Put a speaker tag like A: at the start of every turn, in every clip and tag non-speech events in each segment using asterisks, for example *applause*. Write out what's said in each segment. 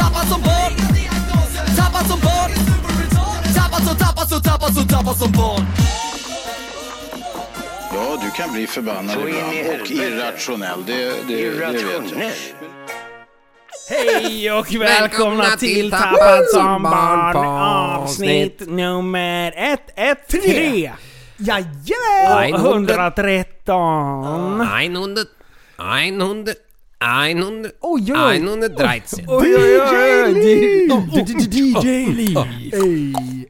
A: Tappad som barn Tappad som barn Tappad som, tappad som, tappad som, tappad som barn
B: Ja, du kan bli förbannad
C: Så in i
B: ibland och
C: helvete.
B: irrationell. Det, det, det vet jag.
C: Irrationell.
D: Hej och välkomna till Tappad som barn avsnitt nummer 113!
E: Nej,
D: Jajamän! Och 113!
F: Ah.
E: 100, 100, 100,
F: Oh,
D: Oj, oj.
E: 113.
D: Oj, oj, oj! Oh,
E: Liv.
D: DJ Liv!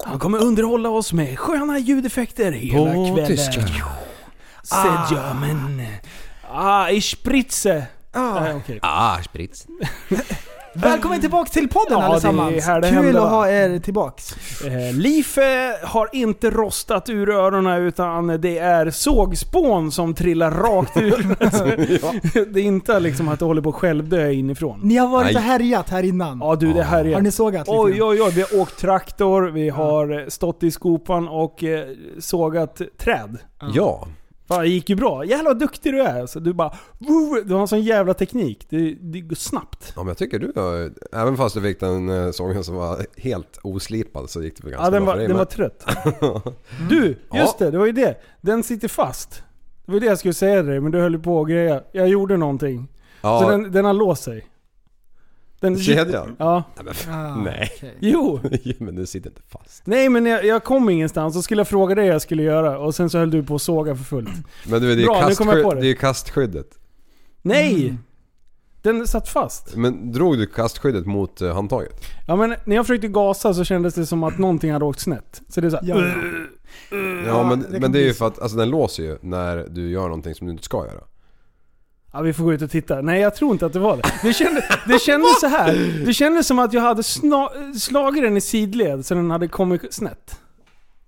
D: Han kommer underhålla oss med sköna ljudeffekter hela
E: På
D: kvällen.
E: tyska.
D: Ah. Ja, men... Ah, ich spritze! Ah, okej.
E: Ah, sprits.
G: Välkommen tillbaka till podden
D: Ja, det
G: allesammans!
D: är här det
G: Kul
D: händer, va?
G: att ha er tillbaks.
D: Eh, Leaf eh, har inte rostat ur öronen utan det är sågspån som trillar rakt
G: *laughs*
D: ur. Det är inte liksom att det håller på att självdö inifrån.
G: Ni har varit
E: Nej.
G: och härjat här innan.
D: Ja du, det här
G: Har
D: är...
G: ni sågat lite?
D: Oj, oj, oj. Vi har åkt traktor, vi har eh, stått i skopan och eh, sågat träd.
E: Ja.
D: Fan, det gick ju bra. Jävlar vad duktig du är. Så du bara... "Woo!" Du har en sån jävla teknik. Det, det går snabbt.
F: Ja men jag tycker du har, även fast du fick den eh, sången som var helt oslipad så gick det väl ganska
D: Ja, den var,
F: bra för dig
D: den var
F: med.
D: trött.
F: *laughs*
D: Du, just det. Det var ju det. Den sitter fast. Det var det jag skulle säga till dig, men du höll ju på och greja. Jag gjorde någonting.
F: Ja,
D: Så den, den har låst sig. Den,
F: kedjan?
D: Ja.
G: Ah,
F: Nej. *laughs*
G: okej.
D: Jo.
F: Ja, men den sitter inte fast.
D: Nej men jag, jag kom ingenstans och skulle jag fråga dig vad jag skulle göra och sen så höll du på att såga för fullt.
F: Men du, det är,
D: Bra, nu kommer jag på det.
F: kastskydd, det är ju kastskyddet.
D: Nej!
F: Mm.
D: Den satt fast.
F: Men drog du kastskyddet mot eh, handtaget?
D: Ja men när jag försökte gasa så kändes det som att någonting hade åkt snett. Så det är såhär...
G: Ja.
D: Mm,
F: Ja,
G: Ja,
F: men,
G: det kan
F: men det är
G: bli
F: ju
G: så.
F: för att alltså, den låser ju när du gör någonting som du inte ska göra.
D: Ja, vi får gå ut och titta. Nej, jag tror inte att det var det. Det kändes, det kändes så här. Det kändes som att jag hade sna, slagit den i sidled så den hade kommit snett. *laughs*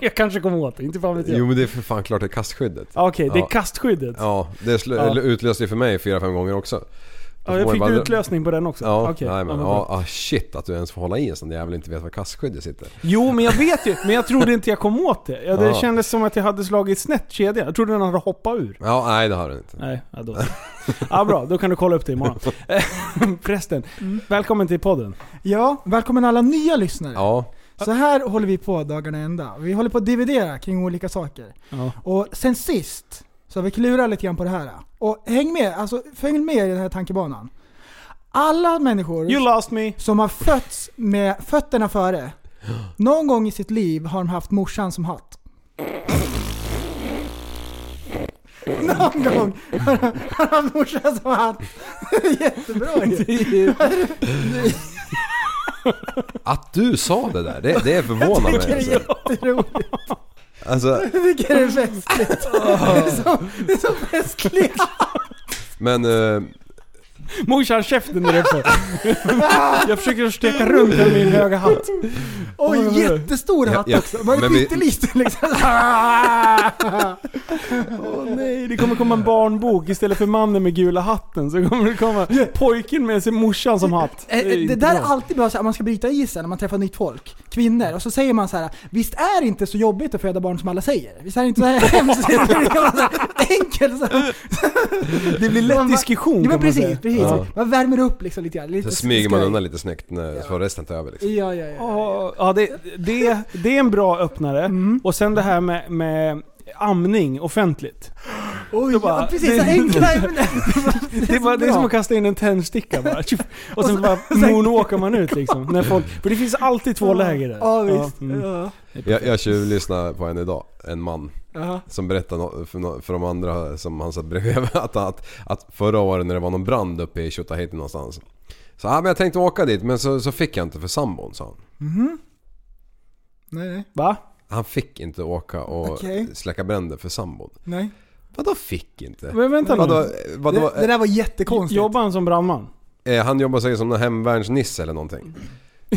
D: jag kanske kom åt det, inte fan vet jag.
F: Jo men det är för fan klart det är kastskyddet.
D: Ja, Okej, det är
F: Ja.
D: kastskyddet. Ja,
F: Ja, det slö,
D: Ja.
F: utlöste ju för mig fyra fem gånger också. Då får
D: jag
F: man ju
D: fick
F: bara-
D: utlösning på den också.
F: Ja,
D: Okej,
F: nej, men,
D: ja,
F: ja,
D: vad bra.
F: ah, shit att du ens får hålla i en sån där jävel inte vet var kastskyddet sitter.
D: Jo, men jag vet ju. Men jag trodde inte jag kom åt det. Ja, det
F: Ja.
D: kändes som att jag hade slagit snett kedja. Jag trodde den hade hoppat ur.
F: Ja, nej det har du inte.
D: Nej, ja, då. ja, bra. Då kan du kolla upp det
F: *laughs*
D: imorgon. Eh, Förresten, välkommen till podden.
G: Ja, välkommen alla nya lyssnare.
F: Ja,
G: Så här håller vi på dagarna ända. Vi håller på att dividera kring olika saker.
D: Ja.
G: Och sen sist så har vi klurat lite grann på det här. Och häng med, alltså följ med i den här tankebanan. Alla människor
D: You lost me.
G: som har fötts med fötterna före, någon gång i sitt liv har de haft morsan som hatt. Någon gång har de- har de haft morsan som hatt. Jättebra
D: *laughs*
G: ju.
F: Att du sa det där, det, det förvånar
D: *laughs*
F: mig.
G: Det är
F: Alltså.
G: jätteroligt.
F: Alltså,
G: Jag tycker det är festligt. Det är så, det är så festligt.
F: men eh,
D: Morsan käften där uppe. *laughs* jag försöker steka runt den med min höga
G: *laughs*
D: hatt.
G: Och en jättestor
F: Ja,
G: hatt
F: ja.
G: också. Bara
F: Men vi-
G: pytteliten
D: *laughs*
G: liksom.
D: Åh nej, det kommer komma en barnbok. Istället för mannen med gula hatten så kommer det komma pojken med sin morsan som hatt.
G: Eh, eh,
D: är
G: Det
D: inte
G: där är
D: bra.
G: alltid bra, så här, man ska bryta isen när man träffar nytt folk, kvinnor, och så säger man så här: Visst är det inte så jobbigt att föda barn som alla säger? Visst är det inte så här *laughs* hemskt? Det kan vara så här enkelt så här.
D: Det blir lätt
G: Man bara-
D: diskussion
G: Ja men
D: kan man säga.
G: precis, precis.
F: Ja.
G: Man värmer upp liksom lite grann. Lite
F: så smyger man
G: skoj.
F: undan lite snyggt när, så resten tar över liksom.
G: Ja, ja, ja.
D: Ja, ja, det, det, det är en bra öppnare.
G: Mm.
D: Och sen det här med, med amning offentligt.
G: Oj,
D: då bara-
G: ja, precis.
D: det-
G: Så enkla ämnen.
D: Det är, bara, det är
G: bra.
D: som att kasta in en tändsticka
G: *laughs*
D: bara. Tjuff. Och sen bara moonwalkar man ut liksom. När folk, för det finns alltid två läger där.
G: Ja, visst.
D: mm.
G: Ja.
F: Jag, jag tjuvlyssnade på en idag, en man.
G: Ja.
F: Som berättade no- för, no- för de andra som han satt bredvid *laughs* att, att, att förra året när det var någon brand uppe i Tjotahejti någonstans. Så ah, men jag tänkte åka dit men så, så fick jag inte för sambon sa han.
G: Nej, nej,
D: Va?
F: Han fick inte åka och
G: Okej.
F: släcka bränder för sambon.
G: nej.
F: Vadå fick inte?
D: Men vänta nu.
F: Vadå, vadå,
G: Det, det där var jättekonstigt.
D: Jobbar han som brandman?
F: Eh, han jobbar säkert som någon hemvärnsnisse eller någonting.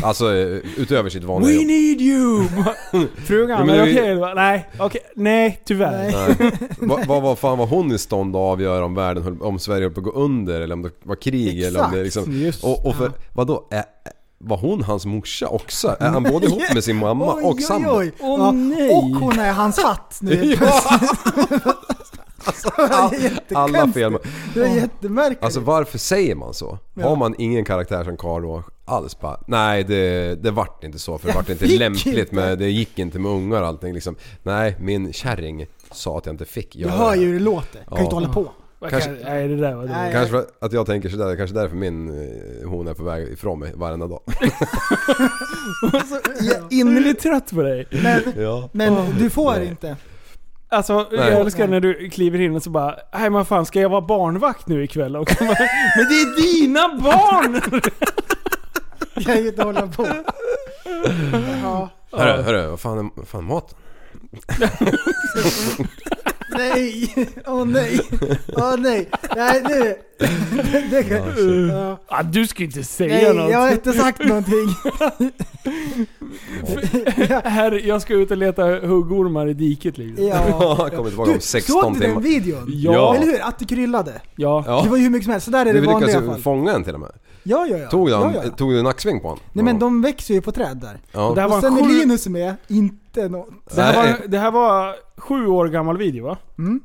F: Alltså eh, utöver sitt vanliga
D: We
F: jobb.
D: need you! Frugan,
F: Men
D: men
F: det är
D: okej
F: ju-
D: då. Nej, okej. Nej, tyvärr.
G: Nej.
F: Va- Vad vad fan var hon i stånd att avgöra om världen höll, om Sverige höll på att gå under eller om det var krig eller om det
G: Exakt,
F: liksom...
D: just.
F: och, och för, vadå? Ä, ä- var hon hans morsa också? Är han både ihop med sin
G: *laughs*
F: mamma
G: Oj,
F: och
G: oj,
F: sambo?
G: oj.
D: Åh,
G: Ja,
D: nej.
G: Och hon är hans hatt *laughs* nu. Alltså,
F: Alla fel.
G: Det är jättemärkligt.
F: Alltså varför säger man så? Har man ingen karaktär som Karl då alls bara, nej det, det vart inte så för det
G: Jag
F: vart inte
G: fick
F: lämpligt
G: inte."
F: med, det gick inte med ungar och allting liksom. Nej, min kärring sa att jag inte fick
G: du
F: göra
G: hör
F: det.
G: ju hur det låter. Kan ju
F: Ja.
G: inte hålla på.
D: Vad
F: Kanske-
D: kan- Nej, det där var dåligt.
G: Nej.
F: Kanske för att jag tänker sådär, det kanske är därför min eh, hon är på väg ifrån mig varenda dag.
D: Jag är innerligt trött på dig.
F: Ja.
G: Men du får
F: nej.
G: inte.
D: Alltså,
F: Nej.
D: jag älskar när du kliver in och så bara Nej men fan, ska jag vara barnvakt nu ikväll också?
G: *laughs*
D: Men det är dina barn!
G: Jag kan ju inte hålla på.
F: *laughs*
G: Ja.
F: Hörru, hörru, vad fan är, vad fan är maten?
G: Nej! Åh nej! Åh nej! Nej nu! Det, det kan, ja.
D: Ah, du ska inte
G: Nej,
D: säga något.
G: jag har inte sagt
F: *laughs*
G: någonting.
D: Här, jag ska ut och leta huggormar i diket liksom.
G: Ja.
F: Kommer tillbaka
G: Du,
F: om
G: såg
F: 16
G: du den
F: timmar.
G: videon?
D: Ja.
G: Eller hur? Att det kryllade.
D: Ja.
G: Det
F: Ja.
G: var ju hur mycket som helst. Sådär är det
F: Du
G: i vanliga
F: lyckades ju
G: fall.
F: fånga en till och med.
G: Ja, ja, ja.
F: Tog du,
G: ja,
F: han,
G: ja, ja.
F: tog du en nacksving på honom?
G: Nej men de växer ju på träd där.
F: Ja.
D: Det här var
G: Och sen
D: en
G: när
D: sju,
G: Linus är med, inte något.
D: det, här
F: Nej.
D: var, det här var sju år gammal video va?
G: Mm.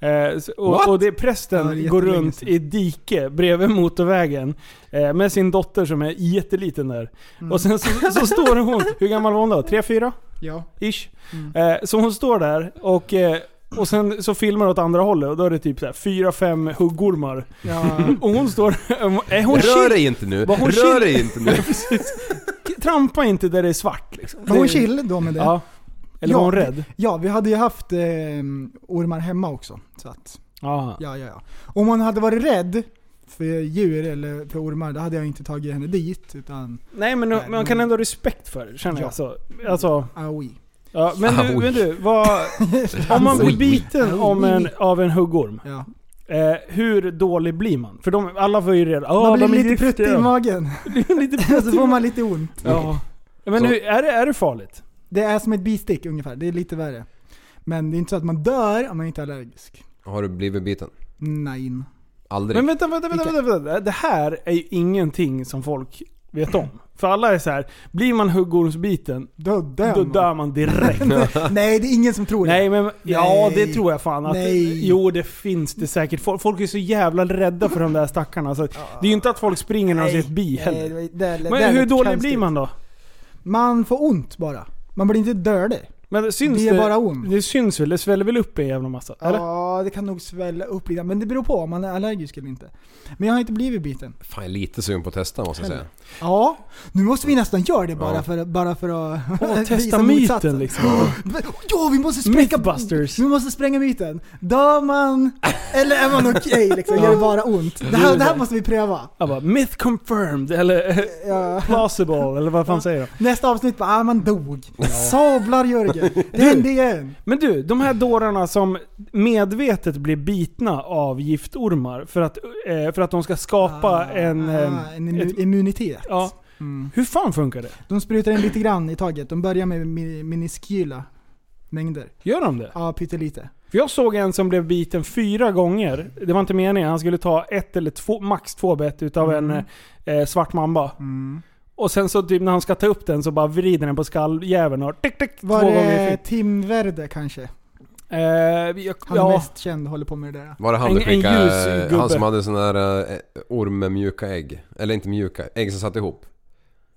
D: Eh, så- och,
F: What?
D: och det är
G: Ja, det
D: prästen
G: är
D: går
G: jättelänge
D: runt
G: sedan.
D: i ett dike bredvid motorvägen eh, med sin dotter som är jätteliten där.
G: Mm.
D: Och sen så, så står hon, hur gammal var hon då? Tre, fyra?
G: Ja.
D: Ish.
G: Mm.
D: Eh, så hon står där och, eh, och sen så filmar åt andra hållet och då är det typ så här fyra, fem huggormar.
G: ja.
D: *laughs* Och hon står... Är hon
F: Rör
D: chill?
F: dig inte nu!
D: Var hon chill?
F: Rör dig
D: *laughs*
F: inte nu!
D: Trampa inte där det är svart liksom.
G: Var hon chill då med det? Ja.
D: Ja. Eller var hon rädd?
G: Ja, vi hade ju haft eh, ormar hemma också. Så att,
D: Ja.
G: ja, ja, ja. Om hon hade varit rädd för djur eller för ormar, då hade jag inte tagit henne dit. Utan,
D: Nej men
G: Nej,
D: man kan
G: men-
D: ändå ha respekt för det känner
G: Ja.
D: jag. Alltså, alltså,
G: aoi.
D: ja, men, du,
F: Oj.
D: men du,
G: *laughs*
D: vad, om man blir biten
G: Oj.
D: om en, av en huggorm,
G: Ja.
D: eh, hur dålig blir man? För de, alla var ju redan
G: Man
D: "Åh,
G: blir
D: de är
G: lite pruttig
D: *laughs*
G: i
D: giftiga."
G: magen. *laughs*
D: lite
F: *laughs*
G: Och så
D: pruttig
G: får man lite ont.
D: Ja. Men
F: Så-
D: hur, är, det, är det farligt?
G: Det är som ett bistick ungefär, det är lite värre. Men det är inte så att man dör om man inte är allergisk.
F: Har du blivit biten?
G: Nej.
F: Aldrig?
D: Men vänta, vänta, vänta, vänta, vänta. Det här är ju ingenting som folk vet om. För alla är så här, blir man huggormsbiten,
G: Då dör
D: då
G: man.
D: dör man direkt.
G: *laughs* Nej, det är ingen som tror det.
D: Nej men, ja
G: Nej.
D: det tror jag fan att,
G: Nej.
D: Jo det finns det säkert. Folk, folk är så jävla rädda för de där stackarna. Så att, det är ju inte att folk springer när de ser ett bi
G: Nej, det
D: heller.
G: var- det- det- det är
D: Men hur
G: lite
D: dålig
G: konstigt.
D: blir man då?
G: Man får ont bara. Man blir inte dödig.
D: Men det syns
G: Det är bara ont.
D: Det syns väl? Det sväller väl upp en jävla massa? Eller?
G: Ja, det kan nog svälla upp lite. Men det beror på om man är allergisk eller inte. Men jag har inte blivit biten.
F: Fan jag är lite sugen på att testa måste jag säga.
G: Ja, nu måste vi nästan göra det bara,
F: Ja.
G: för, bara för att
D: Åh, testa
G: *laughs* visa
D: myten
G: motsatsen.
D: liksom.
G: *gasps* Ja, vi måste spränga...
D: Mythbusters.
G: Vi måste spränga myten. Dör man
D: *laughs*
G: eller är man okej liksom? Gör det bara ont? Det här, det här måste vi pröva.
D: Jag bara, myth confirmed eller *laughs*
G: Ja.
D: plausible eller vad fan säger de?
G: Nästa avsnitt bara, ah, man dog.
D: *laughs*
G: Sablar Jörgen. Det hände igen.
D: Men du, de här dårarna som medvetet blir bitna av giftormar för att, eh, för att de ska skapa en... ehm,
G: ah, en immu-
D: ett-
G: immunitet.
D: ja.
G: Mm.
D: Hur fan funkar det?
G: De sprutar in lite grann i taget. De börjar med mi- miniskyla mängder.
D: Gör de det?
G: Ja, pyttelite.
D: För jag såg en som blev biten fyra gånger. Det var inte meningen. Han skulle ta ett eller två, max två bett utav en
G: Mm.
D: eh, svart mamba. Och sen så typ när han ska ta upp den så bara vrider den på skalljäveln och tick, tick, två
G: Var
D: gånger i
G: det
D: fingret.
G: Tim Verde kanske?
D: Eh, jag,
G: Han
D: ja,
G: mest känd håller på med det där.
F: Var det han
D: En-
F: du
D: en
F: skickade?
D: ljus gubbe.
F: han som hade sån där eh, orm med mjuka ägg? Eller inte mjuka, ägg som satt ihop?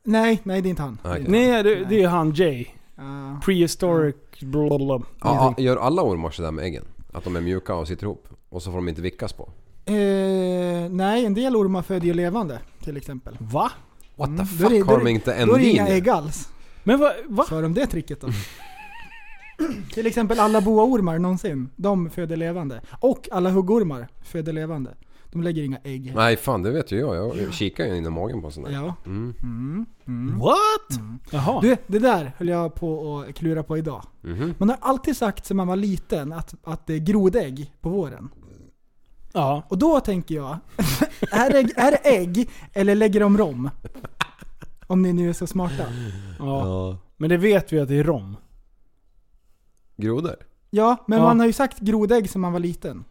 G: Nej, nej det är inte han.
F: Ah, Okej.
D: nej, det, det är han Jay.
G: Ja.
D: Prehistoric... blablabla.
F: Ja, ja, gör alla ormar sådär med äggen? Att de är mjuka och sitter ihop? Och så får de inte vickas på?
G: eh, nej, en del ormar föder ju levande till exempel.
D: Va?
F: What the
G: Mm,
F: fuck
G: då är det- då
F: har
G: är
F: de
G: det-
F: inte en
G: då är det inga
F: linje?
G: ägg alls.
D: Men va? va?
G: Så har de det tricket
F: *laughs*
G: då. till exempel alla boaormar någonsin. De föder levande. Och alla huggormar föder levande. De lägger inga ägg.
F: Nej fan det vet ju jag, jag kikar ju in i magen på sån där.
G: Ja.
F: Mm.
G: Mm.
D: What? Jaha.
G: Du, det där höll jag på att klura på idag.
F: Mhm.
G: Man har alltid sagt sedan man var liten att, att det är grodägg på våren.
D: Ja.
G: Och då tänker jag, *laughs* är det, är det ägg eller lägger de rom? Om ni nu är så smarta.
D: ja.
F: Ja.
D: Men det vet vi att det är rom.
F: Grodor?
G: Ja, men
D: Ja.
G: man har ju sagt grodägg som man var liten.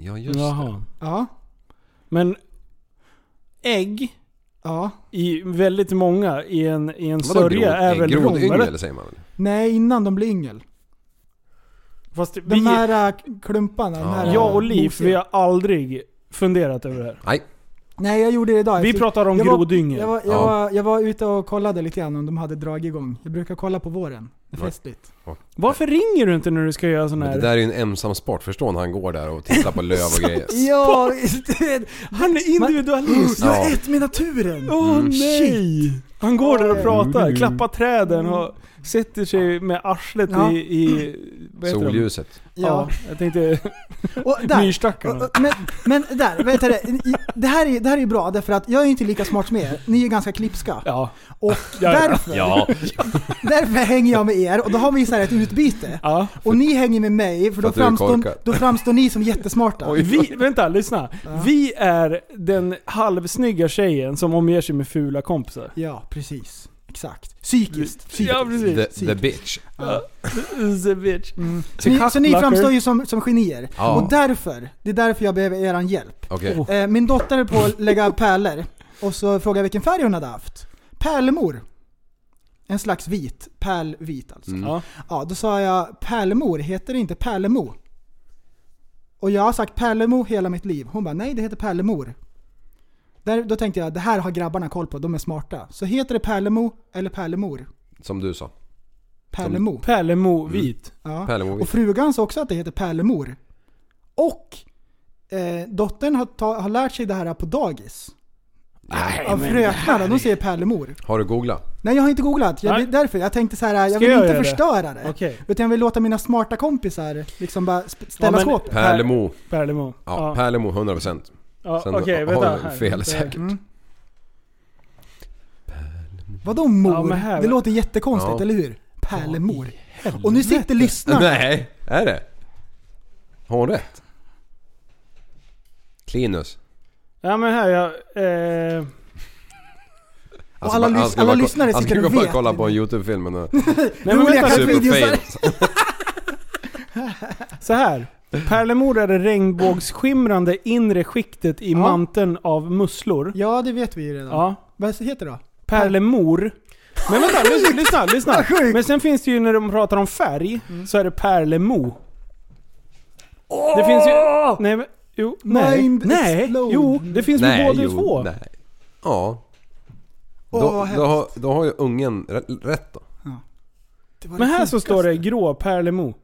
F: Ja just det.
D: Jaha.
G: Ja,
D: Men ägg
G: ja.
D: i väldigt många i en, i en
F: Vadå grod?
D: sörja är väl rom? eller?
F: Grodyngel säger man väl?
G: Nej, innan de blir yngel.
D: Fast vi,
G: De här äh, klumparna, de
F: Ja.
G: här... äh,
D: jag och Liv,
G: mosiga.
D: vi har aldrig funderat över det här.
F: Nej.
G: Nej, jag gjorde det idag.
D: Vi
G: Jag-
D: pratar om
G: Alltså, jag var-
D: grodyngel.
G: Jag var, jag,
F: Ja.
G: var, jag var ute och kollade lite grann om de hade drag igång. Jag brukar kolla på våren. Det är
F: Nej.
G: festligt.
D: Varför ringer du inte när du ska göra sån
F: Men det
D: här?
F: där är ju en ensam sport, förstår ni? Han går där och tittar på löv och grejer.
G: *laughs* Ja, visst är det-
D: Han är individualist!
G: jag
F: Ja.
G: är ett med naturen!
D: Åh
F: Mm,
D: nej! Han går där och pratar, klappar träden och sätter sig med arslet
G: Ja.
D: i... i vad heter de?
F: Solljuset.
D: Ja,
G: Ja.
D: jag tänkte
G: Och *laughs* där,
D: myrstackarna.
G: Men, men där, vet du, det? det, här är, det här är bra därför att jag är inte lika smart som er. Ni är ganska klipska.
D: Ja.
G: Och
D: *laughs* Ja, ja.
G: därför, därför hänger jag med er och då har vi så här ett utbyte.
D: ja.
G: Och ni hänger med mig för
F: För
G: då
F: att du är korkad.
G: framstår, då framstår ni som jättesmarta.
D: Vi, vänta, lyssna. Vi är den halvsnygga tjejen som omger sig med fula kompisar.
G: Ja, precis. Exakt. Psykiskt. psykiskt.
D: Ja, precis.
F: The, the bitch.
D: The bitch.
G: Så ni, så ni
D: Cuckblocker.
G: framstår ju som, som genier.
F: Ja.
G: Och därför, det är därför jag behöver er hjälp.
F: Okej.
D: Oh.
G: Eh, min dotter är på att lägga pärlor och så frågar jag vilken färg hon hade haft. Pärlemor. En slags vit. Pärlvit alltså.
F: Mm.
D: Ja.
G: Ja, då sa jag pärlemor, heter det inte pärlemo? Och jag har sagt pärlemo hela mitt liv. Hon bara, nej det heter pärlemor. Där, då tänkte jag, det här har grabbarna koll på, de är smarta. Så heter det pärlemo eller pärlemor?
F: Som du sa.
G: Pärlemo.
D: Pärlemo
F: Mm.
D: vit.
G: Ja.
F: Pärlemor.
G: Och frugan sa också att det heter pärlemor. Och eh, dottern har, ta, har lärt sig det här på dagis.
F: Nej.
G: Av fröknarna, de säger pärlemor.
F: Har du googlat?
G: Nej jag har inte googlat, jag,
D: Nej.
G: det är därför. Jag tänkte så här, jag
D: Ska
G: vill
D: jag
G: inte
D: göra det?
G: förstöra det.
D: Okej.
G: Utan jag vill låta mina smarta kompisar liksom bara sp-
D: Ja,
G: ställa
D: men-
G: skåpet.
F: Pärlemo.
D: Pärlemo.
F: Ja,
D: ja.
F: Pärlemo 100%.
D: ja
F: Sen
D: Okej, vänta.
F: har du
D: här.
F: fel säkert.
G: Mm. Vadå mor?
D: Ja, men här-
G: det låter jättekonstigt,
F: Ja.
G: eller hur? Pärlemor. Och nu sitter lyssnarna.
F: Nej, är det? Har hon rätt? Klinus.
D: Ja men här, jag... Eh,
F: Alltså,
G: alla
F: bara-
G: lys-
F: han ska
G: alla
F: bara ko-
G: lyssnare
F: Han
G: sitter
F: ska
G: och
F: bara
G: vet.
F: kolla på en YouTube-film
G: *laughs*
F: och nu-
D: nej men
G: Roliga
D: vänta.
G: kan-
F: superfail.
D: Så här. Pärlemor är det regnbågsskimrande inre skiktet i
G: Ja.
D: manteln av musslor.
G: Ja, det vet vi ju redan.
D: Ja.
G: Vad heter det då?
D: Pärlemor. Men
G: *laughs*
D: vänta, lyssna, lyssna, lyssna. Men sen finns det ju när de pratar om färg,
G: Mm.
D: så är det pärlemo. Det finns ju... Nej, men, jo, nej.
G: Mind
D: nej,
G: explode.
D: jo, det finns väl
F: Nej,
D: båda
F: jo,
D: två?
F: Nej. Ja.
G: Åh,
F: då,
G: vad
F: då,
G: hemskt.
F: har, då har ju ungen rä- rätt då.
G: Det var
D: Men
G: det
D: här så
G: sjukaste.
D: står det grå pärlemo.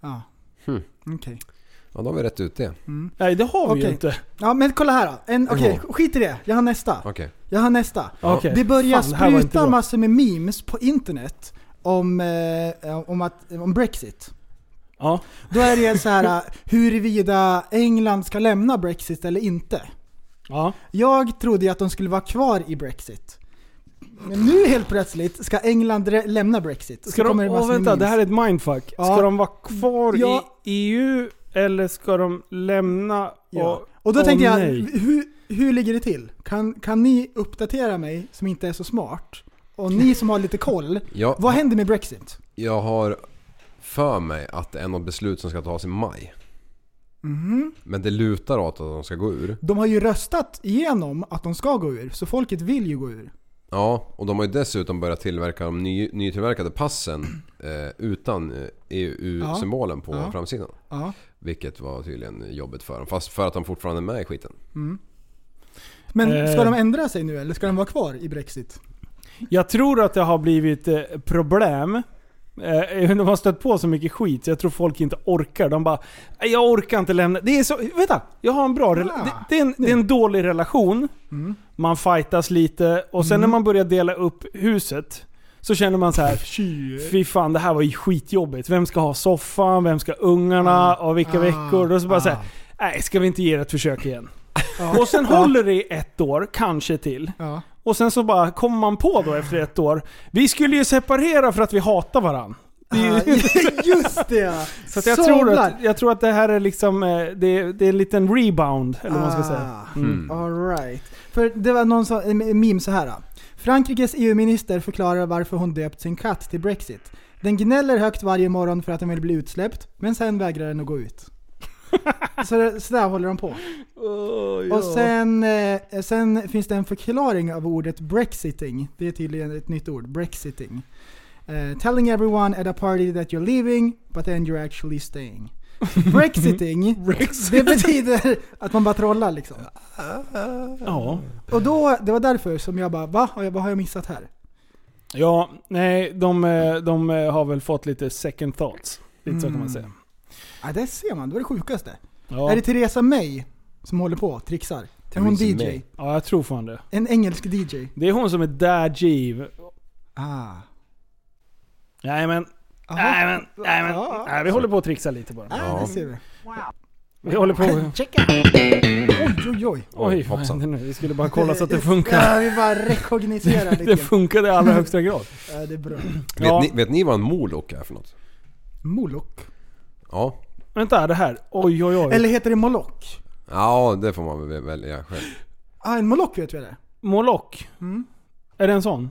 G: Ja.
F: Hmm.
G: Okej.
F: Ja, då har vi rätt ut det.
G: Mm.
D: Nej, det har vi ju
G: Okej.
D: inte.
G: Ja men kolla här då. En- Okej,
F: Jaha.
G: skit i det. Jag har nästa.
F: Okej.
G: Jag har nästa.
D: Okej.
G: Det börjar
D: Fan, det här var inte
G: spruta
D: bra.
G: massor med memes på internet om, eh, om, att, om Brexit.
D: Ja.
G: Då är det så här eh, *laughs* huruvida England ska lämna Brexit eller inte.
D: Ja.
G: Jag trodde ju att de skulle vara kvar i Brexit. Men nu helt plötsligt ska England re- lämna Brexit. Och
D: Ska
G: så
D: de,
G: kommer det massor
D: åh,
G: med
D: vänta,
G: memes.
D: det här är ett mindfuck.
G: Ja.
D: Ska de vara kvar
G: Ja.
D: i EU eller ska de lämna?
G: Ja.
D: Och,
G: Och då
D: åh,
G: tänkte jag,
D: nej.
G: hur, hur ligger det till? Kan, kan ni uppdatera mig som inte är så smart? Och ni som har lite
D: *laughs*
G: koll,
F: Jag,
G: vad händer med Brexit?
F: jag har för mig att det är något beslut som ska tas i maj.
G: Mhm.
F: Men det lutar åt att de ska gå ur.
G: De har ju röstat igenom att de ska gå ur, så folket vill ju gå ur.
F: Ja, och de har ju dessutom börjat tillverka de ny, nytillverkade passen *clears throat* eh, utan eh, EU-symbolen på
G: Ja.
F: framsidan.
G: Ja.
F: Vilket var tydligen jobbigt för dem. Fast för att de fortfarande är med i skiten.
G: Men ska
D: Eh.
G: de ändra sig nu eller ska de vara kvar i Brexit?
D: Jag tror att det har blivit eh, problem. Eh, *laughs* De har stött på så mycket skit så jag tror folk inte orkar. De bara "Nej, “Jag orkar inte lämna”. Det är så... Vänta! Jag har en bra rela-
G: Ah, Mm.
D: det, det, är en, det är en dålig relation. Man fightas lite och sen när man börjar dela upp huset så känner man så här. Fy fan, det här var ju skitjobbigt. Vem ska ha soffan? Vem ska ungarna? Och vilka
G: Ah,
D: veckor? Och så bara
G: ah.
D: så här, nej ska vi inte ge det ett försök
G: *laughs*
D: igen? Och sen håller det i ett år, kanske till.
G: Ah, Ja.
D: Och sen så bara kommer man på då efter ett år. Vi skulle ju separera för att vi hatar varandra. Det är
G: Ah, *laughs*
D: ju-
G: just det ja.
D: *laughs* Så att jag, tror att, jag tror att det här är liksom, eh, det, är- det är en liten rebound, eller vad man ska säga.
G: Ah.
F: Mm.
G: Alright. För det var någon som, en meme så här. Frankrikes EU-minister förklarar varför hon döpt sin katt till Brexit. Den gnäller högt varje morgon för att den vill bli utsläppt, men sen vägrar den att gå ut. så, det, så där håller de på. Och sen, eh, sen finns det en förklaring av ordet brexiting. Det är tydligen ett nytt ord, brexiting. Eh, telling everyone at a party that you're leaving, but then you're actually staying. Brexiting, det betyder att man bara trollar liksom.
D: Ja.
G: Och då, det var därför som jag bara va? Har jag- Vad har jag missat här?
D: Ja, nej, de, eh, de eh, har väl fått lite second thoughts. Lite så kan man säga.
G: Ja, det ser man, det var det sjukaste.
D: Ja,
G: Mm. Är det Theresa May som håller på och trixar? Är hon DJ?
F: Theresa May.
D: ja, jag tror fan det.
G: En engelsk DJ?
D: Det är hon som är Dajiv.
G: Ah.
D: Nej men,
G: Aha.
D: nej men, nej men.
G: Ja.
D: Nej, vi håller på att trixa lite bara.
G: Ah, det ser vi.
D: Vi håller på...
G: Checka! Oj, oj, oj.
D: Oj, vad
F: hoppsan.
D: hände nu? Vi skulle bara kolla så att det funkar.
G: Ja, vi bara rekogniserar lite.
D: Det funkade i *laughs* allra högsta grad.
G: Ja, det är bra.
D: Ja.
F: Vet, ni, vet ni vad en molok är för något?
G: Molok.
F: Ja.
D: Vänta, det här. Oj, oj, oj.
G: Eller heter det molock?
F: Ja, det får man väl välja själv.
G: Ah, en molock vet vi det är.
D: Molock.
G: Mm.
D: Är det en sån?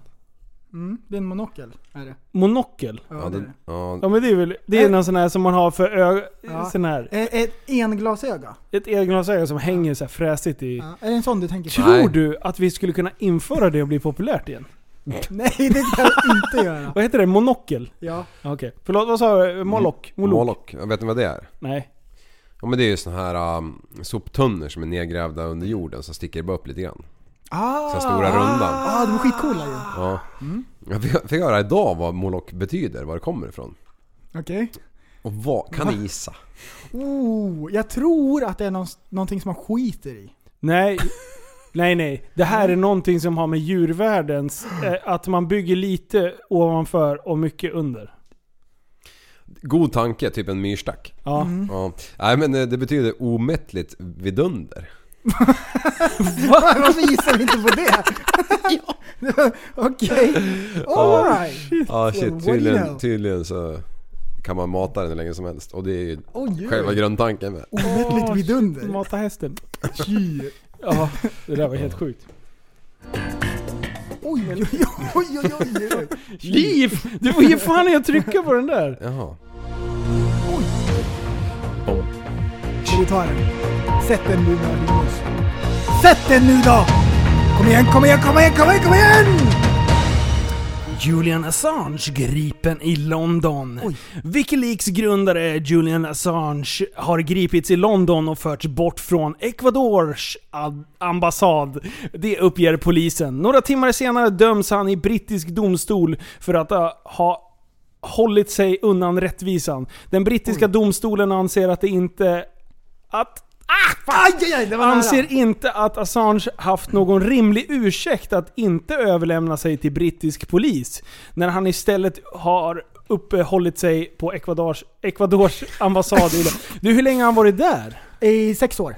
G: Mm, det är en monokel. Är det.
D: Monokel?
G: Ja,
F: Ja,
G: det är
F: det,
G: det.
F: ja,
D: Ja men det är väl, det är
G: Äh.
D: någon sån här som man har för öga,
G: Ja.
D: sån här.
G: Eh, Ett englasöga?
D: Ett eglasöga som hänger så här fräsigt i.
G: Ja, är det en sån du tänker på?
D: Tror
F: Nej.
D: du att vi skulle kunna införa det och bli populärt igen?
G: Nej, det kan jag
D: *laughs*
G: inte göra.
D: Vad heter det? Monokel?
G: Ja.
D: Ja, Okej. Förlåt, vad sa jag? Molock? Molok?
F: molok. Ja, Vet ni vad det är?
D: Nej.
F: Ja, men det är ju såna här um, soptunnor som är nedgrävda under jorden så sticker det bara upp lite grann.
G: Ah, Mm.
F: Så här stora rundan.
G: ah, de är skitcoola ju.
F: Ja. Jag fick fick höra idag vad molok betyder, var det kommer ifrån.
G: Okej.
F: Och vad, kan ni gissa?
G: Oh, jag tror att det är någon, någonting som man skiter i. *laughs*
D: Nej. Nej, nej. Det här är någonting som har med djurvärldens... Eh, att man bygger lite ovanför och mycket under.
F: God tanke, typ en myrstack.
D: Ja.
G: Mm.
F: Ja. Nej men eh, det betyder omättligt vidunder.
G: Varför gissar vi inte på det? *laughs* Okej. Alright.
F: Ja
G: What do
F: shit,
G: you
F: tydligen,
G: know?
F: tydligen så kan man mata den hur länge som helst. Och det är ju
G: Oj,
F: själva
G: oj.
F: grundtanken med.
G: Omättligt vidunder.
D: Mata hästen.
G: Fy.
D: Ja, det där var helt sjukt.
G: Oj, oj, oj, oj, oj, oj, oj.
D: Liv! Du får ge fan i att trycka på den där.
F: Jaha.
G: Ska vi ta den? Sätt den nu då, Linus. Sätt den nu då! Kom igen, kom igen, kom igen, kom igen, kom igen!
D: Julian Assange gripen i London. Wikileaks grundare Julian Assange har gripits i London och förts bort från Ecuadors ad- ambassad. Det uppger polisen. Några timmar senare döms han i brittisk domstol för att ha- ha hållit sig undan rättvisan. Den brittiska domstolen anser att det inte... Att
G: Aj, aj, aj, det var nära.
D: anser inte att Assange haft någon rimlig ursäkt att inte överlämna sig till brittisk polis, när han istället har uppehållit sig på Ecuadors, Ecuadors ambassad.
G: *laughs*
D: i Lo- du, hur länge har han varit där?
G: I sex år.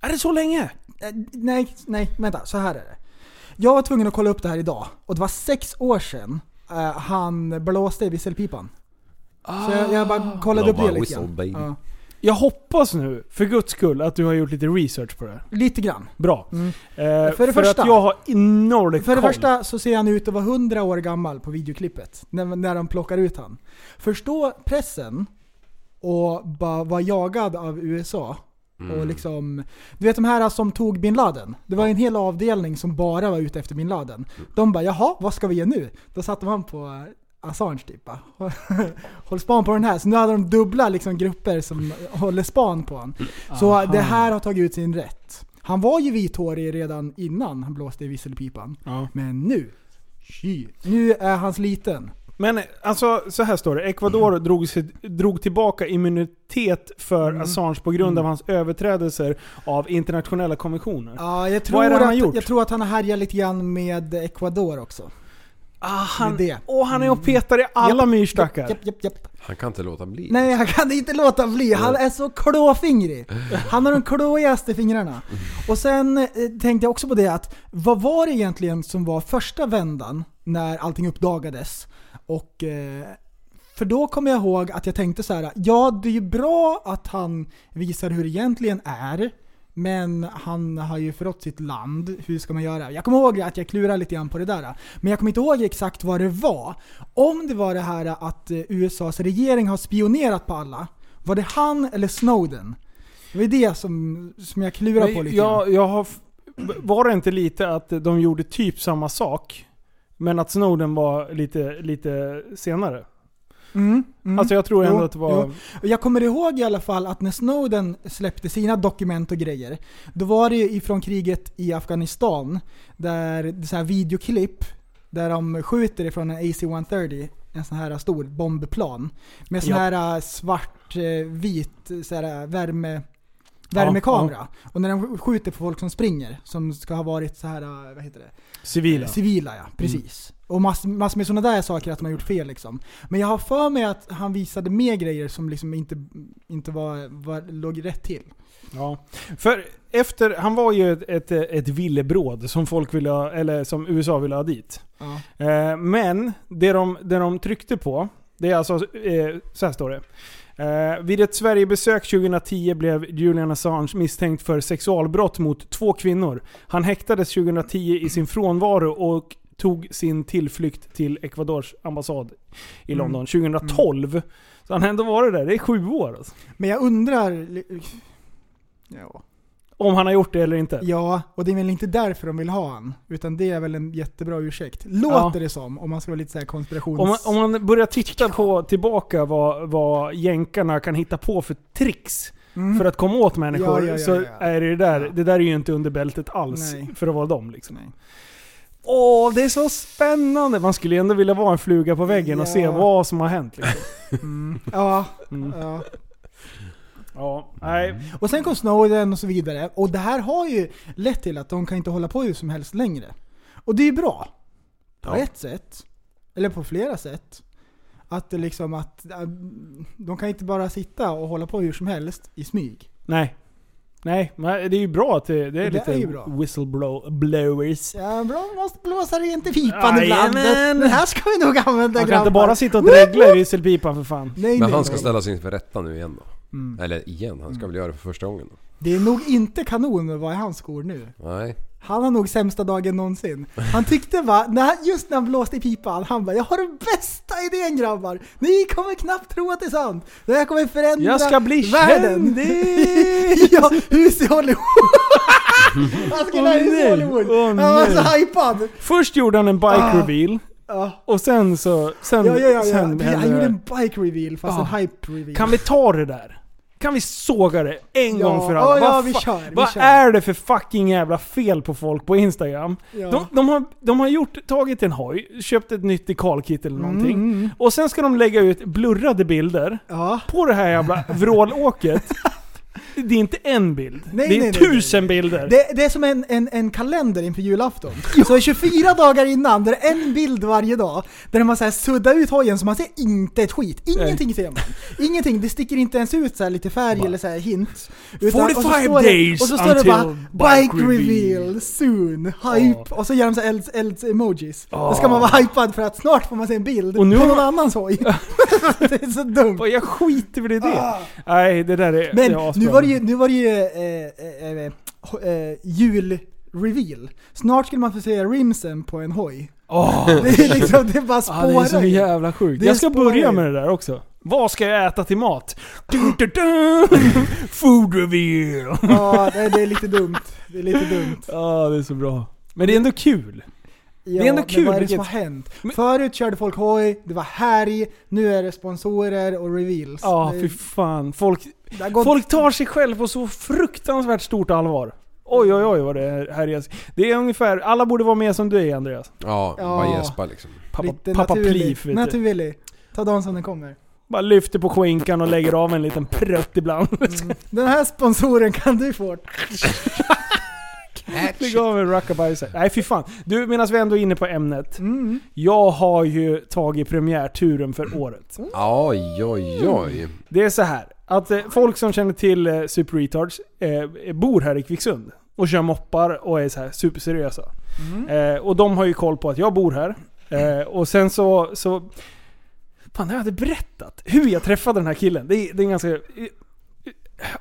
D: Är det så länge?
G: Eh, Nej, nej, vänta. Så här är det. Jag var tvungen att kolla upp det här idag och det var sex år sedan eh, han blåste i visselpipan. Så jag, jag bara kollade
F: Blow
G: upp det
F: my
G: lite grann.
F: whistle, baby.
G: Ja.
D: Jag hoppas nu, för guds skull, att du har gjort lite research på det här.
G: Lite grann.
D: Bra.
G: Mm.
D: Eh,
G: För
D: för
G: det första-
D: att jag har enormt
G: För det
D: koll.
G: första så ser han ut att vara 100 år gammal på videoklippet. När, när de plockar ut han. Förstå pressen och bara vara jagad av USA. Och
D: Mm.
G: liksom, du vet de här som tog bin Laden. Det var ju en hel avdelning som bara var ute efter bin Laden. De bara jaha, vad ska vi ge nu? Då satte man på Assange typ bara. *laughs* Håll span på den här. Så nu hade de dubbla liksom, grupper som håller span på honom. Så det här har tagit ut sin rätt. Han var ju vithårig redan innan han blåste i visselpipan.
D: Ja.
G: Men nu, sky, nu är han sliten.
D: Men alltså, så här står det. Ecuador
G: Mm.
D: drog, sig, drog tillbaka immunitet för Assange på grund av
G: Mm.
D: hans överträdelser av internationella konventioner.
G: Ja, jag
D: Vad
G: tror,
D: är det han har
G: att,
D: gjort?
G: jag tror att han har härjat lite grann med Ecuador också.
D: Ah, han,
G: Det är det.
D: Och han är och petar i alla myrstackar.
G: Japp, japp, japp.
F: Han kan inte låta bli.
G: Nej, han kan inte låta bli. Han är så klåfingrig. Han har de klåigaste fingrarna. Och sen eh, tänkte jag också på det att, vad var det egentligen som var första vändan när allting uppdagades? Och eh, För då kommer jag ihåg att jag tänkte så här: ja det är ju bra att han visar hur det egentligen är. Men han har ju förrått sitt land, hur ska man göra? Jag kommer ihåg att jag klurade lite grann på det där. Men jag kommer inte ihåg exakt vad det var. Om det var det här att eh, USAs regering har spionerat på alla. Var det han eller Snowden? Det var ju det som, som jag klurade på
D: Men
G: lite grann.
D: jag, jag har... f- Var det inte lite att de gjorde typ samma sak? Men att Snowden var lite, lite senare?
G: Mm, mm.
D: Alltså jag tror ändå
G: Jo,
D: att det var...
G: jo. Och Jag kommer ihåg i alla fall att när Snowden släppte sina dokument och grejer, då var det ju ifrån kriget i Afghanistan, där det är så här videoklipp där de skjuter ifrån en AC-130, en sån här stor bombplan, med sån
D: Ja.
G: här eh, svart-vit så här eh, värme, värmekamera. Och när de skjuter på folk som springer, som ska ha varit så här, eh, vad heter det?
D: Civila.
G: Eh,
D: Mm.
G: Civila ja, precis. Och massor mass med sådana där saker att man gjort fel liksom. Men jag har för mig att han visade mer grejer som liksom inte, inte var, var, låg rätt till.
D: Ja. För efter, han var ju ett, ett, ett villebråd som folk ville ha, eller som USA ville ha dit.
G: Ja.
D: Eh, men det de, det de tryckte på, det är alltså, eh, så här står det. Eh, vid ett Sverigebesök 2010 blev Julian Assange misstänkt för sexualbrott mot två kvinnor. Han häktades 2010 i sin frånvaro och tog sin tillflykt till Ecuadors ambassad i
G: Mm.
D: London 2012. Så han har ändå varit där, det är sju år alltså.
G: Men jag undrar... li- Ja.
D: Om han har gjort det eller inte.
G: ja, och det är väl inte därför de vill ha han. Utan det är väl en jättebra ursäkt. Låter det som, om man ska vara lite så här konspirations...
D: Om man, om man börjar titta på tillbaka vad, vad jänkarna kan hitta på för tricks
G: Mm.
D: för att komma åt människor
G: Ja, ja, ja,
D: så
G: ja, ja.
D: är det där,
G: Ja.
D: det där är ju inte under bältet alls
G: Nej.
D: för att vara dem. Liksom.
G: Nej.
D: Åh, det är så spännande! Man skulle ju ändå vilja vara en fluga på väggen och se
G: Ja.
D: vad som har hänt. Liksom.
G: Mm. Ja, *laughs*
D: Mm.
G: ja.
D: Ja, nej.
G: Och sen kom Snowden och så vidare. Och det här har ju lett till att de kan inte hålla på hur som helst längre. Och det är ju bra. På
F: Ja.
G: ett sätt. Eller på flera sätt. Att det liksom att... äh, De kan inte bara sitta och hålla på hur som helst i smyg.
D: nej. Nej, men det är ju bra att det, det är
G: Det
D: lite
G: är ju bra.
D: whistleblowers.
G: Ja, bra, man måste blåsa rent i pipan ibland.
D: Jajamän.
G: Det här ska vi nog använda
D: Man kan inte bara sitta och
G: Woop,
D: dregla i
G: woop.
D: visselpipan för fan.
G: Nej,
F: Men
G: nej,
F: han ska
G: nej.
F: ställas inför rätta nu igen då.
G: Mm.
F: Eller igen, han ska väl göra det för första gången då.
G: Det är nog inte kanon att vara i hans skor nu.
F: Nej.
G: Han har nog sämsta dagen någonsin. Han tyckte va, när, han- just när han blåste i pipan, han bara 'Jag har den bästa idén grabbar! Ni kommer knappt tro att det är sant! Det här kommer förändra
D: Jag ska bli
G: världen!'
D: kändis!
G: *laughs* ja, hus
D: *laughs*
G: i Hollywood! han skulle ha
D: Åh,
G: hus i
D: nej.
G: Hollywood!
D: Åh,
G: han var
D: nej.
G: så hypad!
D: Först gjorde han en bike
G: Ah.
D: reveal.
G: Ja,
D: Och sen så... Sen,
G: ja, ja, ja, ja.
D: sen
G: Han
D: hände det.
G: gjorde en bike reveal fast
D: Ja.
G: en hype reveal.
D: Kan vi ta det där? Kan vi såga det en
G: Ja,
D: gång för alla?
G: ja,
D: Vad
G: vi
D: fa-
G: kör, vi
D: vad
G: kör.
D: är det för fucking jävla fel på folk på Instagram?
G: Ja.
D: De, de har, de har gjort, tagit en hoj, köpt ett nytt dekalkit eller någonting.
G: Mm.
D: Och sen ska de lägga ut blurrade bilder
G: Ja.
D: på det här
G: *laughs*
D: jävla vrålåket. det är inte en bild.
G: Nej,
D: det är
G: nej, nej,
D: tusen bilder.
G: Det, det är som en, en, en kalender inför julafton. Så är 24 dagar innan, där är en bild varje dag, där man så här suddar ut hojen så man ser inte ett skit. Ingenting ser man. Ingenting, det sticker inte ens ut så här lite färg eller så här hint. och så
D: 45
G: står
D: days
G: det, Och så står det
D: until
G: bara
D: bike
G: “Bike reveal, soon, hype”
D: Ja.
G: och så gör de så här elds, elds emojis. Då ska man vara hypad för att snart får man se en bild
D: Och nu
G: på
D: har
G: någon
D: man- *laughs*
G: annans hoj. det är så dumt.
D: Vad, Jag skiter väl i det.
G: Ah.
D: Nej, det där är
G: Men
D: det är
G: nu var det ju, nu var det ju eh, eh, eh, ho- eh, julreveal. Snart skulle man få se rimsen på
D: *laughs*
G: en hoj.
D: Åh.
G: Det är liksom, det bara
D: Ja, det är så
G: spårar ju.
D: jävla sjukt.
G: Det
D: Jag ska
G: spårar
D: börja
G: ju.
D: med det där också. Vad ska jag äta till mat? Du, du, du. *laughs* Food reveal!
G: Ja, det, det är lite dumt. Det är lite
D: *laughs*
G: dumt.
D: Ja, det är så bra. Men det är ändå kul.
G: Ja,
D: ändå kul,
G: Men vad är det som har
D: vilket-
G: hänt?
D: Men-
G: Förut körde folk hoj, det var härj, nu är det sponsorer och reveals.
D: Ja,
G: det,
D: fy fan. Folk,
G: det har gått,
D: folk tar sig själv på så fruktansvärt stort allvar. Oj, oj, oj vad det är här är. Det är ungefär, alla borde vara med som du är Andreas.
F: Ja,
G: Ja.
F: bara gäspa liksom.
D: Pappa,
G: lite
D: pappa
G: naturligt.
D: plif vet du.
G: Naturlig. Ta dagen som den kommer.
D: Bara lyfter på skinkan och lägger av en liten prutt ibland.
G: Den här sponsoren kan du få.
D: *laughs* Lägg av en rockabye så här. Nej fy fan. Du, medan vi ändå är inne på ämnet. Jag har ju tagit premiärturen för året.
F: Oj, oj, oj.
D: Det är så här att eh, folk som känner till eh, Super Retards eh, bor här i Kvicksund. Och kör moppar och är så här superseriösa. Eh, och de har ju koll på att jag bor här. Eh, och sen så, så... Fan, det har jag inte berättat. Hur jag träffade den här killen. Det är, det är en ganska... eh,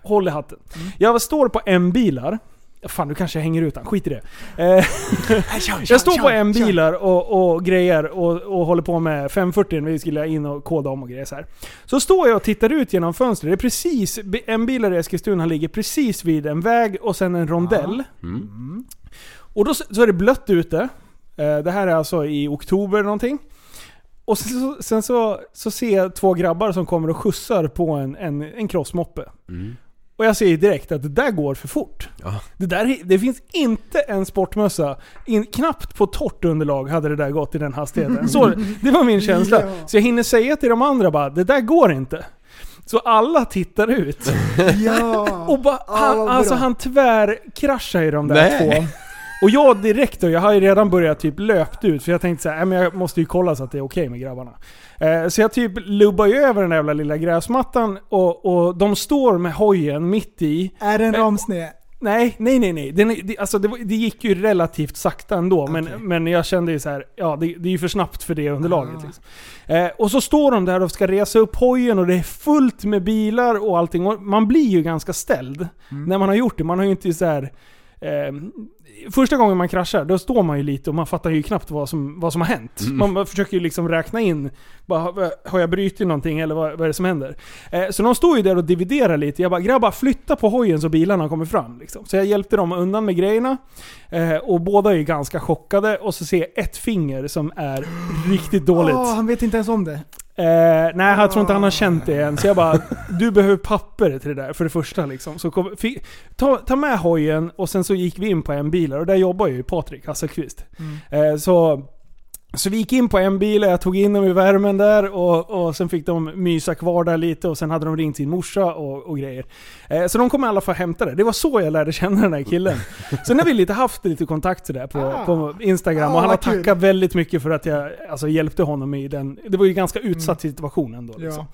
D: Håll i hatten. Jag var, står på M-bilar. Fan, nu kanske jag hänger ut han. Skit i det. Eh, jag står på M-bilar och, och grejer och, och håller på med 540 vi skulle in och koda om och grejer så här. Så står jag och tittar ut genom fönstret. Det är precis... M-bilar i Eskilstuna ligger precis vid en väg och sen en rondell.
F: Hm?
D: Och då så så är det blött ute. Eh, Det här är alltså i oktober någonting. Och sen, så, sen så, så ser jag två grabbar som kommer och skjutsar på en, en, en crossmoppe. Och jag ser ju direkt att det där går för fort.
F: Ja.
D: Det, där, det finns inte en sportmössa. In, knappt på torrt underlag hade det där gått i den hastigheten. Så, det var min känsla.
G: Ja.
D: Så jag hinner säga till de andra bara, det där går inte. Så alla tittar ut.
G: Ja!
D: Och bara, han,
G: vad bra.
D: alltså han tvärkraschar i de där
F: Nej.
D: två. Och jag direkt då, jag har ju redan börjat typ löpt ut för jag tänkte så här, "Nej, men jag måste ju kolla så att det är okej med grabbarna. Eh, så jag typ lubbar ju över den där jävla lilla gräsmattan och, och de står med hojen mitt i.
G: Är det en ramsne?
D: Nej, nej, nej, nej. Den, är- det, alltså det, var- det gick ju relativt sakta ändå, men, men jag kände ju så här, ja det, det är ju för snabbt för det underlaget. Liksom. Eh, och så står de där och ska resa upp hojen och det är fullt med bilar och allting. Och man blir ju ganska ställd när man har gjort det. Man har ju inte så här... Eh, första gången man kraschar, då står man ju lite och man fattar ju knappt vad som, vad som har hänt. Man bara försöker ju liksom räkna in, bara, har- har jag brutit någonting eller vad, vad är det som händer? Eh, så de står ju där och dividerar lite. Jag bara, grabbar flytta på hojen så bilarna kommer fram. Liksom. Så jag hjälpte dem undan med grejerna. Eh, och båda är ju ganska chockade och så ser jag ett finger som är riktigt dåligt.
G: Åh, han vet inte ens om det.
D: Eh, nej, jag tror inte
G: Ah.
D: han har känt det än. Så jag bara, du behöver papper till det där för det första. Liksom. Så kom, fi, ta, ta med hojen och sen så gick vi in på en bilar och där jobbar ju Patrik Hasselqvist.
G: Mm.
D: Eh, så, så vi gick in på en bil och jag tog in dem i värmen där och, och sen fick de mysa kvar där lite och sen hade de ringt sin morsa och, och grejer. Eh, så de kom i alla fall hämta det. Det var så jag lärde känna den här killen.
G: *laughs*
D: Sen har vi lite haft lite kontakt sådär på, på Instagram och
G: Ah,
D: han har
G: vad kul.
D: tackat väldigt mycket för att jag alltså, hjälpte honom i den. Det var ju en ganska utsatt situation ändå. Liksom.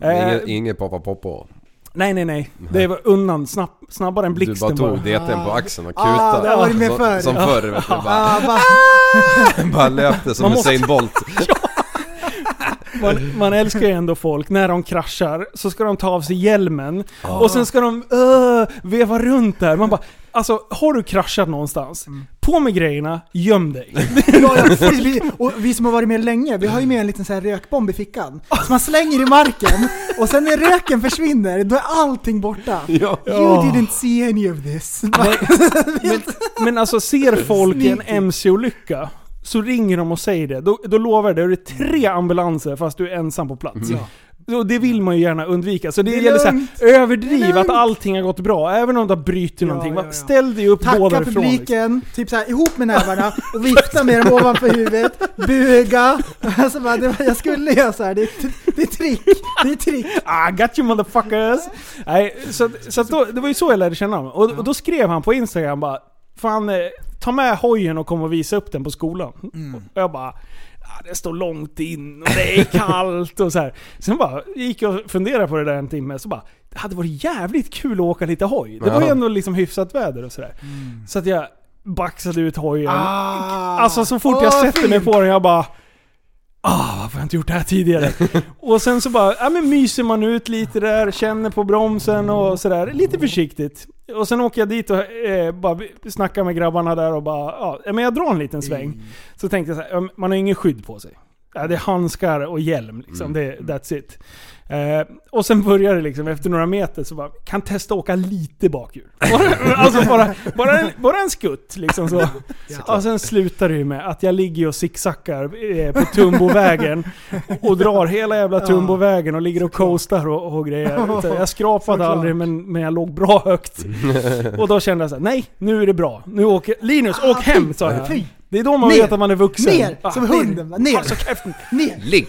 G: Ja.
F: Inget,
D: Eh,
F: inget poppa poppo.
D: Nej, nej, nej. Det var undan, snabb, snabbare än
F: Du
D: blixten
F: bara tog deten på axeln och kutade.
G: Ah, det har varit med
F: som,
G: förr.
F: som förr vet du. Bara,
G: Ah, va?
F: bara löpte som
D: Man måste-
F: Usain Bolt.
D: Man, man älskar ju ändå folk, när de kraschar så ska de ta av sig hjälmen och sen ska de öh, veva runt där. Man bara, alltså har du kraschat någonstans? På med grejerna, göm dig.
G: Ja, ja, precis. Vi, och vi som har varit med länge, vi har ju med en liten så här rökbomb i fickan. Som man slänger i marken och sen när röken försvinner, då är allting borta.
F: Ja.
G: You didn't see any of this.
D: Men, men alltså
G: *laughs*
D: ser folk en MC-olycka så ringer de och säger det. Då, då lovar jag dig, det är tre ambulanser fast du är ensam på plats. Och det vill man ju gärna undvika. Så det,
G: Mm. Det är
D: gäller så här,
G: lugnt. Det är
D: överdriv
G: lugnt.
D: att allting har gått bra. Även om du har brutit
G: Ja,
D: någonting.
G: ja,
D: Va-
G: ja.
D: Ställ dig upp, gå
G: Tacka
D: därifrån. liksom.
G: publiken, typ så här, ihop med nävarna och vifta med dem ovanför huvudet, buga. Alltså bara, det var, jag skulle göra så här. Det, är t- det är trick. Det är
D: *laughs*
G: trick.
D: I Ah, got you motherfuckers! Nej, så, så att då, det var ju så jag lärde känna honom. Och, och då skrev han på Instagram bara Fan, eh, ta med hojen och kom och visa upp den på skolan.
G: Mm.
D: Och jag bara "Ah, det står långt in och det är kallt och så här. Sen bara gick jag och funderade på det där en timme, så bara Det hade varit jävligt kul att åka lite hoj. Det var ju
F: Ja.
D: ändå liksom hyfsat väder och sådär. Så att jag baxade ut hojen.
G: Mm. Ah.
D: Alltså så fort jag
G: Åh,
D: sätter mig
G: fint.
D: på den, jag bara... Ah, varför har jag inte gjort det här tidigare? och sen så bara, ja men myser man ut lite där, känner på bromsen och sådär. Lite försiktigt. Och sen åker jag dit och eh, bara snackar med grabbarna där och bara, ja men jag drar en liten sväng. Så tänkte jag så här, ja, men man har ingen skydd på sig. Ja, det är handskar och hjälm
G: Mm.
D: liksom, det, that's it. Eh, och sen börjar det liksom, efter några meter så bara, kan testa åka lite bakhjul. *laughs* Bara, alltså bara, bara, en, bara en skutt liksom så. och sen slutar det ju med att jag ligger och zigzaggar eh, på Tumbovägen och drar hela jävla Tumbovägen och ligger och coastar och, och
G: *laughs*
D: grejer. Så Jag skrapade
G: Såklart.
D: aldrig men, men jag låg bra
G: *laughs*
D: högt. Och då kände jag så här, nej nu är det bra. Nu åker, Linus åk hem sa jag.
G: Ah, fy.
D: Det är då man
G: Ner.
D: vet att man är vuxen.
G: Ner,
D: Ah,
G: som hunden. va? Ner,
D: Alltså käften.
G: ner.
E: Ligg!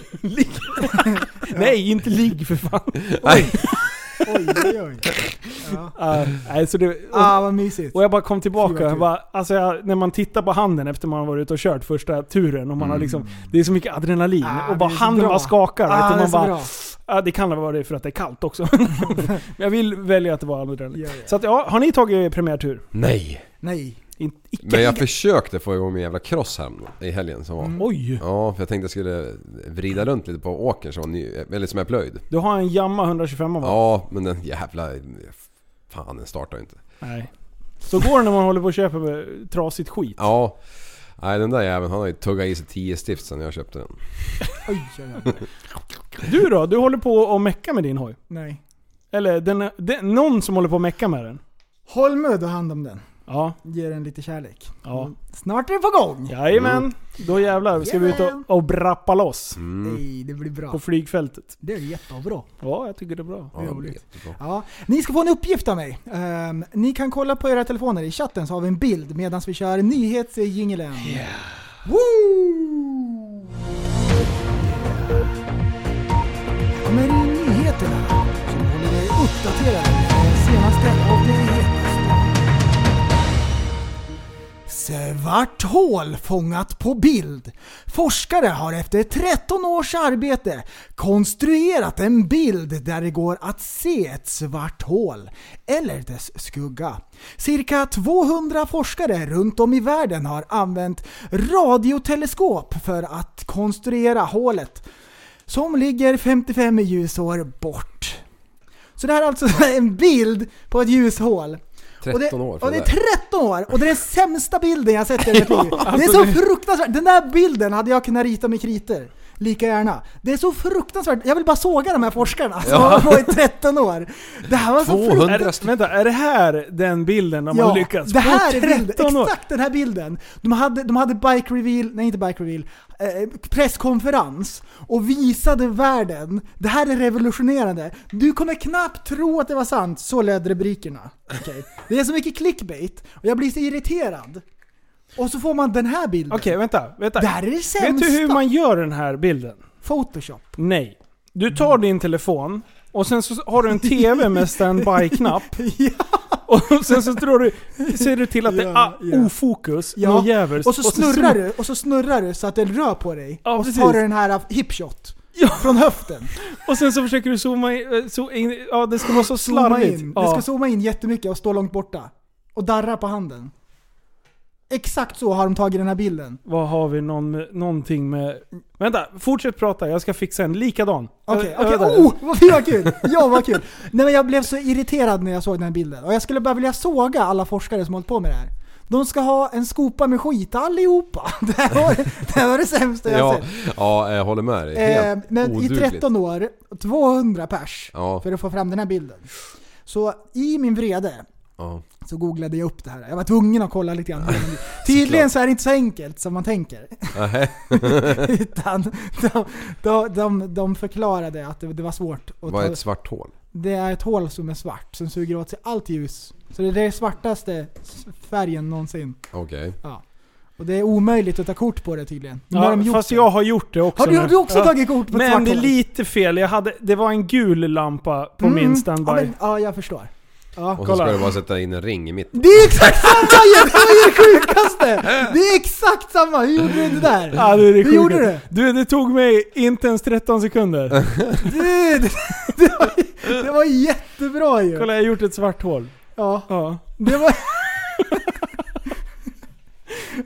D: Nej, inte ligg för fan.
G: *laughs* Oj, oj, oj.
D: Ah, nej, så det, och,
G: Ah, vad mysigt.
D: Och jag bara kom tillbaka.
G: Fy, vad
D: Jag
G: kul.
D: bara, alltså jag, när man tittar på handen efter man har varit ute och kört första turen och man har liksom, det är så mycket adrenalin
G: Mm. Ah,
D: och bara
G: det är så
D: handen
G: bra.
D: bara skakar.
G: Ah,
D: vet
G: det
D: du,
G: är
D: man
G: så
D: bara,
G: bra.
D: ah, det kan vara det för att det är kallt
G: *laughs*
D: också. Men jag vill välja att det var adrenalin.
G: Ja, ja.
D: Så att, ja, har ni tagit premiärtur?
F: Nej.
G: Nej.
D: In, icke,
F: Men jag försökte få igång min jävla cross här i helgen som var.
D: Oj!
F: Ja, för jag tänkte jag skulle vrida runt lite på åkern som, var ny, eller som är plöjd.
D: Du har en Yamaha 125 va?
F: Ja, men den jävla... Fan, den startar ju inte.
D: Nej. Så går det när man håller på och köper eh, trasigt skit.
F: Ja. Nej, den där jäveln han har ju tuggat i sig 10 stift sen jag köpte den.
G: Oj, oj, oj.
D: Du då? Du håller på och mecka med din hoj?
G: Nej.
D: Eller den, den, någon som håller på och mecka med den?
G: Holmö, ta hand om den.
D: Ja.
G: Ge den lite kärlek. Mm.
D: ja.
G: Snart är det på gång!
D: Jajamän.
G: Mm.
D: Då jävlar ska vi ut och, och brappa loss.
G: Nej, det blir bra.
D: Mm. På flygfältet.
G: Det är jättebra.
D: Ja, jag tycker det är bra.
F: Ja, den blir
G: Roligt.
F: jättebra.
G: Ja, ni ska få en uppgift av mig. Ehm, ni kan kolla på era telefoner i chatten så har vi en bild medan vi kör nyhetsjingeln. Woo! Här kommer nyheterna som håller er uppdaterade med det senaste av det hetaste. Svart hål fångat på bild. Forskare har efter 13 års arbete konstruerat en bild där det går att se ett svart hål, eller dess skugga. Cirka 200 forskare runt om i världen har använt radioteleskop för att konstruera hålet, som ligger 55 ljusår bort. Så det här är alltså *laughs* en bild på ett ljushål.
F: 13
G: Och det,
F: år för
G: och det
F: det där.
G: är 13 år! Och det är den sämsta bilden jag sett i mitt liv. Det är så fruktansvärt. Den där bilden hade jag kunnat rita med kritor. Lika gärna. Det är så fruktansvärt. Jag vill bara såga de här forskarna som har hållit på i 13 år. Det här var så fruktansvärt.
D: Är det, vänta, är det här den bilden de har lyckats
G: Det här
D: på?
G: är bilden,
D: 13 år?
G: exakt den här bilden. De hade, de hade bike reveal, nej inte bike reveal, eh, presskonferens och visade världen. Det här är revolutionerande. Du kommer knappt tro att det var sant, så löd rubrikerna. Okej. Det är så mycket clickbait och jag blir så irriterad. Och så får man den här bilden.
D: Okej, vänta. vänta.
G: Det här är det
D: Vet
G: sämsta.
D: du hur man gör den här bilden?
G: Photoshop. *laughs*
D: Nej. Du tar din telefon och sen så har du
G: *laughs*
D: en TV med standby-knapp. Och sen så tror du, ser du till att det är ah,
G: Ja, ja.
D: ofokus,
G: Ja.
D: någon jävels.
G: Och så snurrar du, och så snurrar du så att den rör på dig.
D: Ja,
G: och så
D: precis.
G: tar du den här hipshot.
D: Ja.
G: Från höften.
D: Och sen så försöker du zooma in, eh, zo- in ja det ska vara så
G: zooma
D: slarvigt.
G: in.
D: Ja.
G: Du ska zooma in jättemycket och stå långt borta. Och darra på handen. Exakt så har de tagit den här bilden.
D: Vad har vi någon, med- någonting med... Vänta, fortsätt prata, jag ska fixa en likadan.
G: Okej,
D: Ö-
G: okej.
D: ö-
G: Oh, vad fy, vad kul! Ja, vad kul! Nej men jag blev så irriterad när jag såg den här bilden. Och jag skulle bara vilja såga alla forskare som hållit på med det här. De ska ha en skopa med skit allihopa. *laughs* Det här var det, här var det sämsta jag
F: Ja,
G: sett.
F: ja, jag håller med dig.
G: Eh,
F: Helt
G: men i
F: odugligt.
G: 13 år, 200 pers
F: Ja.
G: för att få fram den här bilden. Så i min vrede
F: Ja.
G: så googlade jag upp det här. Jag var tvungen att kolla lite
F: *laughs*
G: grann. Tydligen så är det inte så enkelt som man tänker.
F: Nähä.
G: Utan de, de, de, de förklarade att det, det var svårt. Att
F: Vad är
G: ta,
F: ett svart hål?
G: det är ett hål som är svart, som suger åt sig allt ljus. Så det är den svartaste s- färgen någonsin.
F: Okej.
G: Ja. Och det är omöjligt att ta kort på det tydligen. Nu
D: Ja,
G: har de gjort
D: fast
G: det.
D: jag har gjort det också
G: Har du-
D: nu.
G: har du också tagit kort på ett
D: Men
G: svart
D: det är
G: hål?
D: lite fel, jag hade, det var en gul lampa på
G: Mm,
D: min standby.
G: Ja, men, ja jag förstår. Ja.
F: Och så
D: Kolla.
F: ska du bara sätta in en ring i mitten.
G: Det är exakt *laughs* samma ju! Det var ju det sjukaste! Det är exakt samma! Hur gjorde du det där?
D: Ja, du, det
G: Hur gjorde du?
D: Du, det tog mig inte ens 13 sekunder.
G: Du, det, det, var, ju- det var jättebra ju!
D: Kolla, jag har gjort ett svart hål.
G: Ja,
D: Ja. *laughs*
G: det var...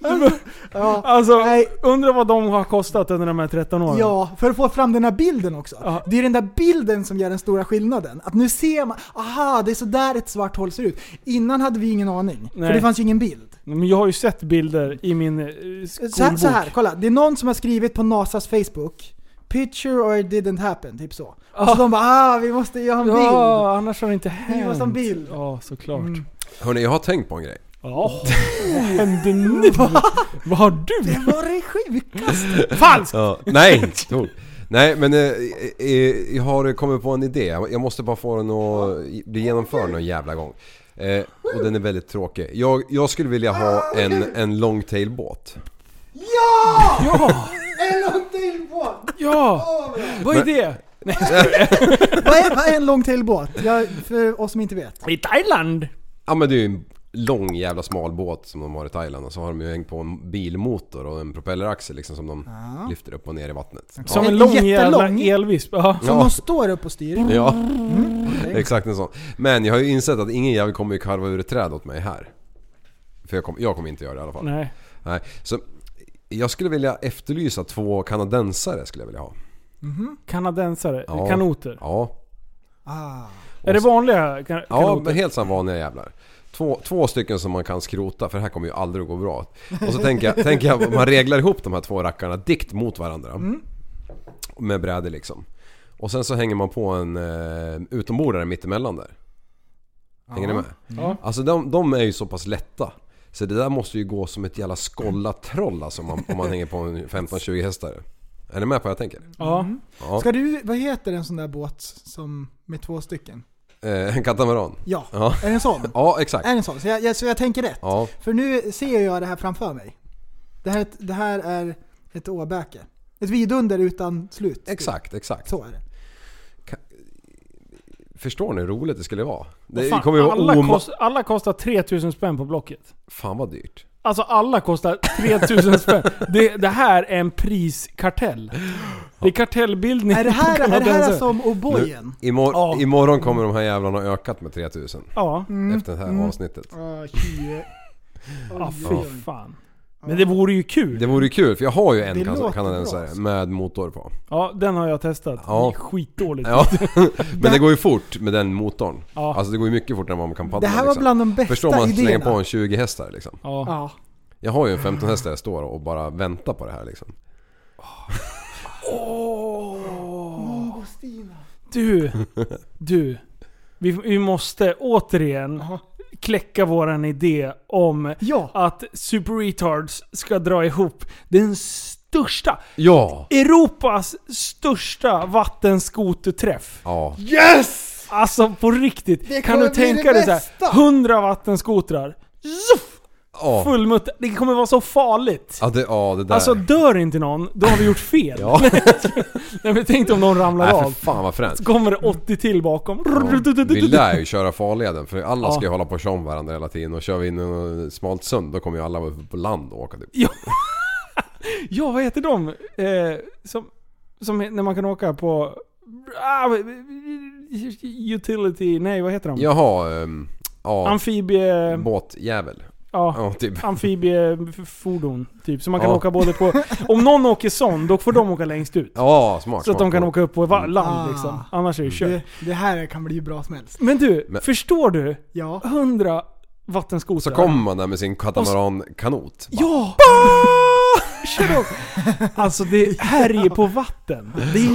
G: Alltså, ja,
D: Alltså,
G: Nej.
D: undra vad de har kostat under de här 13 åren.
G: ja, för att få fram den här bilden också.
D: Ja.
G: Det är den där bilden som gör den stora skillnaden. Att nu ser man, aha, det är så där ett svart hål ser ut. Innan hade vi ingen aning,
D: Nej.
G: för det fanns ju ingen bild.
D: Men jag har ju sett bilder i min eh, skolbok.
G: Så här, så här, kolla. Det är någon som har skrivit på NASAs Facebook Picture or it didn't happen, typ så. Och så de bara ah, vi måste göra en bild.
D: Ja, annars har det inte hänt.
G: var som bild. Mm.
D: Ja, såklart.
F: Hörni, jag har tänkt på en grej.
D: Ja. Vad hände
G: *laughs*
D: nu? Vad har du
G: Det var det sjukaste!
D: Falskt!
F: Ja. Nej! *laughs* Stor. Nej men eh, eh, jag har kommit på en idé. Jag måste bara få den att bli genomförd någon jävla gång. Eh, och den är väldigt tråkig. Jag, jag skulle vilja ha en, en longtailbåt.
G: Ja!
D: Ja!
G: En longtailbåt!
D: Ja! Vad är det?
G: Vad är, vad är en longtailbåt? Jag, för oss som inte vet.
D: I Thailand?
F: Ja men det är ju en lång jävla smal båt som de har i Thailand och så har de ju hängt på en bilmotor och en propelleraxel liksom som de lyfter upp och ner i vattnet.
D: Som
G: Ja.
D: en lång jävla
G: Jättelång.
D: elvisp. Ja.
G: Som de står upp och styr.
F: Ja, *laughs* exakt en sån. Men jag har ju insett att ingen jävel kommer ju karva ur ett träd åt mig här. För jag kommer jag kommer inte göra det i alla fall.
D: Nej.
F: Nej, så jag skulle vilja efterlysa två kanadensare skulle jag vilja ha.
D: Kanadensare.
F: Ja.
D: Kanoter.
F: Ja,
G: Ah.
D: Är det vanliga kan-
F: ja
D: kanoter?
F: men helt som vanliga jävlar. Två, två stycken som man kan skrota för det här kommer ju aldrig att gå bra. Och så tänker
D: *laughs*
F: jag, tänker jag om man reglar ihop de här två rackarna dikt mot varandra.
D: Mm.
F: Med brädor liksom. Och sen så hänger man på en eh, utombordare mittemellan där. Hänger ni med?
D: Ja.
F: Alltså de, de är ju så pass lätta. Så det där måste ju gå som ett jävla skollat troll alltså, om, man, om man hänger på en 15-20 hästar. Är ni med på vad jag tänker?
D: Ja.
G: Mm.
F: Ja.
G: Ska du, vad heter en sån där båt som, med två stycken?
F: Eh, en katamaran.
G: Ja,
F: Ja.
G: är det en sån?
F: Ja, exakt.
G: Är det en sån? Så jag, jag, så jag tänker rätt.
F: Ja,
G: För nu ser jag det här framför mig. Det här, är ett- det här är ett åbäke. Ett vidunder utan slut.
F: exakt, exakt.
G: Så är det.
F: Förstår ni hur roligt det skulle vara? Det
D: Vad fan,
F: kommer ju vara
D: alla,
F: oma...
D: kost, alla kostar 3000 spänn på Blocket.
F: Fan vad dyrt.
D: Alltså alla kostar 3000 spänn. Det, det här är en priskartell. Det är kartellbildning
G: Är det här,
D: på
G: är det här
F: *laughs*
G: alltså-
D: kanadensare.
G: som O'boyen?
F: Imor-
D: Ja.
F: Imorgon kommer de här jävlarna ha ökat med 3000
D: Ja.
G: Mm.
F: efter det här avsnittet.
G: Ah, tjue.
D: Ja,
G: Oj, oj,
D: fy
G: oj.
D: fan. Men det vore ju kul.
F: Det vore ju kul för jag har ju en
G: Det
F: kan-
G: låter bra,
F: kanadensare
G: alltså.
F: med
G: *laughs*
F: motor på.
D: Ja, den har jag testat.
F: Ja.
D: Det är skitdåligt.
F: Ja, men det går ju fort med den motorn.
D: Ja.
F: Alltså det går ju mycket fortare än vad man kan paddla
G: Det här var
F: liksom.
G: bland de bästa
F: Förstår man att slänga
G: idéerna.
F: på en 20 hästar liksom.
D: Ja.
G: Ja.
F: Jag har ju en 15 hästar jag står och bara väntar på det här liksom.
D: Du, du. Vi, vi måste återigen kläcka våran idé om
G: Ja.
D: att Super Retards ska dra ihop den största,
F: Ja!
D: Europas största vattenskoterträff.
F: Ja,
G: Yes!
D: Alltså på riktigt.
G: Det
D: kan du
G: kommer bli
D: tänka
G: det
D: dig såhär,
G: bästa.
D: 100 vattenskotrar. Zuff!
F: ja.
D: Full mutta. Det kommer vara så farligt.
F: Ja, det, ja, det där.
D: Alltså dör inte någon, då har vi gjort fel.
F: Ja.
D: Nej, men tänk dig om någon ramlar
F: Nej för
D: av.
F: fan vad fränt.
D: Kommer det 80 till bakom.
F: Vi lär ju köra farleden för alla ska ju
D: Ja.
F: hålla på och köra om varandra hela tiden och kör vi in i något smalt sund då kommer ju alla vara på land och åka typ.
D: Ja, vad heter de? Eh, som, som när man kan åka på... Ah, utility... Nej, vad heter de?
F: Jaha, ehm, ja.
D: Amfibie...
F: Båtjävel.
D: eh, Ja.
F: Ja, typ.
D: Amfibiefordon, typ. Så man kan
F: Ja.
D: åka både på... Om någon åker sån, då får de åka längst ut.
F: Ja, smart.
D: Så att de kan
F: smart, smart. Mm.
D: åka upp på va- land
G: Ah.
D: liksom. Annars är det kört.
G: Det, det här kan bli hur bra som helst.
D: Men du,
F: Men-
D: förstår du?
G: Ja.
D: 100 vattenskotrar.
F: Så kommer man där med sin katamarankanot. Bara,
D: Ja! Kör upp. Alltså det härjer på vatten. Det är,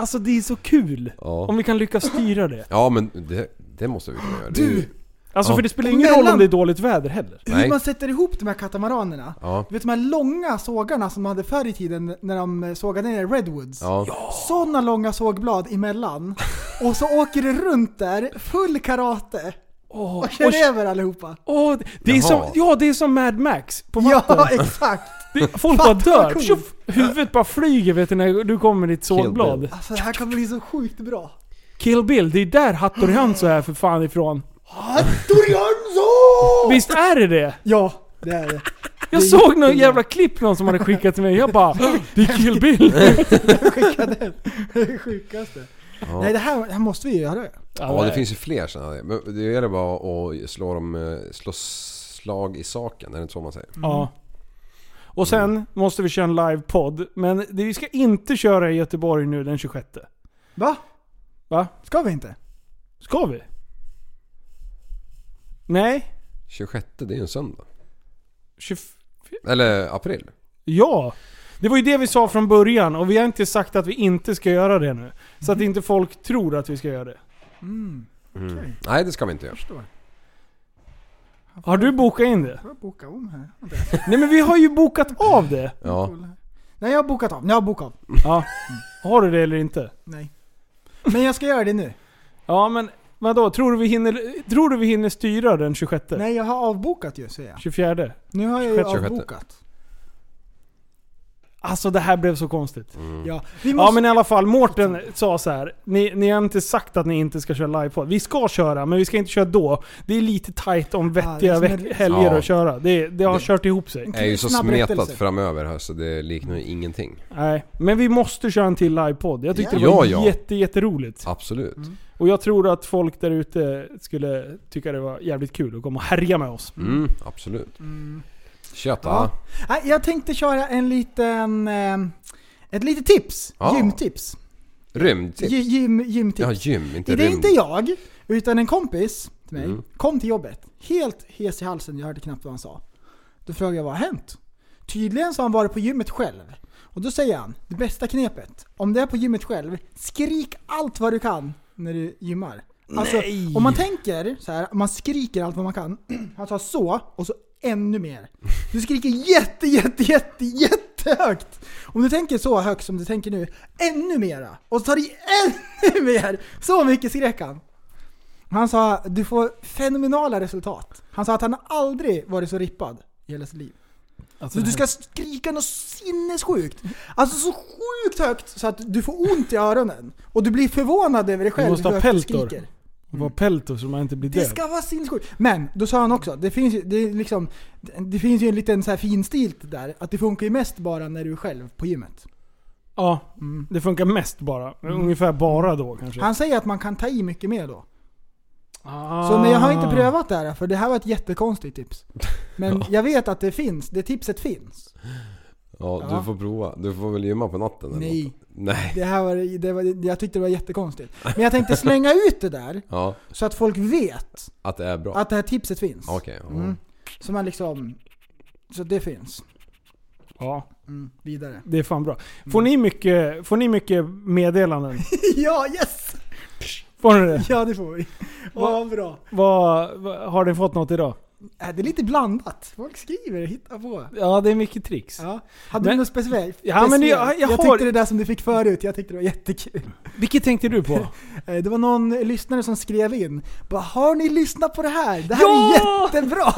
D: alltså det är så kul.
F: Ja.
D: Om vi kan lyckas styra det.
F: ja, men det, det måste vi kunna göra. Det är ju-
D: Alltså
F: Ja.
D: för det spelar ingen
G: Mellan-
D: roll om det är dåligt väder heller.
F: Nej.
G: Hur man sätter ihop de här katamaranerna.
F: Ja.
G: Du vet de här långa sågarna som man hade förr i tiden när de eh, sågade ner redwoods.
F: Ja.
G: Sådana långa sågblad emellan. Och så åker det runt där, full karate.
D: Åh,
G: Och
D: och-
G: kör över allihopa.
D: åh, det är
F: Jaha.
D: som, ja, det är som Mad Max på vatten.
G: Ja, *laughs* exakt.
D: det, folk bara
G: Fatta vad
D: dör.
G: coolt.
D: Tjoff, huvudet bara flyger vet du när du kommer med ditt
F: Bill.
D: sågblad.
G: Alltså det här kan bli så sjukt bra.
D: Kill Bill, det är där Hattori Hanzo är för fan ifrån.
G: Hattorianzo!
D: Visst är det det?
G: Ja, det är det.
D: Jag
G: Det är
D: såg någon
G: jättebra.
D: jävla klipp någon som hade skickat till mig. Jag bara, det är Kill
F: *laughs*
D: Bill.
G: Skicka den. Det är det sjukaste. Nej det här, det här måste vi göra.
F: ja, det finns ju fler sådana där. Men det gäller bara att slå, dem, eh, slå slag i saken, är det inte så man säger?
D: Ja. Och sen måste vi köra en livepodd. Men det, vi ska inte köra i Göteborg nu den 26.
G: Va?
D: Va?
G: Ska vi inte?
D: Ska vi? Nej?
F: 26, det är ju en söndag.
D: 25?
F: Eller april.
D: Ja! Det var ju det vi sa från början och vi har inte sagt att vi inte ska göra det nu. Så att inte folk tror att vi ska göra det.
G: Mm, okej.
F: Nej, det ska vi inte göra.
G: Förstår.
D: Har du bokat in det?
G: Får jag boka om här? Vänta,
D: Nej men vi har ju bokat av det!
F: Ja.
G: kolla här. Nej jag har bokat av, jag har bokat av.
D: Ja. Har du det eller inte?
G: Nej. Men jag ska göra det nu.
D: Ja men vadå? Tror du vi hinner, tror du vi hinner styra den 26?
G: Nej jag har avbokat ju säger jag.
D: 24?
G: Nu har jag ju
D: 26.
G: avbokat.
D: Alltså det här blev så konstigt.
F: Mm.
G: Ja, vi måste,
D: Ja men i alla fall, Mårten sa så här. Ni, ni har inte sagt att ni inte ska köra livepodd. Vi ska köra, men vi ska inte köra då. Det är lite tight om vettiga
G: Ja, det är som
D: veck-
G: en-
D: helger
F: Ja.
D: att köra. Det, det har
F: Det-
D: kört ihop sig.
F: är ju så
G: Snabb
F: smetat
G: rättelse.
F: framöver här så det liknar ju ingenting.
G: Mm.
D: Nej, men vi måste köra en till livepodd. Jag tyckte
F: Ja.
D: det var
F: Ja, ja.
D: jätte, jätteroligt.
F: Absolut.
G: Mm.
D: Och jag tror att folk där ute skulle tycka det var jävligt kul att komma och härja med oss.
F: Mm, absolut. Tjöta.
G: Mm. Ja. Nej, jag tänkte köra en liten... Eh, ett litet tips.
F: Ja.
G: Gymtips.
F: Rymdtips.
G: Gy- Gym, gymtips.
F: Ja, gym, inte
G: Det är
F: rymd.
G: inte jag, utan en kompis till mig.
F: Mm.
G: Kom till jobbet, helt hes i halsen, jag hörde knappt vad han sa. Då frågade jag vad har hänt? Tydligen så har han varit på gymmet själv. Och då säger han, det bästa knepet, om du är på gymmet själv, skrik allt vad du kan när du gymmar. Alltså, om man tänker så här, man skriker allt vad man kan. *clears throat* Han sa så, och så ännu mer. Du skriker jätte, jätte, jätte, jättehögt. Om du tänker så högt som du tänker nu, ännu mera. Och så tar du i ännu *laughs* mer. Så mycket skrek han. Han sa, du får fenomenala resultat. Han sa att han aldrig varit så rippad i hela sitt liv.
D: Alltså,
G: Så du ska skrika något sinnessjukt. Alltså så sjukt högt så att du får ont i öronen. Och du blir förvånad över dig själv.
D: måste ha
G: hur högt du
D: peltor.
G: skriker.
D: Var pelto så man inte blir
G: Det
D: död.
G: ska vara sinnessjukt. Men, då sa han också, det finns ju, det är liksom, det finns ju en liten så här finstilt där. Att det funkar ju mest bara när du är själv på gymmet. Mm.
D: Ja, det funkar mest bara. Ungefär bara då kanske.
G: Han säger att man kan ta i mycket mer då.
D: Ah.
G: Så men jag har inte prövat det här, för det här var ett jättekonstigt tips.
D: *laughs*
G: Men jag vet att det finns, det tipset finns.
F: Ja,
G: Ja.
F: du får prova. Du får väl gymma på natten eller
G: Nej.
F: något. Nej.
G: Det här var, det var, jag tyckte det var jättekonstigt. Men jag tänkte slänga ut det där,
F: Ja,
G: så att folk vet
F: att det är bra.
G: att det här tipset finns.
F: Okej. ja.
G: Mm. Så man liksom, så det finns.
D: Ja,
G: Mm,
D: *laughs*
G: vidare.
D: det är fan bra. Får, ni mycket, får ni mycket meddelanden?
G: ja, yes!
D: Får ni det?
G: Ja, det får vi. Åh, Vad bra.
D: Vad, vad, har ni fått något idag?
G: Äh, det är lite blandat. Folk skriver och hittar på.
D: Ja, det är mycket tricks.
G: Ja. Hade
D: Men-
G: du något speciellt?
D: Ja, men det- jag-
G: Speciellt?
D: jag
G: jag
D: har-
G: tyckte det där som du fick förut, jag tyckte det var jättekul.
D: Vilket tänkte du på?
G: Eh, Det var någon lyssnare som skrev in bara “Har ni lyssnat på det här? Det här
D: Ja!
G: är jättebra!”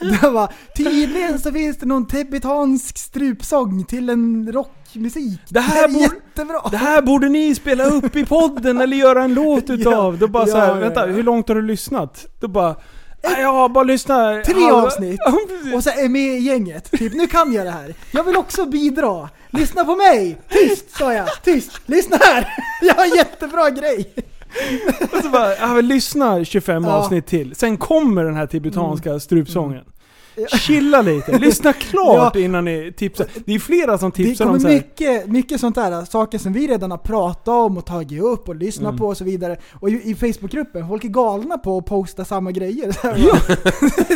G: *laughs* det var, “Tydligen så finns det någon tibetansk strupsång till en rockmusik.
D: Det här
G: är
D: bor-
G: jättebra!”
D: *laughs* Det här borde ni spela upp i podden eller göra en *laughs* låt utav. Då bara
G: Ja,
D: så här,
G: ja, ja.
D: vänta, hur långt har du lyssnat? Då bara, "Nej, jag har bara lyssnat.
G: Tre
D: halva."
G: avsnitt.
D: *laughs* Ja, precis.
G: Och så är med i gänget. Typ, nu kan jag det här. Jag vill också bidra. Lyssna på mig! Tyst, sa jag. Tyst! Lyssna här! *laughs* Jag har en jättebra grej!
D: Och så bara, ja, men lyssna 25
G: Ja.
D: avsnitt till. Sen kommer den här tibetanska strupsången. Mm. Chilla *laughs* lite, lyssna klart innan ni tipsar. Det är flera som
G: Det
D: tipsar om så
G: kommer
D: här,
G: mycket, mycket sånt där, saker som vi redan har pratat om och tagit upp och lyssnat
D: Mm.
G: på och så vidare. Och i, i Facebookgruppen, folk är galna på att posta
D: *laughs*
G: samma grejer. Så här,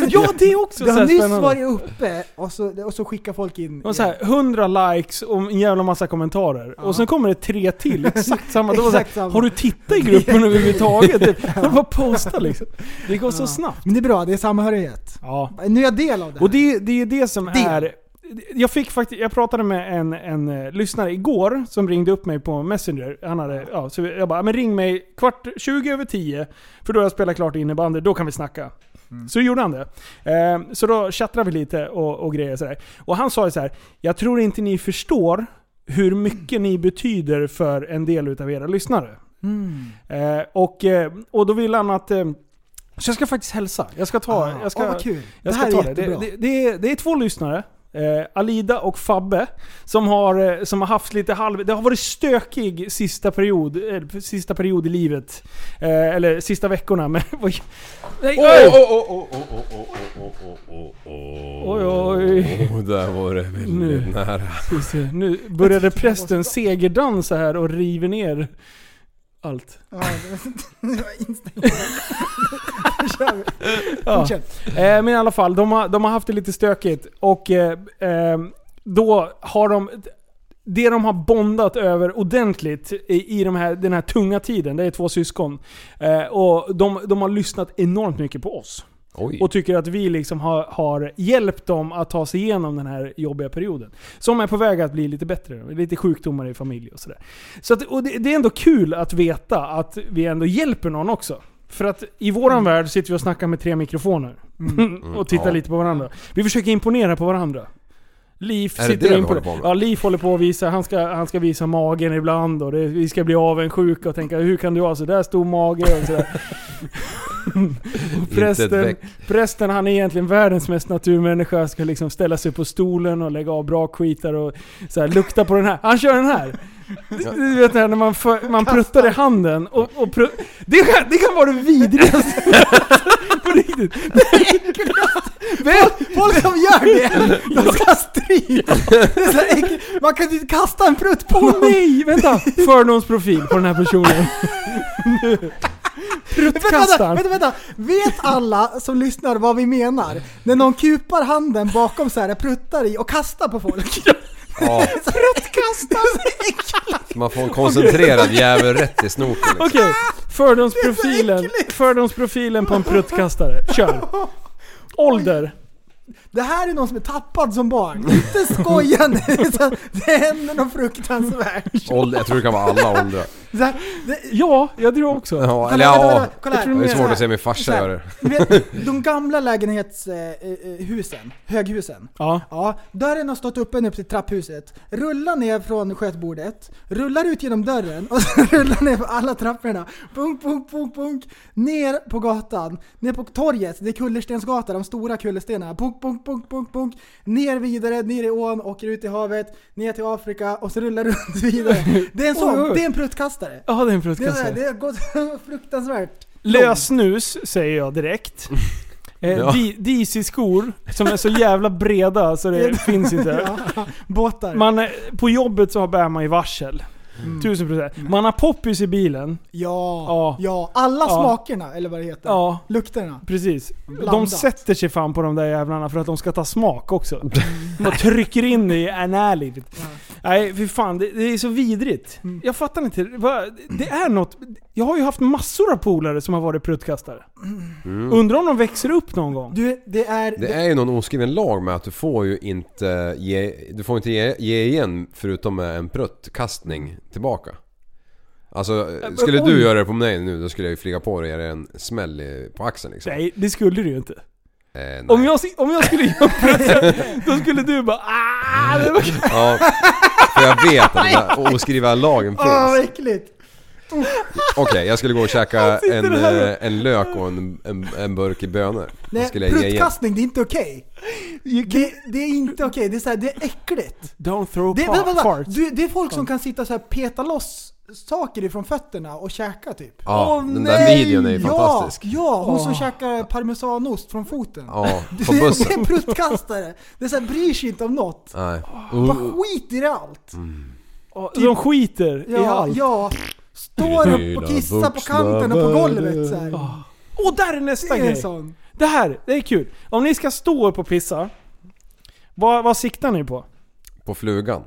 D: Ja, det är också
G: det
D: så
G: har
D: här
G: nyss
D: spännande.
G: varit uppe och så, och så skickar folk in.
D: Det var så här, 100 likes och en jävla massa kommentarer. Och sen kommer det tre till, exakt samma. Det var så här,
G: Exakt samma.
D: Har du tittat i gruppen överhuvudtaget?
G: *laughs*
D: Det var bara posta liksom. Det går så snabbt.
G: Men det är bra, det är samhörighet.
D: Ja.
G: Nu är jag del av det här.
D: Och det, det är det som
G: Det.
D: är... Jag, fick faktiskt, jag pratade med en, en eh, lyssnare igår som ringde upp mig på Messenger. Han hade, ja, så jag bara, men ring mig kvart 20 över 10 för då har jag spelat klart innebandy, då kan vi snacka.
G: Mm.
D: Så gjorde han det. Eh, så då chattrade vi lite och, och grejer sådär. Och han sa ju så här: jag tror inte ni förstår hur mycket ni betyder för en del utav era lyssnare.
G: Mm.
D: Eh, och, eh, och då vill han att... Eh, så jag ska faktiskt hälsa. Jag ska ta...
G: Ah,
D: jag ska,
G: åh, vad kul.
D: jag
G: det
D: ska
G: här
D: ta
G: är
D: det.
G: jättebra.
D: Det,
G: *laughs*
D: det, det, är, det är två lyssnare. Eh, Alida och Fabbe, som har, eh, som har haft lite halv... Det har varit stökig sista period, eh, sista period i livet. Eh, eller sista veckorna. *laughs* Men, oj, nej, oj, oj, oj.
F: Åh, där var det väldigt
D: Nu.
F: nära.
D: Ska vi se. Nu började prästen segerdansa här och river ner allt.
G: Ja, det var inställt. Nu kör vi.
D: Ja.
G: Fortsätt.
D: Eh, men i alla fall, de har, de har haft det lite stökigt. Och eh, eh, då har de... Det de har bondat över ordentligt i, i de här, den här tunga tiden, det är två syskon. Eh, och de, de har lyssnat enormt mycket på oss.
F: Oj.
D: Och tycker att vi liksom har, har hjälpt dem att ta sig igenom den här jobbiga perioden. Som är på väg att bli lite bättre. Lite sjukdomar i familj och sådär. Så att, och det, det är ändå kul att veta att vi ändå hjälper någon också. För att i våran värld sitter vi och snackar med tre mikrofoner. *laughs* och tittar
F: Mm. Ja.
D: lite på varandra. Vi försöker imponera på varandra. Liv
F: det
D: sitter
F: det vi
D: in på
F: håller
D: det.
F: på med?
D: Ja, Liv håller på att visa, han ska, han ska visa magen ibland och det, vi ska bli avundsjuka och tänka hur kan du ha sådär stor mage och sådär. Och
F: Intet
D: prästen,
F: väck.
D: prästen han är egentligen världens mest naturmänniska, ska liksom ställa sig på stolen och lägga av bra skitar och så här, lukta på den här. Han kör den här! Du- Du vet det här när man, för, man pruttar i handen och, och pru- det, kan, det kan vara det vidrigaste! *laughs* på riktigt!
G: Folk, folk som
D: *laughs*
G: gör det, de ska stryka! Det är så här äckligt. Man kan ju inte kasta en
D: *laughs*
G: prutt på
D: Åh
G: någon!
D: nej! Vänta! Fördomsprofil på den här personen.
G: Vänta,
D: Pruttkastaren.
G: vänta, vänta! Vet alla som lyssnar vad vi menar? När någon kupar handen bakom så här, pruttar i och kastar på folk.
F: Ja,
G: Pruttkastar!
F: så man får en koncentrerad jävel rätt i snoken. Liksom.
D: Okej, fördomsprofilen, fördomsprofilen på en pruttkastare.
G: *laughs*
D: Kör! Ålder.
G: *laughs* Det här är någon som är tappad som barn. Inte skoja nu! så att Det händer något fruktansvärt.
F: Ålder, jag tror det kan vara alla åldrar.
G: Så här, det,
D: Ja, jag tror också.
F: Ja, eller
G: Kolla, kolla,
F: ja.
G: kolla, kolla här.
F: Det är svårt att se min
G: Så
F: farsa
G: här,
F: göra det.
G: du vet, de gamla eh, lägenhetshusen, höghusen.
D: Ja.
G: Ja, dörren har stått öppen upp till trapphuset. Rullar ner från skötbordet, rullar ut genom dörren och *laughs* sen rullar ner på alla trapporna. Punk, punk, punk, punk. Ner på gatan, ner på torget, det är kullerstensgatan, de stora kullerstenarna. Punk, punk, punk, punk, punk. Ner vidare, ner i ån, åker ut i havet, ner till Afrika och så rullar runt *laughs* vidare. Det är en
D: Oj, oj, oj.
G: sån, det är en pruttkastare.
D: Ja, det är en
G: Det, är,
D: pruttkastare.
G: det har gått *laughs* fruktansvärt.
D: Lös snus säger jag direkt. Eh,
F: Ja.
D: di- DC-skor som är så jävla breda så det finns inte.
G: Ja, båtar.
D: Man, eh, på jobbet så har- bär man ju varsel. Tusen procent. Man har poppis i bilen.
G: Ja,
D: Ja.
G: ja. Alla
D: Ja.
G: smakerna, eller vad det heter.
D: Ja,
G: Lukterna.
D: precis. De
G: Blandat. Mm.
D: sätter sig fan på de där jävlarna för att de ska ta smak också. Och trycker in det i analivet. Nej, fy fan. Det, det är så vidrigt.
G: Mm.
D: Jag fattar inte. Va- Det är något. Jag har ju haft massor av polare som har varit pruttkastare. Undrar om de växer upp någon gång?
G: Du, det är...
F: Det är ju någon oskriven lag med att du får ju inte ge, du får inte ge, ge igen förutom med en pruttkastning tillbaka. Alltså,
D: men
F: skulle
D: oj.
F: du göra det på mig nu då skulle jag ju flyga på dig och ge dig en smäll i- på axeln liksom.
D: Nej, det skulle du ju inte.
F: Eh, nej.
D: Om jag, om jag
G: *laughs*
D: skulle göra pruttkastare, då skulle du bara ah, det var-
F: Ja, för jag vet att den där oskrivna
D: *laughs*
F: lagen finns.
G: Åh, vad
F: Okej,
G: äckligt!
F: jag skulle gå och käka
D: sitter
F: en,
D: här.
F: eh, en lök och en, en, en burk i bönor. Då
G: Nej,
F: skulle jag ge igen.
G: pruttkastning, det är inte okej. Det, det är inte okej, det är så här, det är äckligt.
D: Don't throw
G: Det, vänta, vänta.
D: farts.
G: Du, det är folk som kan sitta och så här peta loss saker ifrån fötterna och käka typ.
F: Ja,
D: Åh,
F: den där
D: nej!
F: videon är ju fantastisk.
G: Ja, ja hon som
D: Åh.
G: käkar parmesanost från foten.
F: Ja,
G: Det,
F: på
G: är-
D: *laughs*
G: det är en
F: bussen.
G: pruttkastare. Det är så här, bryr sig inte om något.
F: Nej.
G: Bara
F: Uh,
G: skiter i allt.
F: Mm.
D: De skiter i
G: typ. Ja,
D: allt.
G: ja. Står upp och kissar på kanten och på golvet så här.
D: Och där är nästa
G: Det är en
D: grej.
G: sån.
D: Det här, det är kul. Om ni ska stå upp och pissa, vad, vad siktar ni på?
F: på flugan.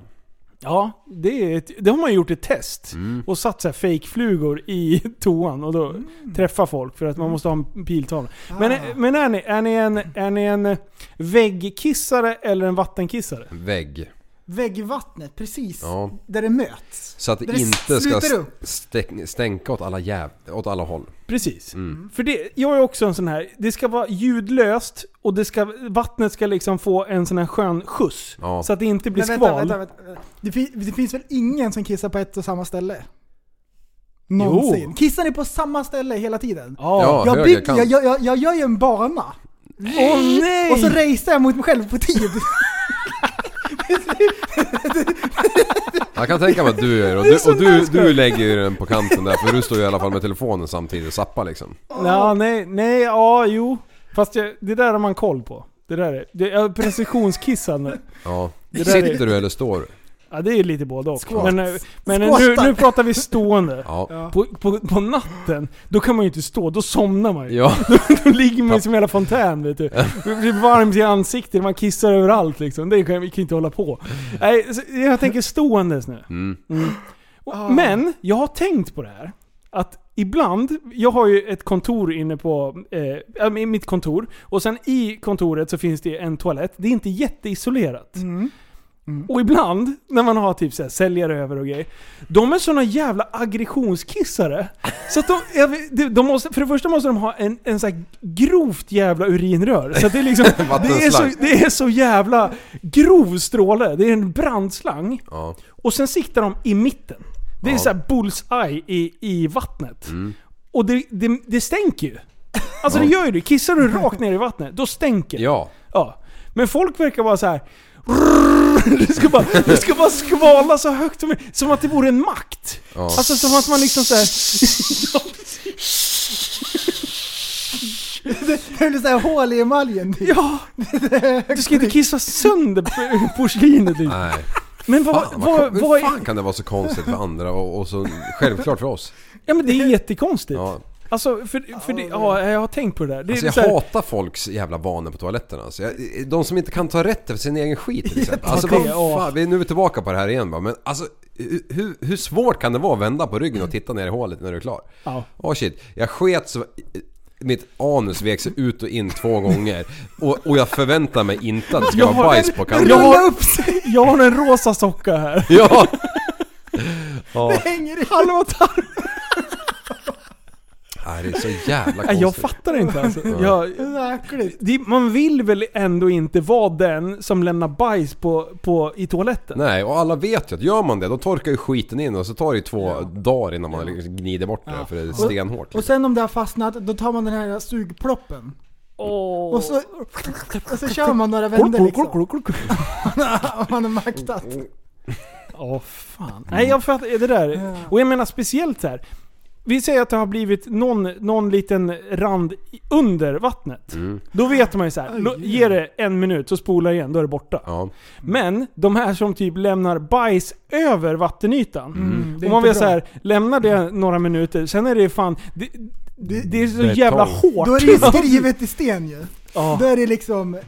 D: Ja, det, är ett, det har man gjort ett test.
G: Mm.
D: Och satt så här fake-flugor i *laughs* toan och då träffar folk för att man måste ha en piltavla. Men,
G: Ah.
D: men är, ni, är, ni en, är ni en väggkissare eller en vattenkissare?
F: Vägg.
G: Väggvattnet, precis.
F: Ja.
G: Där det möts.
F: Så att det,
G: Där det
F: inte ska
G: sluter upp.
F: stäck, stänka åt alla, jäv, åt alla håll.
D: Precis. Mm.
G: Mm.
D: För det, jag är också en sån här, det ska vara ljudlöst och det ska, vattnet ska liksom få en sån här skön skjuts.
F: Ja.
D: Så att det inte blir
G: Men vänta,
D: skval.
G: vänta, vänta, vänta. Det, fin- det finns väl ingen som kissar på ett och samma ställe?
D: Jo.
G: Någonsin. Kissar ni på samma ställe hela tiden?
D: Ja.
F: Ja,
G: jag,
F: höger
G: bygger,
F: kant.
G: jag, jag, jag, jag gör ju en bana.
D: Åh nej!
G: Och så racear jag mot mig själv på tid. *laughs*
F: Jag kan tänka mig att du gör det. och
D: är
F: du,
D: så
F: och du,
D: nice,
F: du
D: Carl.
F: lägger ju den på kanten där för du står ju i alla fall med telefonen samtidigt och zappar liksom.
D: Ja, nej, nej, ja, jo. Fast jag, det där har man koll på. Det där är, det är
F: *laughs*
D: precisionskissande.
F: Ja.
D: där är-
F: Sitter du eller står du?
D: Ja, det är lite både och.
G: Squats.
D: Men, eh, men eh, nu,
G: Squattar.
D: nu pratar vi stående.
F: *laughs* Ja.
D: På, på, på natten, då kan man ju inte stå. Då somnar man ju.
F: Ja.
D: *laughs* Då ligger man ju som en jävla fontän vet du. Det blir varmt i ansiktet, man kissar överallt liksom. Det kan, vi kan inte hålla
F: *laughs*
D: på. Nej, så jag tänker ståendes nu.
F: Mm.
D: Och, Men, jag har tänkt på det här. Att ibland, jag har ju ett kontor inne på, eh, äh, i mitt kontor. Och sen i kontoret så finns det en toalett. Det är inte jätteisolerat. Och ibland, när man har typ så här, säljare över och grejer. De är såna jävla aggressionskissare. Så att de, jag vet- de- de måste, för det första måste de ha en, en så här grovt jävla urinrör. Så att det är liksom, det är så,
F: Vattenslang.
D: det är så jävla grov stråle. Det är en brandslang.
F: Ja.
D: Och sen siktar de i mitten. Det är så här bullseye i, i vattnet.
F: Mm.
D: Och det, det, det stänker ju. Alltså det gör ju det. Kissar du rakt ner i vattnet, då stänker det.
F: Ja.
D: Ja. Men folk verkar vara så här. Det ska, bara, det ska bara skvala så högt som Som att det vore en makt. Alltså som att man liksom såhär...
G: Det är så här hål i emaljen typ.
D: Ja! Du ska inte kissa sönder por- porslinet liksom.
F: Nej.
D: Men vad...
F: Fan, vad,
D: vad,
F: hur
D: vad är,
F: fan kan det vara så konstigt för andra och, och så självklart för oss?
D: ja men det är jättekonstigt.
F: Ja.
D: Alltså, för, för det, ja, jag har tänkt på det där. Det är
F: Alltså jag
D: så här-
F: hatar folks jävla vanor på toaletterna. Alltså jag, de som inte kan ta rätt för sin
D: *laughs*
F: egen skit till exempel. Alltså,
D: tack.
F: vad fan, vi är nu tillbaka på det här igen va. Men alltså, hur, hur svårt kan det vara att vända på ryggen och titta ner i hålet när du är klar?
D: Mm. Ja.
F: Åh shit, jag sket så... Mitt anus vek sig ut och in två gånger. Och, och jag förväntar mig inte att det ska
D: Jag
F: vara
D: har-
F: bajs på kanten.
D: jag har, jag har en rosa socka här.
F: *laughs* Ja!
G: Hänger i.
D: Halva tarmen.
F: Nej, det är så jävla
D: Nej,
F: konstigt.
D: Jag fattar inte alltså. Jag,
G: Det är så äckligt.
D: det, man vill väl ändå inte vara den som lämnar bajs på, på, i toaletten?
F: Nej, och alla vet ju att gör man det då torkar ju skiten in och så tar det ju två dagar innan man liksom gnider bort det för det är stenhårt. liksom.
G: Och sen om det har fastnat, då tar man den här sugploppen. Och så, och så kör man några vändor liksom. *laughs* Om man har maktat.
D: *laughs* Åh fan. Nej jag fattar det där. Och jag menar speciellt så här. Vi säger att det har blivit någon, någon liten rand i- under vattnet.
F: Mm.
D: Då vet man ju så här. Lo, ge det en minut så spolar igen, då är det borta.
F: Ja.
D: Men de här som typ lämnar bajs över vattenytan.
G: det är
D: och man
G: inte
D: vet så
G: bra.
D: här, lämnar det några minuter, sen är det fan... Det, det, det är så jävla hårt.
G: Då är det ju skrivet i sten ju.
D: Ja.
G: Då är det liksom...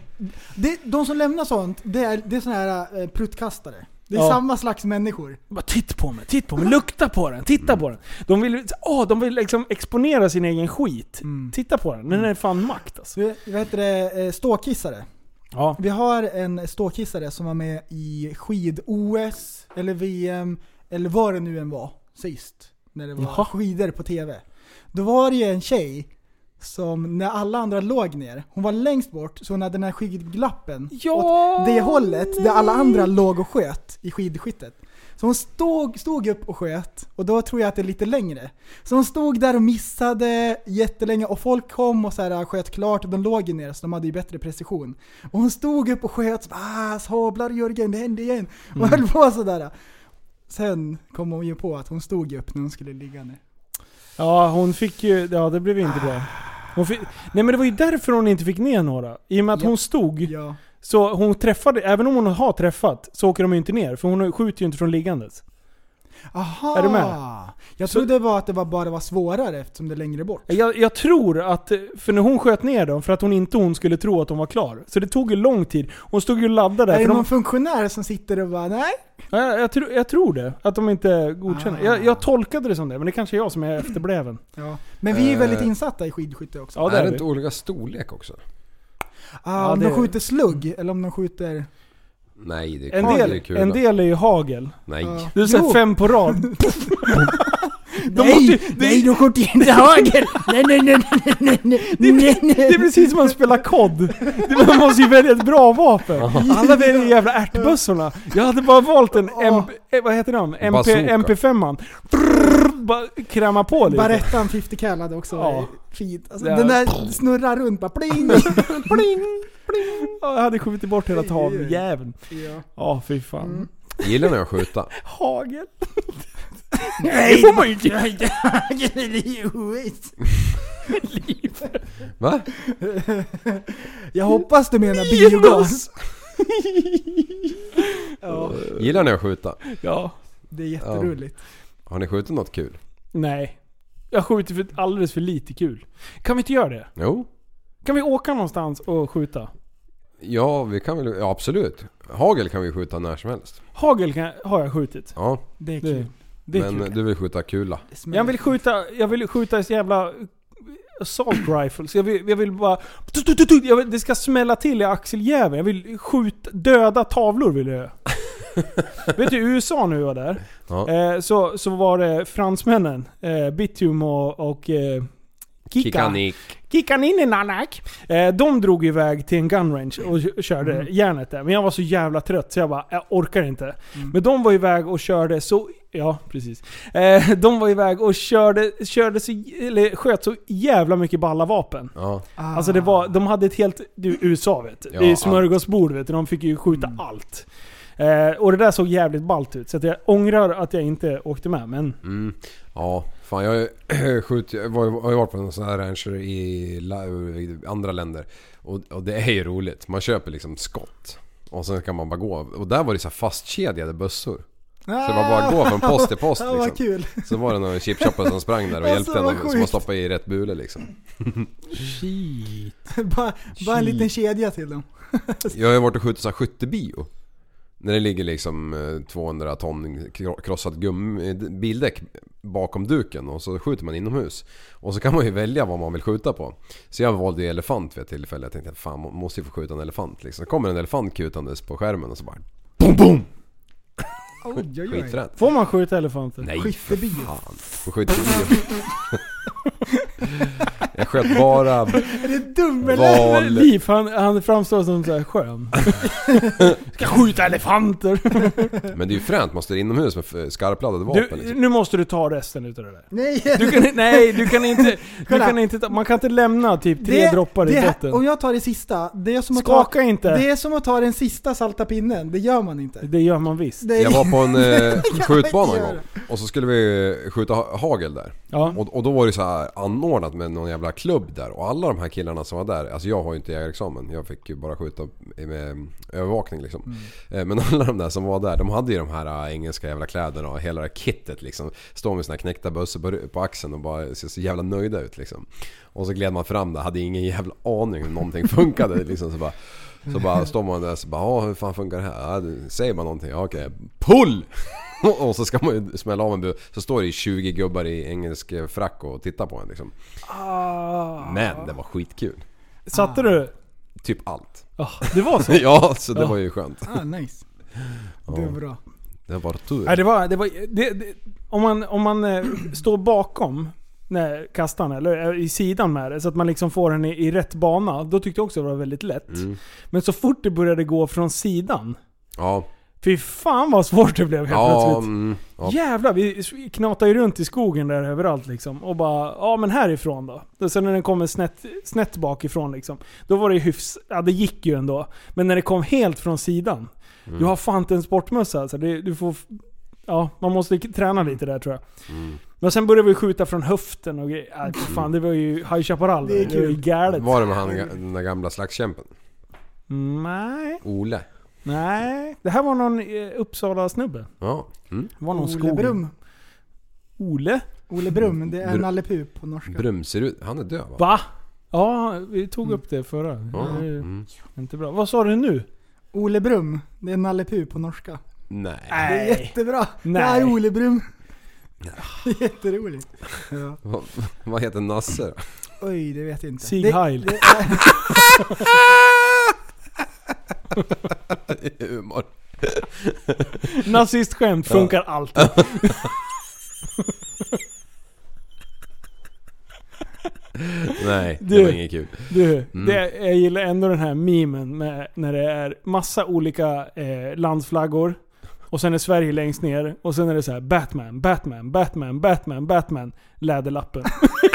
G: Det, de som lämnar sånt, det är, det är såna här eh, pruttkastare. Det är
D: Ja.
G: samma slags människor.
D: Bara titta på mig, titta på mig, lukta på den, titta på den. De vill, åh, de vill liksom exponera sin egen skit. Titta på den, den är fan makt alltså.
G: Du, vad heter det? Eh, Ståkissare.
D: Ja.
G: Vi har en ståkissare som var med i skid-OS, eller VM, eller vad det nu än var sist. När det var
D: Jaha.
G: skidor på TV. Då var det ju en tjej som, när alla andra låg ner, hon var längst bort så hon hade den här skidglappen
D: Ja,
G: åt det hållet
D: nej.
G: där alla andra låg och sköt i skidskyttet. Så hon stod, stod upp och sköt och då tror jag att det är lite längre. Så hon stod där och missade jättelänge och folk kom och så här, sköt klart och de låg ju ner så de hade ju bättre precision. Och hon stod upp och sköt så bara, ah, sablar Jörgen, det hände igen. Och höll på sådär. Sen kom hon ju på att hon stod ju upp när hon skulle ligga ner.
D: Ja, hon fick ju, ja det blev inte bra. Hon fick, nej men det var ju därför hon inte fick ner några. I och med att
G: Ja.
D: hon stod,
G: Ja.
D: så hon träffade, även om hon har träffat, så åker de ju inte ner. För hon skjuter ju inte från liggandes.
G: Aha!
D: Är du med?
G: Jag
D: Så-
G: trodde det var att det var bara var svårare eftersom det är längre bort.
D: Jag, jag tror att, för när hon sköt ner dem, för att hon inte hon skulle tro att hon var klar. Så det tog ju lång tid. Hon stod ju och laddade där.
G: är det
D: för de-
G: någon funktionär som sitter och bara nej?
D: Ja, jag, jag, tror, jag tror det. Att de inte godkänner.
G: Ah.
D: Jag, jag tolkade det som det, men det kanske är jag som är efterbläven.
G: Ja. Men vi är ju
F: Eh.
G: väldigt insatta i skidskytte också.
D: Ja, det
F: är
D: är
F: det
D: vi.
F: inte olika storlek också?
G: Ah,
D: Ja,
G: om
D: det-
G: de skjuter slugg eller om de skjuter...
F: Nej, det är
D: En
F: kul. Det är
D: del,
F: kul.
D: en del är ju hagel.
F: Nej.
G: Ja.
D: Du säger
G: Jo.
D: fem på
G: *laughs*
D: rad. De
G: nej,
D: måste ju- det-
G: nej, de skjuter inte hagel! Nej, nej, nej, nej, nej, nej, nej, nej.
D: *laughs* Det är precis som att spela
G: *laughs*
D: kod. Man måste ju välja ett bra vapen. Alla väljer jävla ärtbössorna. Jag hade bara valt en MP, eh, vad heter de? MP,
F: Bazooka.
D: MP5an. Bara kräma på lite.
G: Barettan 50 Cal hade också
D: Ja.
G: varit fint. Alltså,
D: Det-
G: Den där snurrar runt
D: *laughs*
G: bara pling, pling, pling.
D: Ja, Jag hade skjutit bort hela taveljäveln.
G: Ja.
D: Ja, Mm. fy fan.
F: Gillar ni att
D: *laughs*
F: skjuta?
D: Hagel. Oh
G: Nej, det får man ju inte göra.
F: Va?
G: Jag hoppas du menar biogas. ja,
F: Gillar ni att skjuta?
D: *laughs* Ja.
G: det är jätteroligt.
F: Har ni skjutit något kul?
D: Nej. Jag skjuter för alldeles för lite kul. Kan vi inte göra det?
F: Jo.
D: Kan vi åka någonstans och skjuta?
F: Ja, vi kan väl... Ja, absolut. Hagel kan vi skjuta när som helst.
D: Hagel kan, har jag skjutit.
F: Ja,
G: Det är
D: Det,
G: kul.
D: det är
F: men
D: kul.
F: du vill skjuta kula.
G: Det
D: Jag
G: smäller.
D: vill skjuta, jag vill skjuta så jävla eh, assault rifles. Jag vill, jag vill bara... tu, tu, tu, tu, Jag vill, det ska smälla till i axeljäveln. Jag vill skjuta, döda tavlor vill jag göra. Vet du, i USA nu var där.
F: Ja.
D: Eh, så, så var det fransmännen, eh, Bittum och, och eh, Kika.
E: Kikanik.
D: Kickan in i Nanak. Eh, de drog iväg till en gun range och k- körde järnet där. Men jag var så jävla trött så jag bara, jag orkar inte. Men de var iväg och körde så... Ja, precis. Eh, de var iväg och körde, körde så, eller sköt så jävla mycket balla vapen.
F: Ja.
D: Alltså det var, de hade ett helt... Du, USA vet du. Det
F: Ja,
D: är smörgåsbord vet du. De fick ju skjuta allt. Eh, och det där såg jävligt ballt ut. Så att jag ångrar att jag inte åkte med. Men
F: Mm. Ja, fan jag har ju *clears throat* skjut, jag var, har ju varit på någon sån här rancher i, la- i andra länder. Och, och det är ju roligt. Man köper liksom skott. Och sen kan man bara gå. Och där var det så här fastkedjade bössor. Så det var bara att gå från post till post
G: Ja, vad
F: liksom.
G: kul.
F: Så var det någon chipchopper som sprang där och
G: Alltså,
F: hjälpte en
G: vad
F: och- som man
G: sjukt.
F: stoppade i rätt bule liksom.
G: *laughs* bara, bara en liten kedja till dem.
F: Jag har ju varit och skjutit så här skyttebio. När det ligger liksom eh, 200 ton kro- krossat gummi, eh, bildäck bakom duken och så skjuter man inomhus. Och så kan man ju välja vad man vill skjuta på. Så jag valde ju elefant vid ett tillfälle. Jag tänkte fan man måste ju få skjuta en elefant liksom. Så kommer en elefant kutandes på skärmen och så bara BOOM BOOM!
G: Oj, oj, oj.
F: Skiträtt.
D: får man skjuta elefanter?
F: Nej
G: Skyttebio.
F: fan. På skyttebio. *laughs* jag sköt bara
G: Är det dum eller?
F: val...
D: Liv, han, han framstår som så här
G: *laughs*
D: skön. Ska skjuta elefanter.
F: Men det är ju fränt, man står inomhus med f- skarpladdade vapen
D: Du,
F: liksom.
D: nu måste du ta resten utav det där.
G: Nej!
D: Du kan, *laughs* nej, du kan inte... Du
G: Kolla.
D: kan inte ta, man kan inte lämna typ tre droppar i
G: det,
D: botten.
G: Om jag tar det sista, det är som att
D: Skaka
G: ta,
D: inte.
G: Det är som att ta den sista salta pinnen, det gör man inte.
D: Det gör man visst.
G: Det är,
F: Jag var
D: *laughs*
G: *laughs*
F: på en eh, skjutbana en
G: göra.
F: gång och så skulle vi eh, skjuta ha- hagel där.
D: Ja.
F: Och, och då var det så här anordnat med någon jävla klubb där och alla de här killarna som var där, alltså jag har ju inte jägarexamen, jag fick ju bara skjuta med övervakning liksom.
D: Mm.
F: Eh, Men *laughs* alla de där som var där, de hade ju de här eh, engelska jävla kläderna och hela det här kittet liksom. Står med sina knäckta bössor på, på axeln och bara ser så jävla nöjda ut liksom. Och så gled man fram där, hade ingen jävla aning hur någonting *laughs* funkade liksom. Så bara, så bara står man där och så bara "Ja, hur fan funkar det här? Ja, det- Säger man någonting? Ja, okej. Pull! *laughs* Och så ska man ju smälla av en bu. Så står det ju 20 gubbar i engelsk eh, frack och tittar på en liksom.
D: Ah.
F: Men det var skitkul.
D: Satte du?
F: Typ allt. *laughs*
D: Ja, det var
G: *laughs*
D: så.
F: Ja, så det var ju skönt.
G: Ah, nice. Det är bra.
F: Det var tur.
D: Nej, det var, det var, det, det, om man, om man eh, står bakom när kastan eller eh, i sidan med det, så att man liksom får den i, i rätt bana. Då tyckte jag också det var väldigt lätt.
F: Mm.
D: Men så fort det började gå från sidan,
F: Ja,
D: fy fan vad svårt det blev helt
F: ja,
D: plötsligt.
F: mm, ja.
D: Jävlar, vi knatar ju runt i skogen där överallt liksom. Och bara, ja men härifrån då. Och sen när den kommer snett, snett bakifrån liksom. Då var det ju hyfs, ja det gick ju ändå. Men när det kom helt från sidan.
F: Mm.
D: Du har fan inte en sportmössa alltså. Det, du får, ja man måste k- träna lite där tror jag.
F: Mm.
D: Men sen började vi skjuta från höften och grejer. Ja, fan det var ju High Chaparral.
G: Det är
D: var ju
G: kul.
D: galet. Mm,
F: Var det med han, den där gamla slagskämpen?
D: Nej,
F: Ole?
D: nej. Det här var någon eh, Uppsala snubbe.
F: Ja. Mm.
D: Det var någon
G: Ole
D: skog.
G: Brum.
D: Ole?
G: Ole Brum, det är
F: Brum.
G: Nalle Puh på norska.
F: Brumserud. Han är döv va?
D: Va? Ja, vi tog upp det förra.
F: Ja.
D: Det är ju
F: Mm.
D: Inte bra. Vad sa du nu?
G: Ole Brum, det är Nalle Puh på norska.
F: Nej.
G: Det är jättebra. Det
D: Nej.
G: här är Ole Brum. Det är *laughs* jätteroligt. Ja.
F: Vad, *laughs* vad heter Nasse då? *laughs*
G: Oj, det vet jag inte.
D: Sieg
G: Det-
D: Heil.
G: det-
F: Humor.
D: Nazistskämt funkar alltid.
F: Nej, det
D: Du.
F: var inget kul.
D: Du,
F: Mm.
D: det, jag gillar ändå den här memen med, när det är massa olika eh, landsflaggor. Och sen är Sverige längst ner. Och sen är det så här Batman, Batman, Batman, Batman, Batman. Läderlappen. *laughs*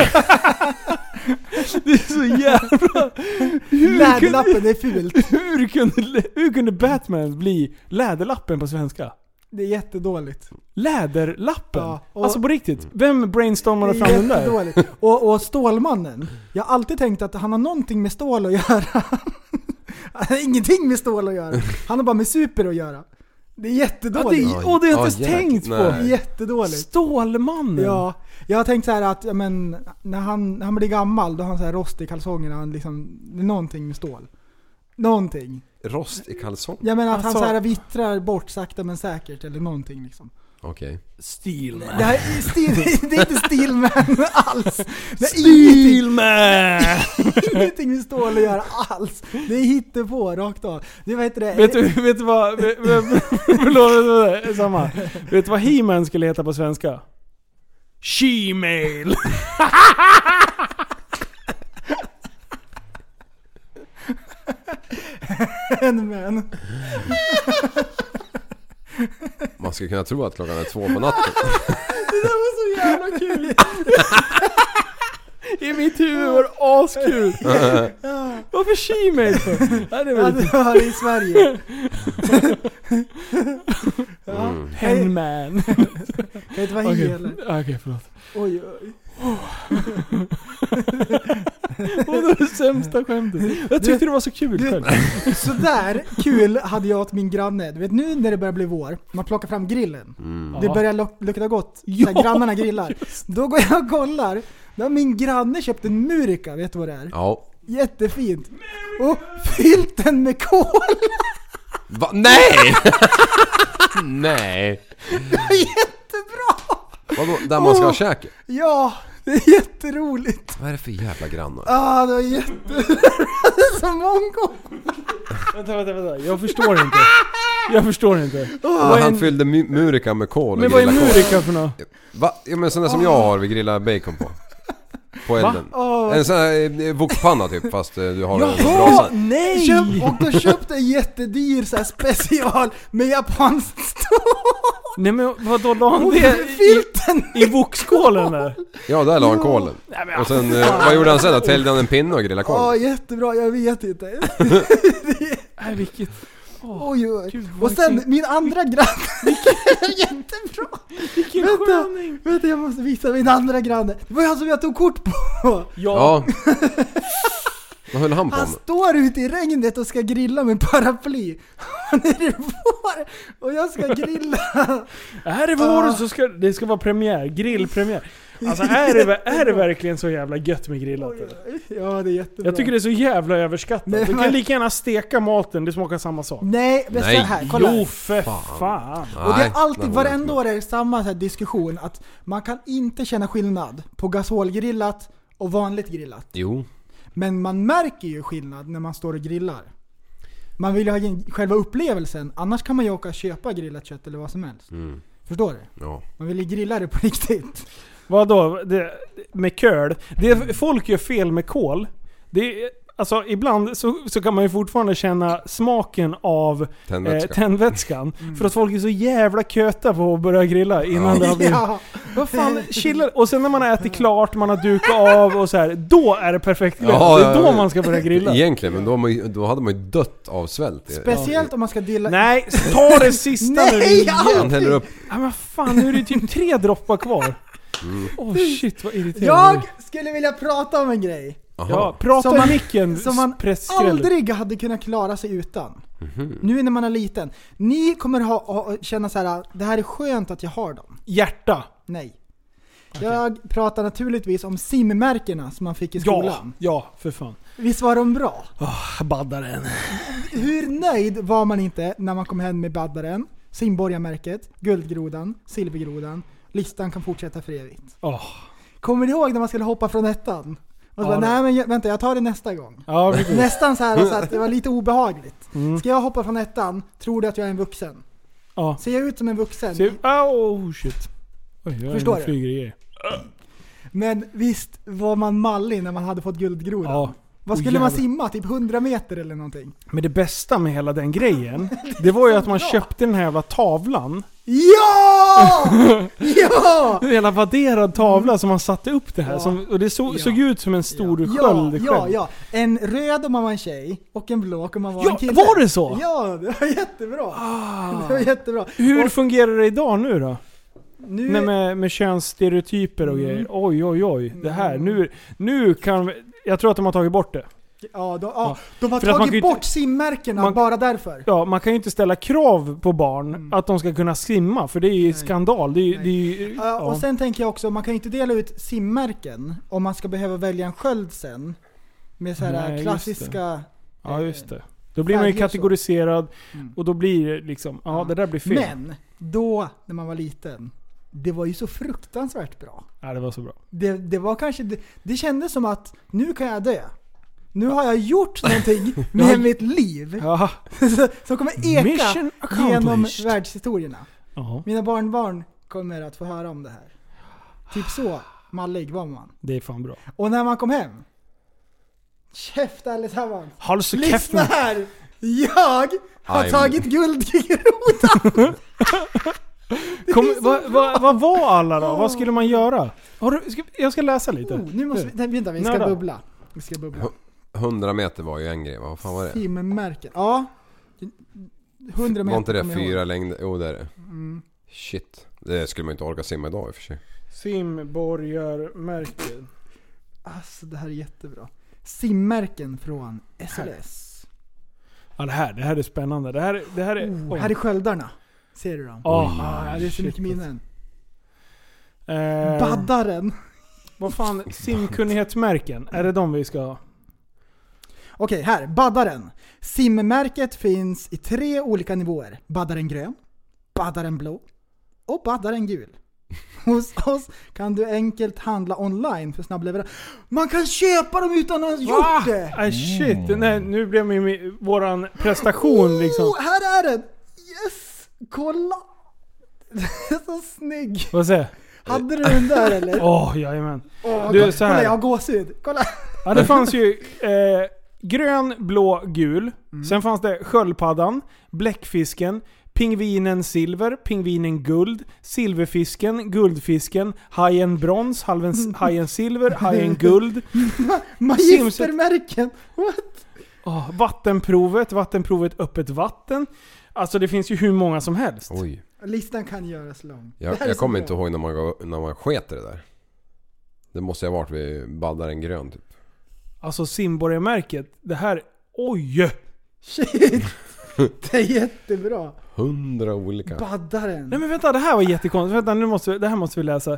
D: det är så jävla... Hur kunde,
G: Läderlappen, det är fult.
D: hur, kunde, hur kunde Batman bli Läderlappen på svenska?
G: Det är jättedåligt.
D: Läderlappen?
G: Ja, och-
D: alltså på riktigt. Vem brainstormade
G: Det
D: fram
G: är
D: den där?
G: jättedåligt. Och, och Stålmannen. Jag har alltid tänkt att han har någonting med stål att göra. *laughs* Han har ingenting med stål att göra. Han har bara med super att göra. Det är
D: Ja, det,
G: jättedåligt.
F: Oj.
D: och det har jag inte
F: Ja,
D: ens
F: jäklar.
D: tänkt
G: det
D: på.
F: Nej.
G: är jättedåligt.
D: Stålmannen.
G: Ja, jag har tänkt så här att ja, men, när han, när han blir gammal då har han så här rost i kalsongerna. Han liksom, det är någonting med stål. Någonting.
F: Rost i kalsong?
G: Jag menar att
D: Alltså-
G: han så här vittrar bort sakta men säkert eller någonting liksom.
F: Okej.
D: Steelman.
G: Det, här, är
D: *laughs*
G: Steel, det är inte Steelman alls. Det är ingenting,
D: Steelman!
G: ingenting med stål att göra alls. Det är hittepå rakt av. Det, vad heter det?
D: Vet du, vet du vad... vet- vet- Förlåt, vet du vad- samma. Vet du vad He-Man skulle heta på svenska? She-mail.
G: Handman.
F: Man skulle kunna tro att klockan är två på natten.
D: Det var så jävla
G: *laughs*
D: kul! I mitt huvud var det askul! Varför She-mail för? Ja, det
G: Ja,
D: var
G: du
D: lite...
G: hör det
D: *laughs*
G: i Sverige.
D: Henman.
G: Kan inte vara
D: Okej,
G: hel.
D: okej, förlåt.
G: Oj, oj.
D: Och det var det sämsta skämtet. Jag tyckte det var så kul
G: du-
D: själv.
G: Sådär kul hade jag till min granne. Du vet nu när det börjar bli vår, man plockar fram grillen. Det
D: Ja.
G: börjar luk- lukta gott. Ja,
D: Ja,
G: grannarna grillar. Då går jag och kollar. Då har min granne köpt en murika, vet du vad det är?
F: Ja.
G: Jättefint. Och fyllt den med kol! *laughs*
F: Va? *laughs* Nej! Nej.
G: Jättebra!
F: Vadå? Där man ska ha käke?
G: Ja, det är jätteroligt.
F: Vad är det för jävla grannar?
G: Ah, det var jätte... *laughs* Så mongo!
D: Vänta, vänta, vänta. Jag förstår inte. Jag förstår inte.
F: Och
D: Vad är
F: han
D: en,
F: fyllde mu- murika med kol och
D: men vad är
F: grillade kol.
D: murika för något?
F: Va? Ja men sån där som jag
G: Ah.
F: har vi grillar bacon på. På elden. En sån här eh, wokpanna typ fast eh, du har den på
G: Åh,
F: brasan.
G: nej! Köp, och då köpte jag en jättedyr så här special med japanskt stål!
D: Nej men vadå, la han
G: Och
D: det i,
G: fyllt den
D: i
G: *laughs*
D: wokskålen där?
F: Ja där la han kolen. Och sen, eh, vad gjorde han sen då? Täljde han en pinne och grillade
G: alltså, Ah, Ja,
F: kol?
G: jättebra. Jag vet inte.
D: Nej vilket...
G: Oj, oj.
D: Gud, vad
G: Och sen
D: kul.
G: min andra granne. *laughs* jättebra.
D: Vilken
G: Vänta,
D: sköning!
G: vänta, jag måste visa min andra granne. Det var han som jag tog kort på.
D: Ja.
F: Ja. Vad höll han på
G: Han
F: med?
G: står ute i regnet och ska grilla med paraply. Han är det vår och jag ska grilla. *laughs*
D: Är det vår
G: Ah.
D: så ska det ska vara premiär. Grillpremiär. Alltså är det,
G: *laughs*
D: är det verkligen så jävla gött med grillat? eller?
G: Ja, det är jättebra.
D: Jag tycker det är så jävla överskattat.
G: Nej,
D: Du kan
G: men-
D: lika gärna steka maten, det smakar samma sak.
G: Nej, men så
F: Nej.
G: här. Kolla.
D: Jo för fan.
G: Och det är
F: Nej,
G: alltid,
F: den håller jag inte
G: varenda
F: med.
G: år är det samma så här diskussion att man kan inte känna skillnad på gasolgrillat och vanligt grillat.
F: Jo.
G: Men man märker ju skillnad när man står och grillar. Man vill ju ha in- själva upplevelsen, annars kan man ju åka och köpa grillat kött eller vad som helst.
F: Mm.
G: Förstår du?
F: Ja.
G: Man vill ju grilla det på *laughs* riktigt.
D: Vadå? Det, med köl? Det folk gör fel med kol, det är, Alltså ibland så, så kan man ju fortfarande känna smaken av eh,
F: Tändvätska.
D: tändvätskan.
G: Mm.
D: För att folk är så jävla köta på att börja grilla innan det har blivit...
G: Mm. Ja.
D: Vad fan, chilla. Och sen när man har ätit klart, man har dukat av och så här, Då är det perfekt grillat.
F: Ja,
D: det är
F: ja,
D: då
F: ja.
D: man ska börja grilla.
F: Egentligen, men då, har man ju- då hade man ju dött av svält.
G: Speciellt om man ska dela...
D: Nej, ta det sista nu
G: Nej,
D: din
G: ja!
D: jävel.
F: Han häller upp...
D: Ja men fan, nu är det typ tre droppar kvar.
F: Mm.
D: Åh oh, shit vad irriterande.
G: Jag skulle vilja prata om en grej
D: Ja,
F: Aha.
D: prata
G: Som
D: i
G: man-
D: micken
G: som man
D: pressskräll.
G: aldrig hade kunnat klara sig utan. Nu när man är liten. Ni kommer ha, ha, känna så här, det här är skönt att jag har dem.
D: Hjärta.
G: Nej. Jag pratar naturligtvis om simmärkena som man fick i
D: Ja,
G: skolan.
D: ja för fan.
G: Visst var de bra?
D: Oh, baddaren.
G: Hur nöjd var man inte när man kom hem med baddaren, simborgarmärket, guldgrodan, silvergrodan. Listan kan fortsätta för evigt.
D: Oh.
G: Kommer ni ihåg när man skulle hoppa från ettan? Man
D: Ja,
G: bara,
D: det-
G: nej men jag- vänta jag tar det nästa gång.
D: Ja, precis.
G: Nästan så här så att det var
D: *laughs*
G: lite obehagligt.
D: Mm.
G: Ska jag hoppa från ettan, tror du att jag är en vuxen?
D: Ja.
G: Ser jag ut som en vuxen?
D: Se- Oh shit. Oj, jag
G: Förstår
D: Förstår
G: du?
D: flyger i er.
G: Men visst var man mallig när man hade fått guldgrodan?
D: Ja.
G: Vad
D: Oh,
G: skulle man
D: jävlar.
G: simma? Typ 100 meter eller någonting?
D: Men det bästa med hela den
G: *laughs*
D: grejen, det var ju att man köpte den här jävla tavlan.
G: Ja!
D: *laughs*
G: ja!
D: En jävla vadderad tavla som man satte upp det här.
G: Mm. Ja.
D: Som, och det så,
G: Ja.
D: såg ut som en stor
G: Ja,
D: sköld
G: ja,
D: själv.
G: ja. En röd om man var en tjej och en blå om man var
D: Ja,
G: en kille.
D: var det så? Ah.
G: Ja, det var jättebra. *laughs* Det var jättebra.
D: Hur
G: Och
D: fungerar det idag nu då?
G: nu,
D: Nej, med, med könsstereotyper och
G: Mm.
D: grejer. Oj, oj, oj. Det här. Nu, nu kan vi, Jag tror att de har tagit bort det.
G: ja, de, ja, de har
D: För att man kan ju
G: tagit
D: inte-
G: bort simmärkena
D: man-
G: bara därför.
D: Ja, man kan ju inte ställa krav på barn
G: Mm.
D: att de ska kunna simma, för det är ju skandal. Det är, ju- det är, ju-
G: Ja,
D: ja.
G: Eh, Och sen tänker jag också, man kan ju inte dela ut simmärken om man ska behöva välja en sköld sen. Med så
D: Nej,
G: här
D: just
G: klassiska...
D: ja, just det. Då blir man ju
G: färger och så.
D: kategoriserad
G: Mm.
D: och då blir det liksom, ja det där blir fel.
G: Men, då, när man var liten, det var ju så fruktansvärt bra.
D: Ja, det var så bra.
G: Det, det var kanske, det, det kändes som att nu kan jag dö. Nu har jag gjort
F: *laughs*
G: någonting med mitt liv *laughs*
D: Ja.
G: som kommer eka
D: Mission accomplished.
G: genom världshistorierna.
D: ja.
G: Mina barnbarn kommer att få höra om det här. Typ så mallig var man.
D: Det är fan bra.
G: Och när man kom hem. Käft allesammans!
D: Håll så
G: Lyssna
D: käften.
G: här! Jag har
F: I'm-
G: tagit guldgrodan!
D: Kom, vad, vad, vad var alla då? Vad skulle man göra? Har du, ska, jag ska läsa lite.
G: Oh, nu måste vi... Nej, vänta, vi ska
D: Nej då.
G: bubbla. Vi ska bubbla.
F: 100 meter var ju en grej, vad fan var det?
G: Timmärken. Ja. 100 meter
F: Var inte det
G: kommer jag ihåg. Mm.
F: fyra längder? Jo det är det. Shit. Det skulle man inte orka simma idag i och för sig.
D: Simborgarmärken.
G: Alltså det här är jättebra. Simmärken från SLS.
D: Ja, det här, det här är spännande. Det här, det här är...
G: Oh,
D: oj.
G: här är sköldarna. Ser du dem?
D: Åh,
G: ah, det
D: shit.
G: är så
D: alltså.
G: mycket minnen.
D: Eh,
G: Baddaren.
D: Vad fan, simkunnighetsmärken? Är det de vi ska ha?
G: Okej, här. Baddaren. Simmärket finns i tre olika nivåer. Baddaren grön, baddaren blå och baddaren gul. *laughs* Hos oss kan du enkelt handla online för snabb leverans. Man kan köpa dem utan att ha gjort det!
D: Ah, shit, nej, nu blev min, min, våran prestation liksom...
G: Oh, här är den! Yes! Kolla! *laughs* Den är så snygg!
D: Vad säger
G: Hade du den där eller?
D: Åh, jajamän.
G: *laughs* Åh,
D: du,
G: kolla,
D: så här.
G: Kolla, jag har gåshud.
D: *laughs*
G: Kolla!
D: Ja, det fanns ju eh, grön, blå, gul. Sen fanns det sköldpaddan, bläckfisken, pingvinen silver, pingvinen guld, silverfisken, guldfisken, hajen brons, halven, hajen silver, hajen guld.
G: Magistermärken! What?
D: Åh, vattenprovet, vattenprovet öppet vatten. Alltså det finns ju hur många som helst.
F: Oj.
G: Listan kan göras lång. Det
F: Jag,
G: här är
F: jag
G: så
F: kommer
G: bra.
F: inte ihåg när man, gav- när man sket i det där. Det måste ha varit vid baddaren grön typ.
D: Alltså simborgarmärket, det här... Oj!
F: *laughs*
G: Shit! Det är jättebra.
F: 100 olika.
G: Baddaren.
D: Nej men vänta, det här var jättekonstigt. Vänta, nu måste, vi- det här måste vi läsa.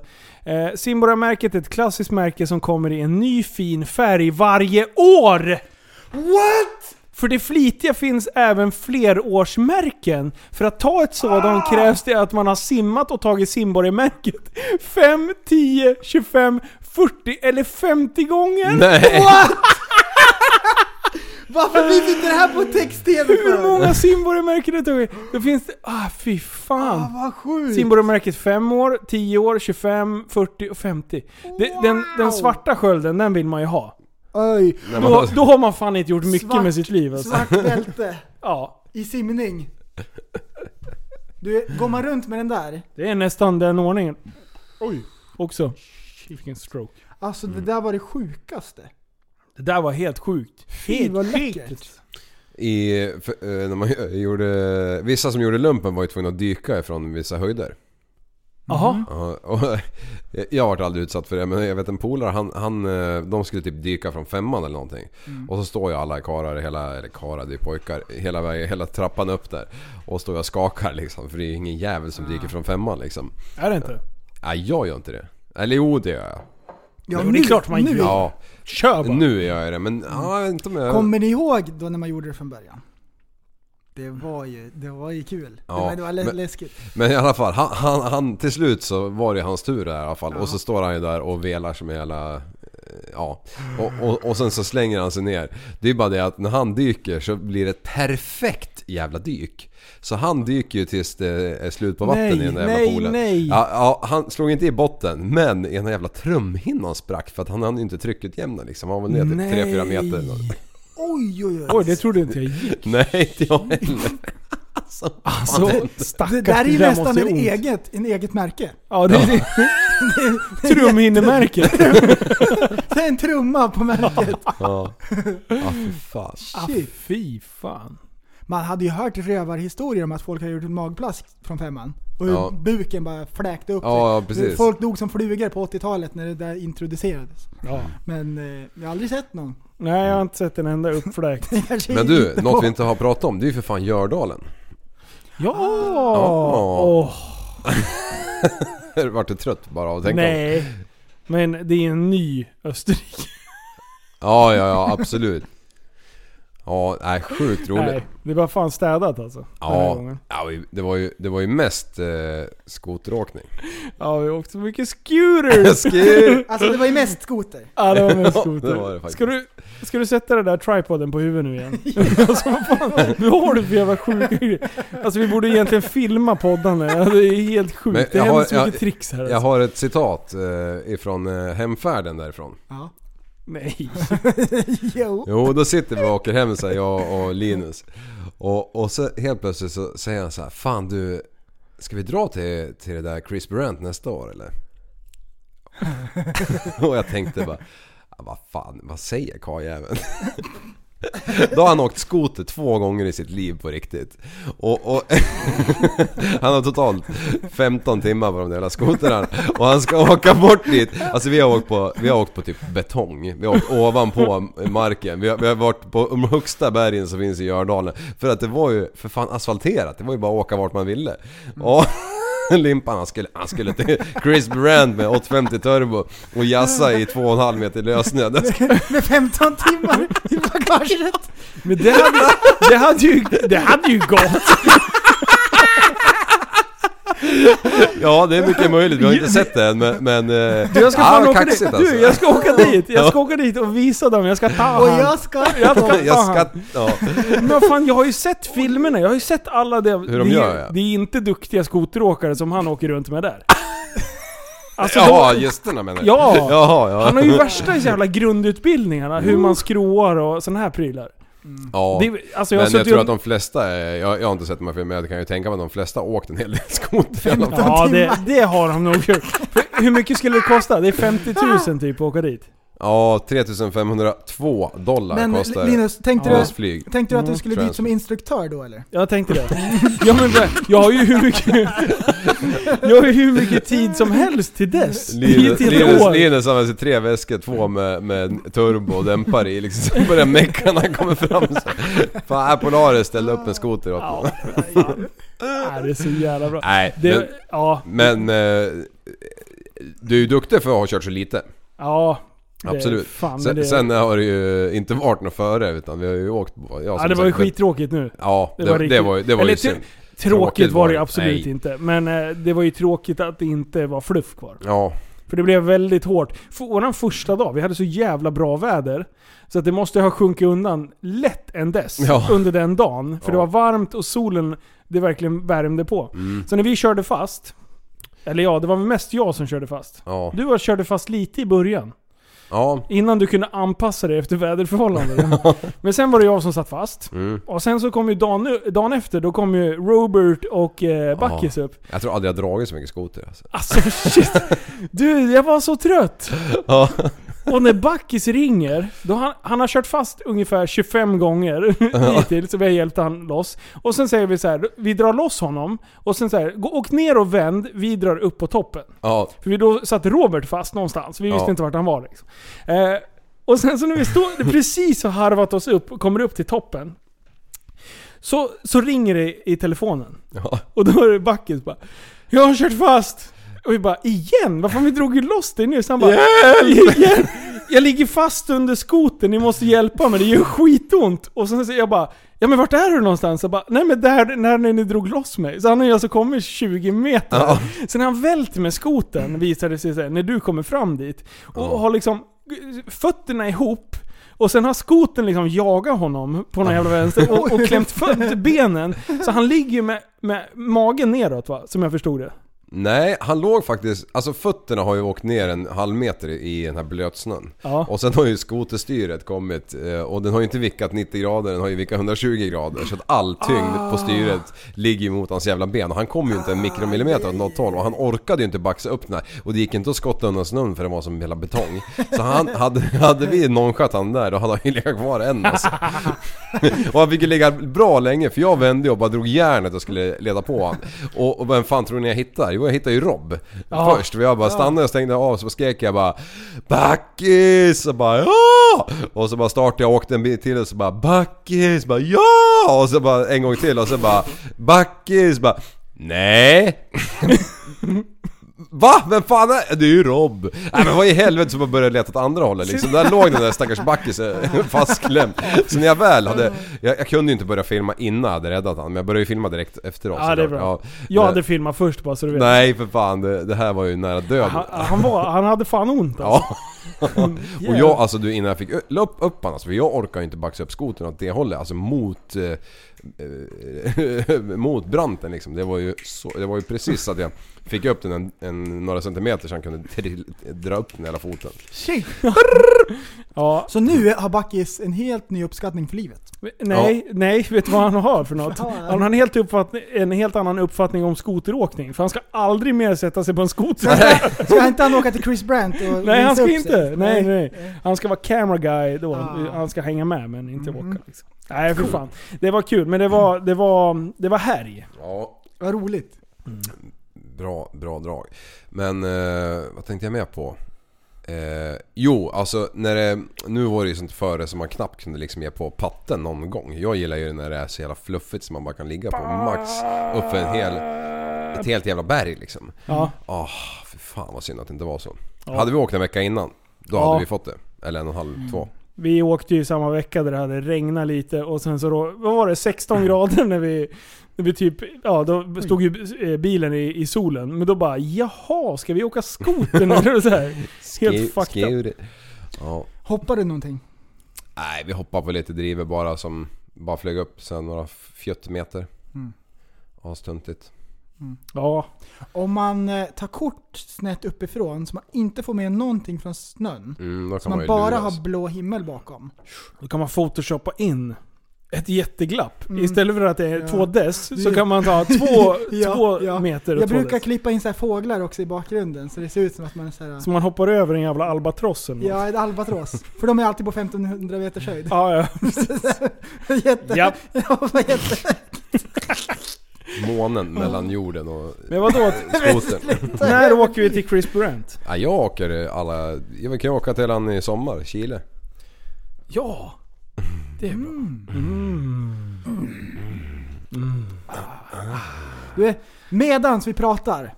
D: Eh, Simborgarmärket är ett klassiskt märke som kommer i en ny fin färg varje år!
G: What?
D: För det flitiga finns även flerårsmärken. För att ta ett sådant krävs det att man har simmat och tagit simborgarmärket 5, 10, 25, 40 eller 50 gånger!
F: Nej!
G: Varför finns inte det här på text-tv
D: *laughs* Hur
G: för?
D: många simborgarmärken har du tagit? Då finns det... Ah, fy fan!
G: Ah, vad sjukt.
D: Simborgarmärket 5 år, 10 år, 25, 40 och 50. Det, den, den svarta skölden, den vill man ju ha.
G: Oj.
F: När man,
D: Då, då har man fan inte gjort mycket
G: Svart-
D: med sitt liv alltså.
G: Svart bälte
D: Ja,
G: i simning. Du, går man runt med den där?
D: det är nästan den ordningen. Oj. Också. Vilken stroke.
G: Alltså
F: Mm.
G: det där var det sjukaste.
D: Det där var helt sjukt.
G: Fy vad
D: Helt
G: läckert.
F: I, för, eh, när man *laughs* gjorde, vissa som gjorde lumpen var ju tvungna att dyka ifrån vissa höjder.
G: Mm.
D: Jaha.
F: Ja, och, *laughs* jag har varit aldrig utsatt för det men jag vet en polare, han, han, eh, de skulle typ dyka från femman eller någonting.
D: Mm.
F: Och så står jag alla karlar, hela, eller karlar det är pojkar, hela, vägen, hela trappan upp där. Och står jag och skakar liksom för det är ju ingen jävel som dyker från femman liksom.
D: Är det inte?
F: Nej jag gör inte det. Eller jo det gör jag.
G: Ja,
D: Men det är klart man gör.
F: Ja,
D: Kör bara.
F: nu gör jag det men ja, jag vet inte om jag...
G: Kommer ni ihåg då när man gjorde det från början? Det var ju, det var ju kul.
F: Ja,
G: det var, det var lä-
F: men-
G: läskigt.
F: Men i alla fall, han, han, han, till slut så var det hans tur där i alla fall. Och så står han ju där och velar som en jävla... eh, Ja. Och, och, och sen så slänger han sig ner. Det är bara det att när han dyker så blir det ett perfekt jävla dyk. Så han dyker ju tills det är slut på vatten
D: Nej,
F: i den där jävla
D: nej,
F: poolen.
D: nej.
F: Ja, ja, han slog inte i botten men ena jävla trumhinnan sprack för att han hann ju inte trycket jämna liksom. Han var ner typ 3-4 meter. eller något.
G: Oj oj oj.
D: Oj, det trodde inte jag gick.
F: *laughs* Nej, inte jag heller.
D: Alltså,
G: Det
D: stackars.
G: där är ju nästan
D: måste
G: en
D: göra ont.
G: eget, en eget märke.
D: Ja, det *laughs* är
G: *laughs*
D: trumhinnemärket.
G: Det är en trumma på märket.
F: Ja, ja för fan.
D: Ah, fy fan.
G: Man hade ju hört rövarhistorier om att folk hade gjort en magplask från femman. Och
F: Ja.
G: hur buken bara fläkte upp
F: Ja, ja,
G: sig.
F: precis.
G: Folk dog som flugor på 80-talet när det där introducerades.
D: Ja.
G: Men eh, jag har aldrig sett någon. *laughs*
D: Nej, jag har inte sett en enda uppfläkt.
G: Det kanske
F: Men
G: inte
F: du, något
G: var-
F: vi inte har pratat om det är ju för fan Gördalen. *laughs*
D: Ja!
F: Ja.
D: Åh,
F: Vart du trött bara av att tänka på det?
D: nej. Men det är en ny Österrike.
F: Ja, ja, ja absolut. Ja, nej, sjukt roligt.
D: Nej, det var fan städat alltså. Den här
F: ja,
D: gången.
F: ja, vi- det var ju, det var ju mest eh, skoteråkning. *laughs*
D: Ja, vi åkte mycket scooter.
F: Skit!
G: Alltså det var ju mest skoter.
D: Ja, det var med
F: *laughs* Ja, det var
D: skoter.
F: det faktiskt.
D: Ska du, ska du sätta den där tripoden på huvudet nu
F: *laughs*
D: igen? *laughs* alltså vad fan, nu har du för jävla sjuka grejer. Alltså vi borde egentligen filma poddarna. Ja, det är helt
F: Men
D: sjukt. Det
F: jag
D: händer
F: har-
D: så mycket
F: jag-
D: tricks här
F: Jag
D: alltså.
F: har ett citat eh, ifrån eh, hemfärden därifrån.
G: Ja.
D: Nej.
G: Jo.
F: Jo, då sitter vi och åker hem så här, jag och Linus. Och, och så helt plötsligt så säger han så här, Fan du, ska vi dra till, till det där Chris Brant nästa år eller? *laughs* och jag tänkte bara, "Ja, vad fan, vad säger karljäveln? *laughs* Då har han åkt skoter två gånger i sitt liv på riktigt. Och, och han har totalt 15 timmar på de där jävla skotrarna. Och han ska åka bort dit. Alltså vi har åkt på, vi har åkt på typ betong. Vi har åkt ovanpå marken. Vi har, vi har varit på de högsta bergen som finns i Gördalen. För att det var ju för fan asfalterat. Det var ju bara att åka vart man ville.
D: Mm.
F: Och *laughs* Limpan han skulle, han skulle till Chris Brand med 850 turbo och jassa i 2,5 meter lössnö. Det ska-
G: Med 15 timmar i bagaget.
D: Men det hade, det hade, ju, det hade ju
F: *laughs*
D: gått.
F: Ja det är mycket möjligt, vi
D: *laughs*
F: har inte sett det än men... men
D: Du, jag ska
F: ja,
D: fan åka dit.
F: kaxigt alltså.
D: Du, jag ska åka dit. Jag ska åka dit och visa dem. Jag ska ta
G: *laughs* Och
D: han.
G: jag ska...
D: Jag ska ta
F: Jag
D: han.
F: ska... Ja.
D: Men vad fan, jag har ju sett filmerna. Jag har ju sett alla det.
F: de
D: det, är-
F: gör, ja.
D: det är inte duktiga skoteråkare som han åker runt med
F: *laughs*
D: där. Alltså,
F: Jaha, gästerna menar du?
D: Ja.
F: Jaha, *laughs* ja.
D: Han har ju värsta jävla grundutbildningarna, hur man skråar och sådana här prylar.
F: Mm. ja.
D: Det, är- alltså jag har
F: men jag
D: suttit
F: tror att
D: och...
F: de flesta, är- jag, jag har inte sett de här filmerna, men jag kan ju tänka mig att de flesta har åkt en hel del skoter i alla fall.
D: Ja, det,
G: timmar.
D: det har de nog gjort. För Hur mycket skulle det kosta? Det är 50 000 typ att åka dit.
F: Ja, 3502 dollar
G: Men
F: kostar
G: Linus, tänkte
F: deras
G: du,
F: flyg.
G: tänkte du att du skulle
F: Mm.
G: dit som instruktör då eller?
D: Jag tänkte det. Ja men det- jag har ju hur mycket... Jag har ju hur mycket tid som helst till dess. Det är
F: Linus,
D: ett helt
F: Linus,
D: år.
F: Linus använder sig tre väskor, två med, med turbo och dämpare i liksom. Så börjar mecka när han kommer fram så. Fan, här Polaris ställde upp en skoter åt
D: Ja,
F: honom.
D: fan. Nej, det är så jävla bra.
F: Nej,
D: Det, ja,
F: men, men eh, du är ju duktig för att ha kört så lite.
D: ja. det-
F: Absolut.
D: Fan,
F: sen,
D: men det,
F: sen har det ju inte varit något före utan vi har ju åkt... Ja,
D: ja,
F: som
D: det var ju
F: sagt, men-
D: skittråkigt nu.
F: Ja, det,
D: Det
F: det,
D: var
F: var, det
D: riktigt-
F: var ju, det var
D: eller typ-
F: ju
D: ty-
F: synd.
D: Tråkigt var det
F: ju.
D: absolut
F: Nej.
D: inte, men eh, det var ju tråkigt att det inte var fluff kvar.
F: Ja,
D: För det blev väldigt hårt. För våran första dag, vi hade så jävla bra väder. Så att det måste ha sjunkit undan lätt än dess,
F: Ja.
D: under den dagen. För det
F: Ja.
D: var varmt och solen, det verkligen värmde på.
F: Mm.
D: Så när vi körde fast, eller ja, det var mest jag som körde fast.
F: ja,
D: Du var, körde fast lite i början.
F: ja.
D: Innan du kunde anpassa dig efter
F: *laughs*
D: väderförhållanden. Men sen var det jag som satt fast.
F: Mm.
D: Och sen så kom ju dagen, dagen efter, då kom ju Robert och eh, Backis upp.
F: Jag tror aldrig jag dragit så mycket skoter alltså.
D: Alltså shit. Du, jag var så trött.
F: *laughs* Ja.
D: Och när Backis ringer, då han, han har kört fast ungefär 25 gånger *laughs* hittills så vi har hjälpt han loss. Och sen säger vi så här, vi drar loss honom. Och sen så här, gå, åk ner och vänd, vi drar upp på toppen.
F: Ja,
D: För vi då satt Robert fast någonstans, vi visste
F: Ja.
D: inte vart han var liksom. eh, Och sen så när vi stod, *laughs* precis har harvat oss upp och kommer upp till toppen. Så, så ringer det i telefonen.
F: ja.
D: Och då är det Backis bara Jag har kört fast! Och vi bara igen? Vad fan vi drog ju loss dig nu? Så han bara Hjälp! Jag ligger fast under skoten, ni måste hjälpa mig, det gör skitont! Och sen säger jag bara Ja men vart är du någonstans? Jag bara Nej men där, när ni drog loss mig. Så han och jag så kommer 20 meter.
F: Ja.
D: Sen när han vält med skoten visade det sig så här, när du kommer fram dit. Och har liksom fötterna ihop. Och sen har skoten liksom jagat honom på någon jävla vänster och, och klämt för
F: *laughs*
D: benen. Så han ligger ju med, med magen neråt va, som jag förstod det.
F: Nej, han låg faktiskt... Alltså fötterna har ju åkt ner en halv meter i den här blötsnön.
D: Ja.
F: Och sen har ju skoterstyret kommit eh, och den har ju inte vickat 90 grader, den har ju vickat 120 grader. Så att all tyngd på styret ligger ju mot hans jävla ben. Och han kom ju inte en mikromillimeter åt något håll och han orkade ju inte baxa upp den här. Och det gick inte att skotta undan snön för den var som hela betong. Så han, hade, hade vi nonchatt han där då hade han ju legat kvar än alltså. Och han fick ju ligga bra länge för jag vände och bara drog järnet och skulle leda på honom. Och, och vem fan tror ni jag hittar? Jo jag hittar ju Rob.
D: Ja.
F: Först. För jag bara stannade och stängde av så skrek jag bara Backis! Och bara ja! Och så bara startade jag och åkte en bit till och så bara Backis! Bara ja! Och så bara en gång till och så bara Backis! Bara nej! Va? Vem fan är det? är ju Rob! Nej men vad i helvete som man började leta åt andra hållet liksom. Där låg den där stackars backisen *laughs* fastklämd. Så när jag väl hade... Jag, jag kunde ju inte börja filma innan jag hade räddat han men jag började ju filma direkt efteråt
D: Ja, det är
F: såklart.
D: bra.
F: Ja.
D: Jag
F: Men-
D: hade filmat först bara så du vet.
F: Nej för fan, det, det här var ju nära döden.
D: Han, han, var, han hade fan ont alltså.
F: Ja. och jag alltså du innan jag fick ö- la upp, upp han alltså, för jag orkar ju inte backa upp skotern åt det hållet. Alltså mot... Eh, eh, *laughs* mot branten liksom. Det var ju, så, det var ju precis att jag fick upp den en, en, några centimeter så han kunde *laughs* trill, dra upp den hela foten.
G: Shit.
D: Ja,
G: Så nu har Backis en helt ny uppskattning för livet.
D: nej, nej, vet du vad han har för något?
G: Ja, ja.
D: Han har en helt, uppfattning, en helt annan uppfattning om skoteråkning. För han ska aldrig mer sätta sig på en skoter.
G: Ska inte han åka till Chris Brandt och
D: *laughs* Nej
G: visa
D: han ska
G: upp
D: inte.
G: sig?
D: Nej, nej. Han ska vara camera guy då.
G: Ah.
D: Han ska hänga med men inte åka. Liksom. Nej för fan. Det var kul men det var, det var, det var härj.
F: Ja,
G: Vad roligt.
F: bra, bra drag. Men eh, vad tänkte jag med på? Eh, jo, alltså när det, nu var det ju sånt före som man knappt kunde liksom ge på patten någon gång. Jag gillar ju när det är så jävla fluffigt som man bara kan ligga på max upp för en hel, ett helt jävla berg liksom.
D: Ja.
F: Ah, för fan vad synd att det inte var så. Hade vi åkt en vecka innan, då
D: Ja. Mm.
F: hade vi fått det. Eller en och en halv, två.
D: Vi åkte ju samma vecka där det hade regnat lite och sen så då, vad var det, 16 grader när vi, när vi typ, ja då stod ju eh, bilen i, i solen. Men då bara jaha, ska vi åka skoter nu? *laughs* Det var så här, Helt
F: Skri-
D: fucked up.
F: skriv det. Ja.
G: Hoppar du någonting?
F: Nej, vi hoppar på lite driver bara som bara flög upp sen några fjuttmeter.
G: Mm.
F: Astuntigt.
D: Ja,
G: Om man eh, tar kort snett uppifrån så man inte får med någonting från snön.
F: Mm, då
G: Så
F: kan man,
G: man
F: ju
G: bara
F: luras.
G: har blå himmel bakom.
D: då kan man photoshoppa in ett jätteglapp.
G: Mm.
D: Istället för att det är
G: Ja.
D: två dess så
G: Det-
D: kan man ta två,
G: *laughs* Ja,
D: två
G: ja.
D: meter och
G: Jag
D: två
G: brukar
D: dess.
G: klippa in så här fåglar också i bakgrunden så det ser ut som att man är så här.
D: Så man hoppar över den jävla albatrossen. Ja.
G: Ja, en albatross. För de är alltid på 1500 meters höjd.
D: Ja,
G: *laughs*
D: ja.
G: Jätte...
D: Ja.
G: Ja, vad jätte...
F: Månen mellan jorden och
D: Men vadå?
F: skotern.
D: *laughs* När åker vi till Chris Brandt?
F: ja, jag åker alla... Jag kan åka till han i sommar, Chile.
D: Ja! Det är bra.
G: Du, medans vi pratar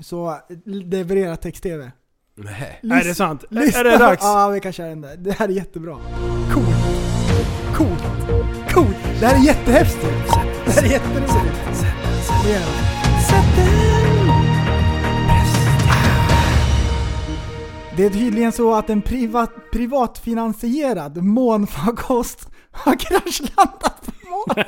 G: så levererar text-tv.
F: Nej.
D: Är det sant? Är det dags?
G: Ja, vi kan köra den där. Det här är jättebra. Coolt. Coolt. Coolt. Det här är jättehäftigt. Det här är jätteroligt. Kom igen. Det är tydligen så att en privat, privatfinansierad månfarkost har kraschlandat på månen.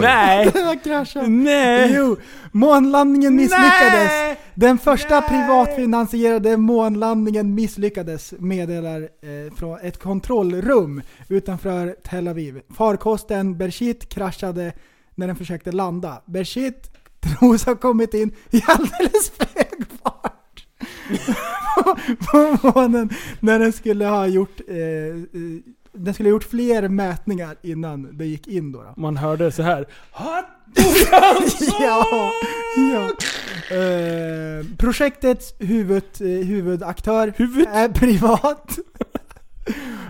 G: *laughs*
D: Nej!
G: Den har kraschat.
D: Nej!
G: Jo, månlandningen misslyckades.
D: Nej!
G: Den första
D: Nej!
G: privatfinansierade månlandningen misslyckades, meddelar eh, från ett kontrollrum utanför Tel Aviv. Farkosten Bershit kraschade när den försökte landa. Bershit tros ha kommit in i alldeles för hög fart *laughs* på månen när den skulle ha gjort eh, eh, den skulle ha gjort fler mätningar innan det gick in då. då.
D: Man hörde så här. Alltså!
G: *laughs* ja, ja. Eh, projektets huvud, eh, huvudaktör
D: Huvud?
G: är privat. *laughs*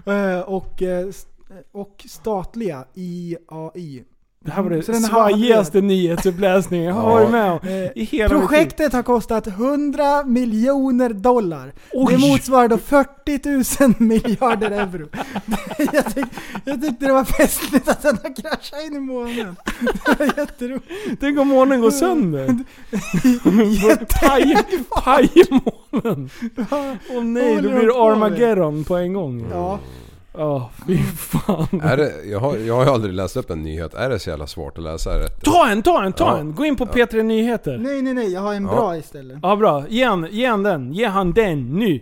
G: Eh, och, eh, st- och statliga IAI.
D: Det här var det
G: Så den har
D: svajigaste nyhetsuppläsningen jag har
F: Ja.
D: varit med om.
G: Eh,
D: I hela mitt liv.
G: Projektet har kostat 100 miljoner dollar. Det motsvarar då 40 000 *laughs* miljarder euro. *laughs* jag, tyck, jag tyckte det var festligt att den har kraschat in i månen. *laughs* Det var jätteroligt.
D: Tänk om månen går sönder. Paj, paj månen. Åh nej,
G: Vad
D: då
G: håller
D: blir det
G: de på med?
D: Armageddon på en gång. Ja,
G: Ja.
D: fy fan.
F: Är det, jag, har, jag har ju aldrig läst upp en nyhet. Är det så jävla svårt att läsa rätt?
D: Ta en, ta en, ta
F: Ja.
D: en! Gå in på P3 Nyheter.
G: Nej, nej, nej. Jag har en
F: Ja.
G: bra istället.
D: Ja bra, ge han, ge han den. Ge han den nu.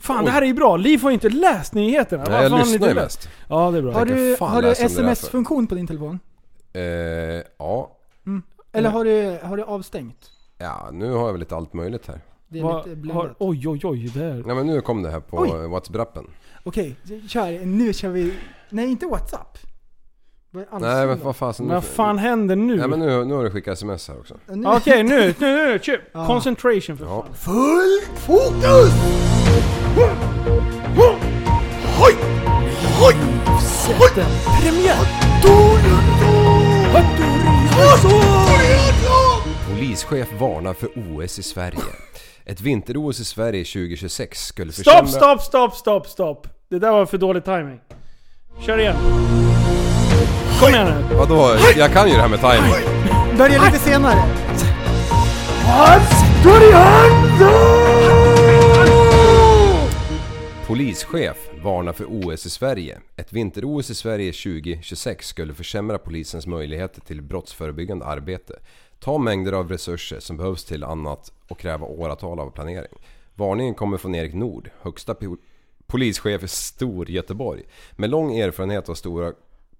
D: Fan det här är ju bra, Liv har ju inte läst nyheterna.
F: Nej,
D: Varför har
F: jag
D: han
F: lyssnar
D: inte
F: ju
D: läst?
F: mest.
D: Ja det är bra.
G: Har du,
F: fan alltså,
G: har du
F: läser om det där för?
G: sms-funktion på din telefon?
F: Eh, ja.
G: Eller har du, har du avstängt?
F: ja, nu har jag väl lite allt möjligt här.
G: Det är
D: Va-
G: lite
D: har,
G: blandat.
D: oj oj oj, där.
F: Nej men nu kom det här på
G: Oj.
F: Whatsappen.
G: Okej, kör. Nu kör vi... Nej, inte WhatsApp. Vad är
F: Nej men
G: allsång?
F: vad fasen.
D: Vad fan händer nu?
F: Nej men nu, nu har du skickat sms här också.
G: Nu-
D: Okej nu, nu, nu, nu,
G: Ja.
D: Concentration för
F: Ja.
D: fan.
G: Fullt fokus! Hoj! Hoj! Sätt en premiär!
F: Polis Riks-chef varnar för OS i Sverige. Ett vinter-OS i Sverige 2026 skulle
D: Stopp, stopp, stopp, stopp, stopp! Det där var för dålig timing. Kör igen. Kom igen nu.
F: Vadå? Jag kan ju det här med timing.
G: Börja lite senare.
F: Polischef varnar för OS i Sverige. Ett vinter-OS i Sverige 2026 skulle försämra polisens möjligheter till brottsförebyggande arbete. Ta mängder av resurser som behövs till annat och kräva åratal av planering. Varningen kommer från Erik Nord, högsta pol- polischef i Storgöteborg. Med lång erfarenhet av stora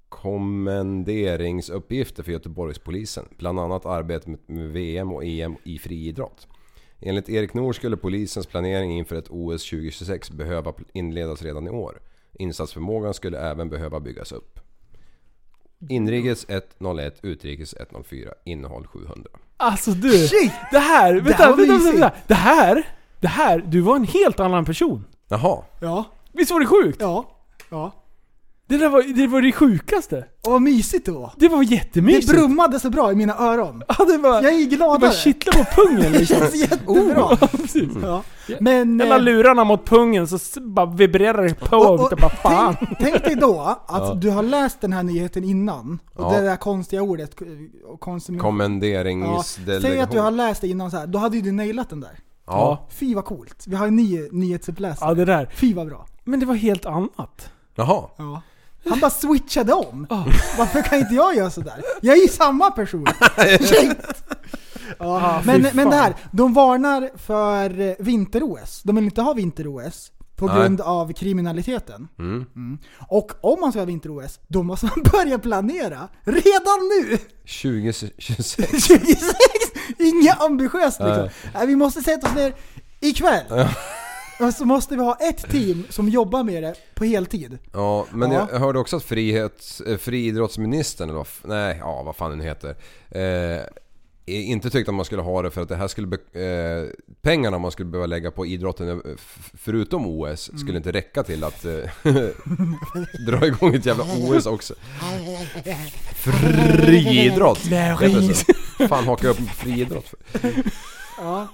F: kommenderingsuppgifter för Göteborgspolisen. Bland annat arbete med- med VM och EM i friidrott. Enligt Erik Nord skulle polisens planering inför ett OS 2026 behöva pl- inledas redan i år. Insatsförmågan skulle även behöva byggas upp. Inrikes 101, utrikes 104, innehåll 700.
D: Alltså du. Det här, vänta,
G: var
D: vänta, vänta,
G: mysigt.
D: vänta. Det här, det här, du var en helt annan person.
F: Jaha,
G: Ja,
D: Visst var det sjukt?
G: ja, ja.
D: Det där var det, var det sjukaste.
G: Och vad mysigt det var.
D: Det var jättemysigt.
G: Det brummade så bra i mina öron.
D: ja, det var,
G: Jag är
D: det bara
G: gladare.
D: kittlade på pungen *laughs*
G: Det
D: liksom.
G: *laughs* känns jättebra.
D: Ja, precis.
G: Ja. Men...
D: Jag la
G: eh,
D: lurarna mot pungen så s- bara vibrerar det på och, och, bara fan.
G: Tänk, tänk dig då att du har läst den här nyheten innan. Och
F: Ja.
G: det där konstiga ordet, eh, och konsum- ja,
F: kommenderingsdelegation.
G: Säg att du har läst det innan så här. då hade ju du nailat den där.
F: Ja,
G: Fy vad coolt. Vi har en ny nyhetsuppläsare.
D: Ja det där.
G: Fy vad bra.
D: Men det var helt *laughs* annat.
F: jaha.
G: Ja. Han bara switchade om. Varför kan inte jag göra sådär? Jag är ju samma person. Shit. ja.
D: fy
G: men, men
D: fan.
G: det här, de varnar för eh, vinter-OS. De vill inte ha vinter-OS på
F: Nej.
G: grund av kriminaliteten.
F: Mm.
G: Och om man ska ha vinter-OS, då måste man *laughs* börja planera redan nu! *laughs*
F: 2026.
G: 2026! Inga ambitiöst liksom. Nej, vi måste sätta oss ner ikväll. Och så måste vi ha ett team som jobbar med det på heltid.
F: Ja, men
G: Ja.
F: jag hörde också att frihets, eh, friidrottsministern, eller vad, f- nej, ja, vad fan den heter, eh, inte tyckte att man skulle ha det för att det här skulle... Be, eh, pengarna man skulle behöva lägga på idrotten eh, f- förutom OS
D: Mm.
F: skulle inte räcka till att eh, *laughs* dra igång ett jävla OS också. Friidrott! heter det så? Fan hakar jag upp på friidrott för?
G: Ja.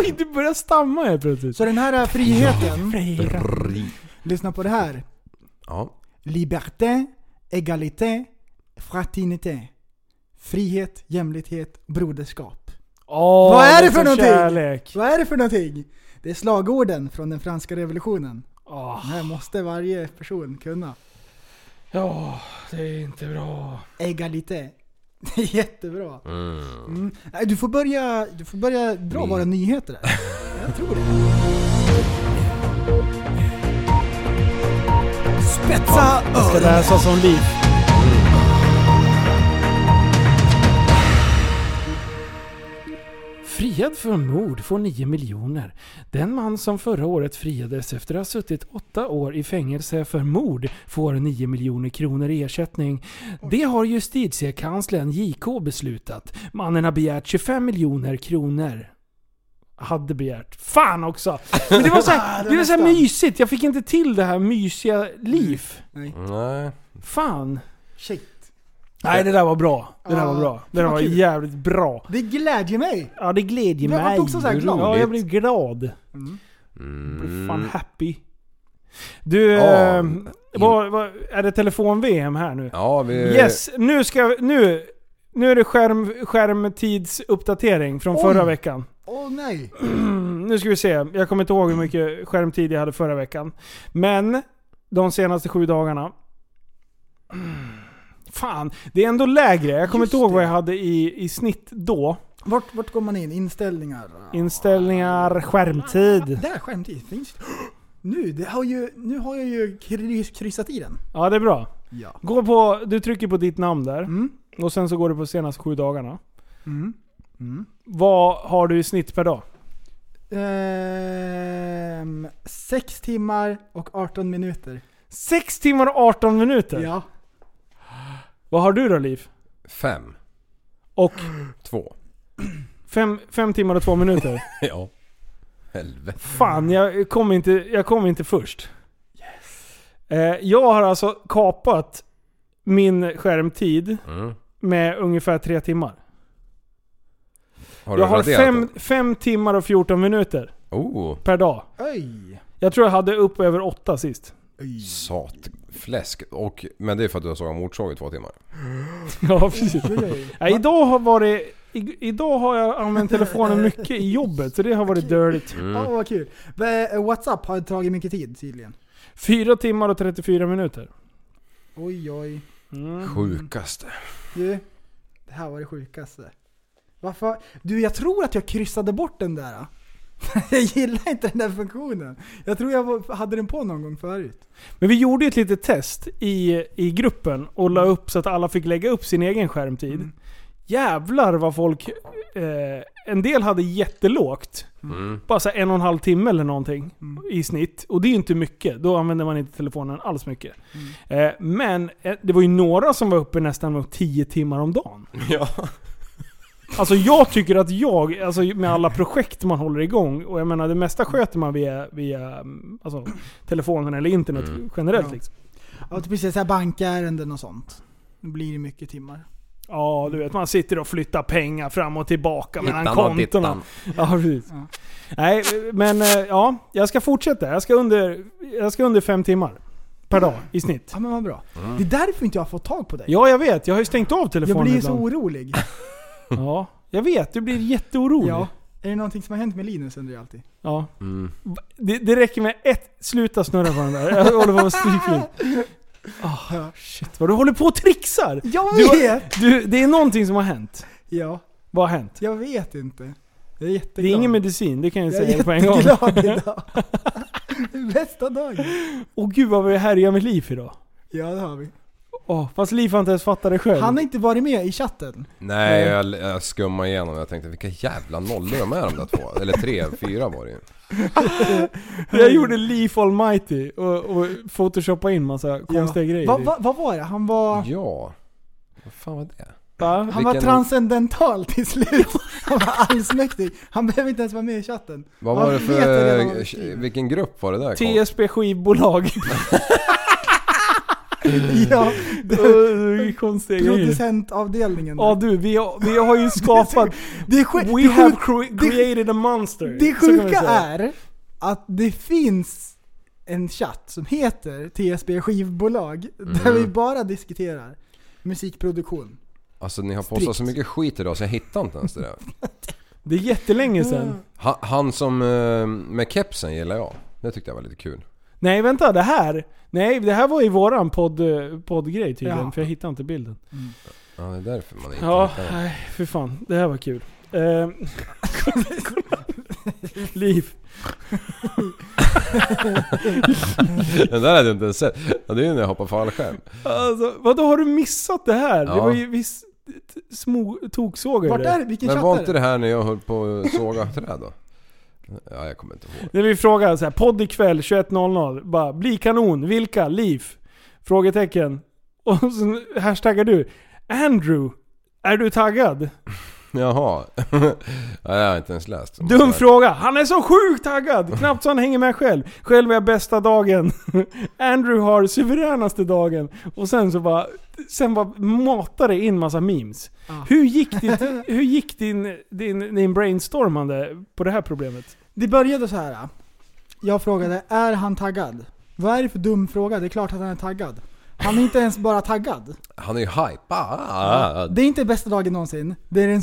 D: Oj, du börjar stamma helt plötsligt.
G: Så den här eh, friheten,
F: Fri.
G: lyssna på det här.
F: Ja.
G: Liberté, égalité, fraternité. Frihet, jämlikhet, broderskap.
D: Åh,
G: Vad är det för
D: som
G: någonting?
D: Kärlek.
G: Vad är det för någonting? Det är slagorden från den franska revolutionen.
D: Åh,
G: Det här måste varje person kunna.
D: Ja, det är inte bra.
G: Egalité. Det är *laughs* jättebra. Mm. Nej, Du, får börja, du får börja dra
D: Mm.
G: våra nyheter
D: *laughs*
G: där. Jag tror det. Spetsa
D: Ska
G: öronen.
D: läsa som liv. Mm. Friad från mord får 9 miljoner. Den man som förra året friades efter att ha suttit åtta år i fängelse för mord får 9 miljoner kronor i ersättning. Det har justitiekanslern JK beslutat. Mannen har begärt 25 miljoner kronor. Hade begärt. Fan också! Men det var så här, *laughs* det var så här mysigt, jag fick inte till det här mysiga liv.
F: Nej.
D: Fan.
G: Shit.
D: Nej det där var bra. Det där
G: Ja,
D: var bra. Det där
G: fan vad
D: var
G: kul.
D: jävligt bra.
G: Det glädjer mig.
D: Ja det glädjer
G: Men
D: mig.
G: jag vart också så här glad.
D: Ja jag blev glad. Jag blev
F: Mm.
D: fan happy. Du,
F: Ja.
D: eh, vad, vad, är det telefon-VM här nu?
F: Ja, vi...
D: Yes, nu ska vi- nu, nu är det skärm, skärmtidsuppdatering från
G: Oj.
D: förra veckan.
G: Åh nej.
D: nu ska vi se, jag kommer inte ihåg hur mycket skärmtid jag hade förra veckan. Men, de senaste sju dagarna. Fan, det är ändå lägre. Jag kommer
G: Just
D: inte ihåg vad
G: det.
D: jag hade i, i snitt då.
G: Vart, vart går man in? Inställningar?
D: Inställningar, skärmtid.
G: Där, skärmtid. Finns det? Nu, det har ju, nu har jag ju kryss, kryssat i den.
D: Ja, det är bra.
G: Ja.
D: Gå på, du trycker på ditt namn där.
G: Mm.
D: Och sen så går du på senaste sju dagarna.
G: Mm. Mm.
D: Vad har du i snitt per dag?
G: Ehm, sex timmar och 18 minuter.
D: 6 timmar och 18 minuter.
G: Ja.
D: Vad har du då Liv?
F: Fem.
D: Och
F: Två.
D: 5 timmar och 2 minuter.
F: Ja. Helvete.
D: Fan, jag kom inte, jag kom inte först. Eh, jag har alltså kapat min skärmtid
F: Mm.
D: med ungefär tre timmar.
F: Har
D: jag har
F: raderat
D: fem,
F: den?
D: fem timmar och 14 minuter
F: Oh,
D: per dag.
G: Oj!
D: Jag tror jag hade upp över åtta
F: *laughs*
D: sist.
F: satfläsk. Och, men det är för att du har sågat motorsåg i två timmar.
D: Ja, precis. Ja, idag har varit... i- Idag har jag använt telefonen mycket i jobbet, så det har varit dörligt.
F: Mm.
G: Åh vad kul. Ve- eh, WhatsApp har tagit mycket tid tydligen.
D: Fyra timmar och 34 minuter.
G: Oj oj.
F: Mm. Sjukaste.
G: Du, det här var det sjukaste. Varför? Du, jag tror att jag kryssade bort den där. *laughs* Jag gillar inte den där funktionen. Jag tror jag var- hade den på någon gång förut.
D: Men vi gjorde ju ett litet test i, i gruppen och la upp så att alla fick lägga upp sin egen skärmtid. Jävlar vad folk... Eh, en del hade jättelågt.
F: Hm?
D: Bara så här en och en halv timme eller någonting i snitt. Och det är ju inte mycket. Då använder man inte telefonen alls mycket. Eh, men eh, det var ju några som var uppe nästan upp 10 timmar om dagen.
F: Ja.
D: Alltså jag tycker att jag, alltså med alla projekt man håller igång, och jag menar det mesta sköter man via, via mm, alltså, telefonen eller internet generellt.
G: Ja.
D: Liksom.
G: Ja, typ precis så här bankärenden och sånt. Då blir det mycket timmar.
D: Ja, du vet man sitter och flyttar pengar fram och tillbaka mellan
E: Hittan och
D: kontona.
E: dittan.
D: Ja, precis. Nej, men eh, ja, jag ska fortsätta. Jag ska under, jag ska under fem timmar per dag i snitt.
G: Ja men vad bra. Det är därför inte jag har fått tag på dig.
D: Ja, jag vet. Jag har ju stängt av
G: jag
D: telefonen
G: blir så
D: ibland.
G: orolig.
D: Ja, jag vet. Du blir jätteorolig.
G: ja. Är det någonting som har hänt med Linus undrar jag alltid.
D: Ja.
F: Hm.
D: Det, det räcker med ett... Sluta snurra på den där. Jag håller på att stryka oh, Shit vad du håller på och trixar!
G: Jag
D: Du har-
G: vet!
D: Du, det är någonting som har hänt.
G: Ja,
D: Vad har hänt?
G: jag vet inte. Jag är
D: Det
G: jätteglad.
D: är ingen medicin, det kan jag
G: Jag
D: säga
G: är
D: på en gång.
G: jätteglad idag.
D: *laughs*
G: *laughs* Bästa dagen.
D: Åh gud vad vi härjar med Liv idag.
G: Ja det har vi.
D: Åh, fast Liv har inte ens fattat det själv.
G: Han har inte varit med i chatten.
F: Nej, jag, jag skummade igenom jag tänkte vilka jävla nollor de är de där två. Eller tre, fyra var det ju.
D: Jag gjorde Liv Almighty och, och photoshoppade in massa konstiga grejer.
G: Vad va, vad var det? Han var,
F: Ja. Vad fan var det?
D: Va?
G: han var
F: Vilken-
G: transcendental till slut. Han var allsmäktig. Han behöver inte ens vara med i chatten.
F: Vad
G: Han
F: var det
G: vet redan vad han
F: för...
G: skriver.
F: Vilken grupp var det där? Carl?
D: TSB
G: *laughs*
D: skivbolag.
G: Ja,
D: Åh, konstiga grejer.
G: producentavdelningen.
D: Ja du, vi har, vi har ju skapat...
G: *laughs* Det, är sjuk,
D: We
G: det,
D: have
G: sjuk,
D: cre-
G: det-
D: created a monster.
G: det
D: Så kan man
G: sjuka
D: säga.
G: är att det finns en chatt som heter TSB skivbolag. Där
F: Mm.
G: vi bara diskuterar musikproduktion.
F: Alltså ni har postat så
G: Strikt.
F: mycket skit idag så jag hittar inte ens det där.
D: Det är jättelänge sedan.
F: Han, han som eh, med kepsen gillar jag. Det tyckte jag var lite kul.
D: Nej vänta, det här. Nej, det här var ju våran podd, eh, poddgrej tydligen.
G: Ja.
D: För jag hittade inte bilden.
F: Ja, det är därför man inte
D: Ja,
F: hittar den.
D: nej för fan. Det här var kul.
G: *laughs*
D: Eh, *laughs* Liv.
F: Den där hade jag inte ens sett. Ja, det är ju när jag hoppar fallskärm.
D: Alltså, vadå har du missat det här? Det
F: Ja.
D: var ju viss små toksågade
G: Vart är det? Vilken
F: Men
G: chatt
F: var
G: är
F: inte det här när jag höll på att såga träd då? Ja, jag kommer inte ihåg.
D: När vi frågar så här, podd ikväll 21.00. Bara, bli kanon, vilka, Liv? Frågetecken. Och så hashtaggar du. Andrew, är du taggad?
F: Jaha. *laughs* Ja, jag har inte ens läst.
D: Dum fråga. Han är så sjukt taggad! Knappt så han hänger med själv. Själv är jag bästa dagen. *laughs* Andrew har suveränaste dagen. Och sen så bara... Sen bara matar det in massa memes. Hur gick, ditt, hur gick din, din, din brainstormande på det här problemet?
G: Det började så här. Jag frågade, är han taggad? Vad är det för dum fråga? Det är klart att han är taggad. Han är inte ens bara taggad.
F: Han är ju Ah, hypad.
G: Det är inte bästa dagen någonsin. Det är den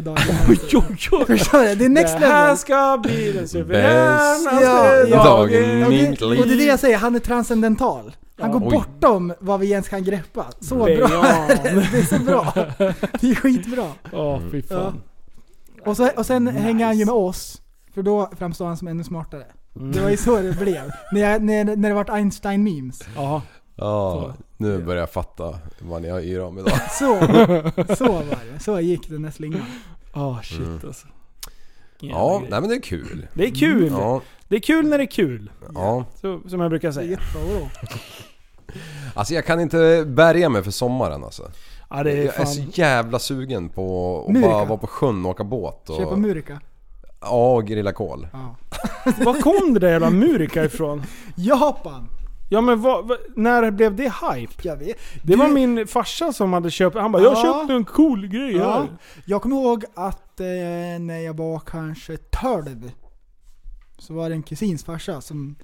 D: *laughs*
G: dagen någonsin.
D: Jo, jo.
G: Förstår du? Det är next
D: det här
G: level.
D: ska bli den
G: Ja,
D: suveränaste
G: ja.
D: dagen.
G: Och
F: Dagen.
G: det, och det är det jag säger, han är transcendental. Han
D: Ja.
G: går
F: Oj.
G: bortom vad vi ens kan greppa. Så bra.
D: *laughs* Beyond.
G: Det är så bra. Det är skitbra.
D: Ja, fy fan.
G: Och, så, och sen hänger han ju med oss, för då framstår han som ännu smartare. Det var ju så det blev. När, jag, när, när det vart Einstein-memes.
D: Ja.
F: Ja, nu börjar jag fatta vad ni har yr om idag.
G: Så, så var det. Så gick den där slingan.
D: Ah, shit alltså.
F: Ja, nej men det är kul.
D: Det är kul.
F: Ja,
D: Det är kul när det är kul.
F: ja.
D: Så, som jag brukar
G: Det är
D: säga.
G: jättebra.
F: Alltså jag kan inte bärga mig för sommaren alltså.
D: Ja, det är
F: Jag är så
D: fan.
F: jävla sugen på att
G: Murika.
F: bara vara på sjön och åka båt. Och,
G: Köpa Murica.
F: ja, och grilla kol.
G: Ja.
D: Var kom det där jävla Murika ifrån?
G: Japan!
D: Ja men vad, vad, när blev det hype?
G: Jag vet.
D: Det var
G: Du-
D: min farsa som hade köpt, han bara 'Jag
G: Ja.
D: köpte en cool grej
G: Ja.
D: här'
G: Jag kommer ihåg att eh, när jag var kanske 12 så var det en kusins farsa som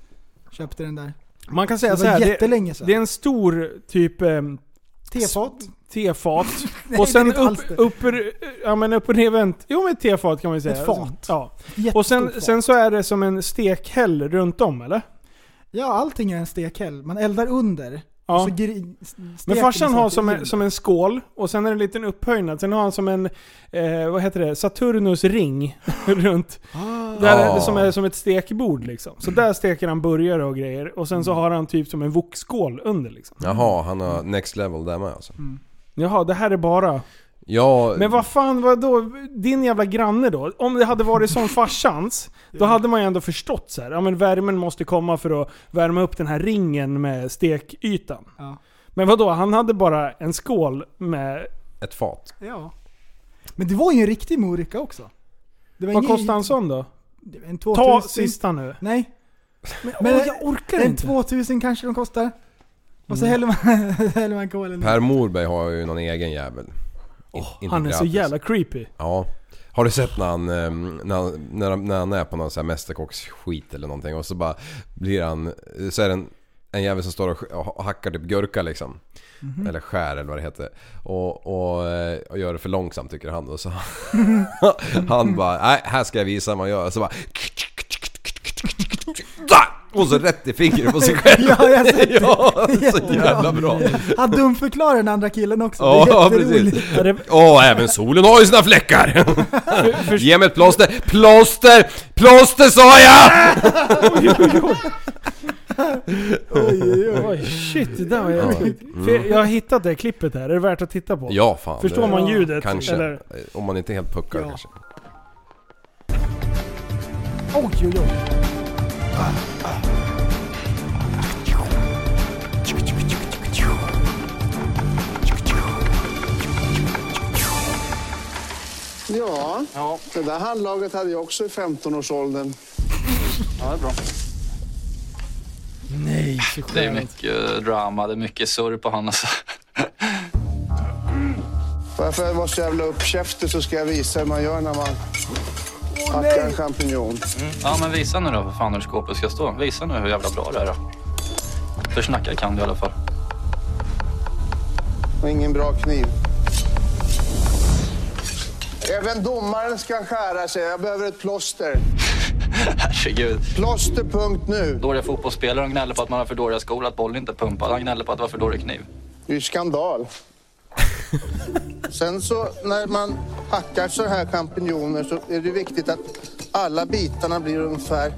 G: köpte den där.
D: Man kan
G: Det
D: säga
G: var
D: så här, det,
G: jättelänge sedan.
D: det är en stor typ ehm,
G: Tefat.
D: tefat.
G: *laughs* Nej,
D: och sen
G: det är inte
D: upp,
G: alls det.
D: upp, ja, men upp och ner vänt. Jo men ett tefat kan man ju säga.
G: Ett fat.
D: Ja.
G: Jättestort
D: Och sen,
G: fat.
D: sen så är det som en stekhäll runt om eller?
G: Ja, allting är en stekhäll. Man eldar under.
D: Ja.
G: Och så gri- s-
D: Men
G: steker
D: farsan
G: man
D: har
G: saker
D: som
G: i.
D: en, som en skål och sen är det en liten upphöjnad. Sen har han som en, eh, vad heter det, Saturnus ring *laughs* runt. Där är det som, är, som ett stekbord liksom. Så där steker han burgare och grejer. Och sen så har han typ som en wokskål under liksom.
F: Jaha, han har next level där med alltså.
D: Jaha, det här är bara...
F: Ja,
D: Mm. Men vad fan, vad då Din jävla granne då? Om det hade varit som farsans, då hade man ju ändå förstått så här. Ja men värmen måste komma för att värma upp den här ringen med stekytan.
G: Ja.
D: Men vad då? han hade bara en skål med
F: ett fat.
G: Ja. Men det var ju en riktig morika också. Det var
D: Vad
G: ingen-
D: kostar en sån då?
G: det var En 2000.
D: Ta sista nu.
G: Nej. Men,
D: åh, jag orkar
G: en
D: inte.
G: 2000 kanske de kostar. Och så häller man, *laughs* häller man kolen i.
F: Mm. Per Morberg har ju någon egen jävel. In- inte
D: Han är så
F: gratis.
D: jävla creepy.
F: Ja. Har du sett när han, ehm, när, han- när, han- när han är på någon sån här mästerkocksskit eller någonting och så bara blir han... Så är det en, en jävel som står och sk- och hackar typ gurka liksom.
D: Mhm.
F: Eller skär eller vad det heter. Och, och, eh, och gör det för långsamt tycker han då. Så
D: *laughs*
F: han, han bara, nej här ska jag visa vad man gör. Så bara... Och så rätt i fingret
D: *laughs*
F: på sig själv.
G: Ja, jag har sett det.
F: *laughs* Ja, så jävla bra.
G: Han dumförklarar den andra killen också. det är
F: Ja,
G: jätteroligt.
F: precis.
D: Är det-
F: Åh, även solen har ju sina fläckar! Ge mig ett plåster! Plåster! Plåster sa jag!
D: Oj, shit, det där var jävla creepy. För Jag har hittat det klippet här, är det värt att titta på?
F: Mm. Ja, fan.
D: Förstår
F: det-
D: man ljudet?
F: Kanske.
D: Eller?
F: Om man inte är helt puckad kanske.
G: Oj, oj, oj.
H: Ja, det där handlaget hade jag också i 15-årsåldern.
D: Nej, så skönt.
I: Det är mycket eh, drama, det är mycket surr på han alltså.
H: Varför jag var så jävla uppkäftig så ska jag visa hur man gör när man hackar en champinjon.
I: Mm. Ja men visa nu då för fan hur skåpet ska stå. Visa nu hur jävla bra det är då. För snacka kan du i alla fall.
H: Och ingen bra kniv. Även domaren ska skära sig. Jag behöver ett plåster.
I: Herregud.
H: Plåster, punkt nu.
I: Dåliga fotbollsspelare, de gnäller på att man har för dåliga skor, att bollen inte är pumpad. Han gnäller på att det var för dålig kniv.
H: Det är ju skandal. Sen så när man hackar så här champinjoner så är det viktigt att alla bitarna blir ungefär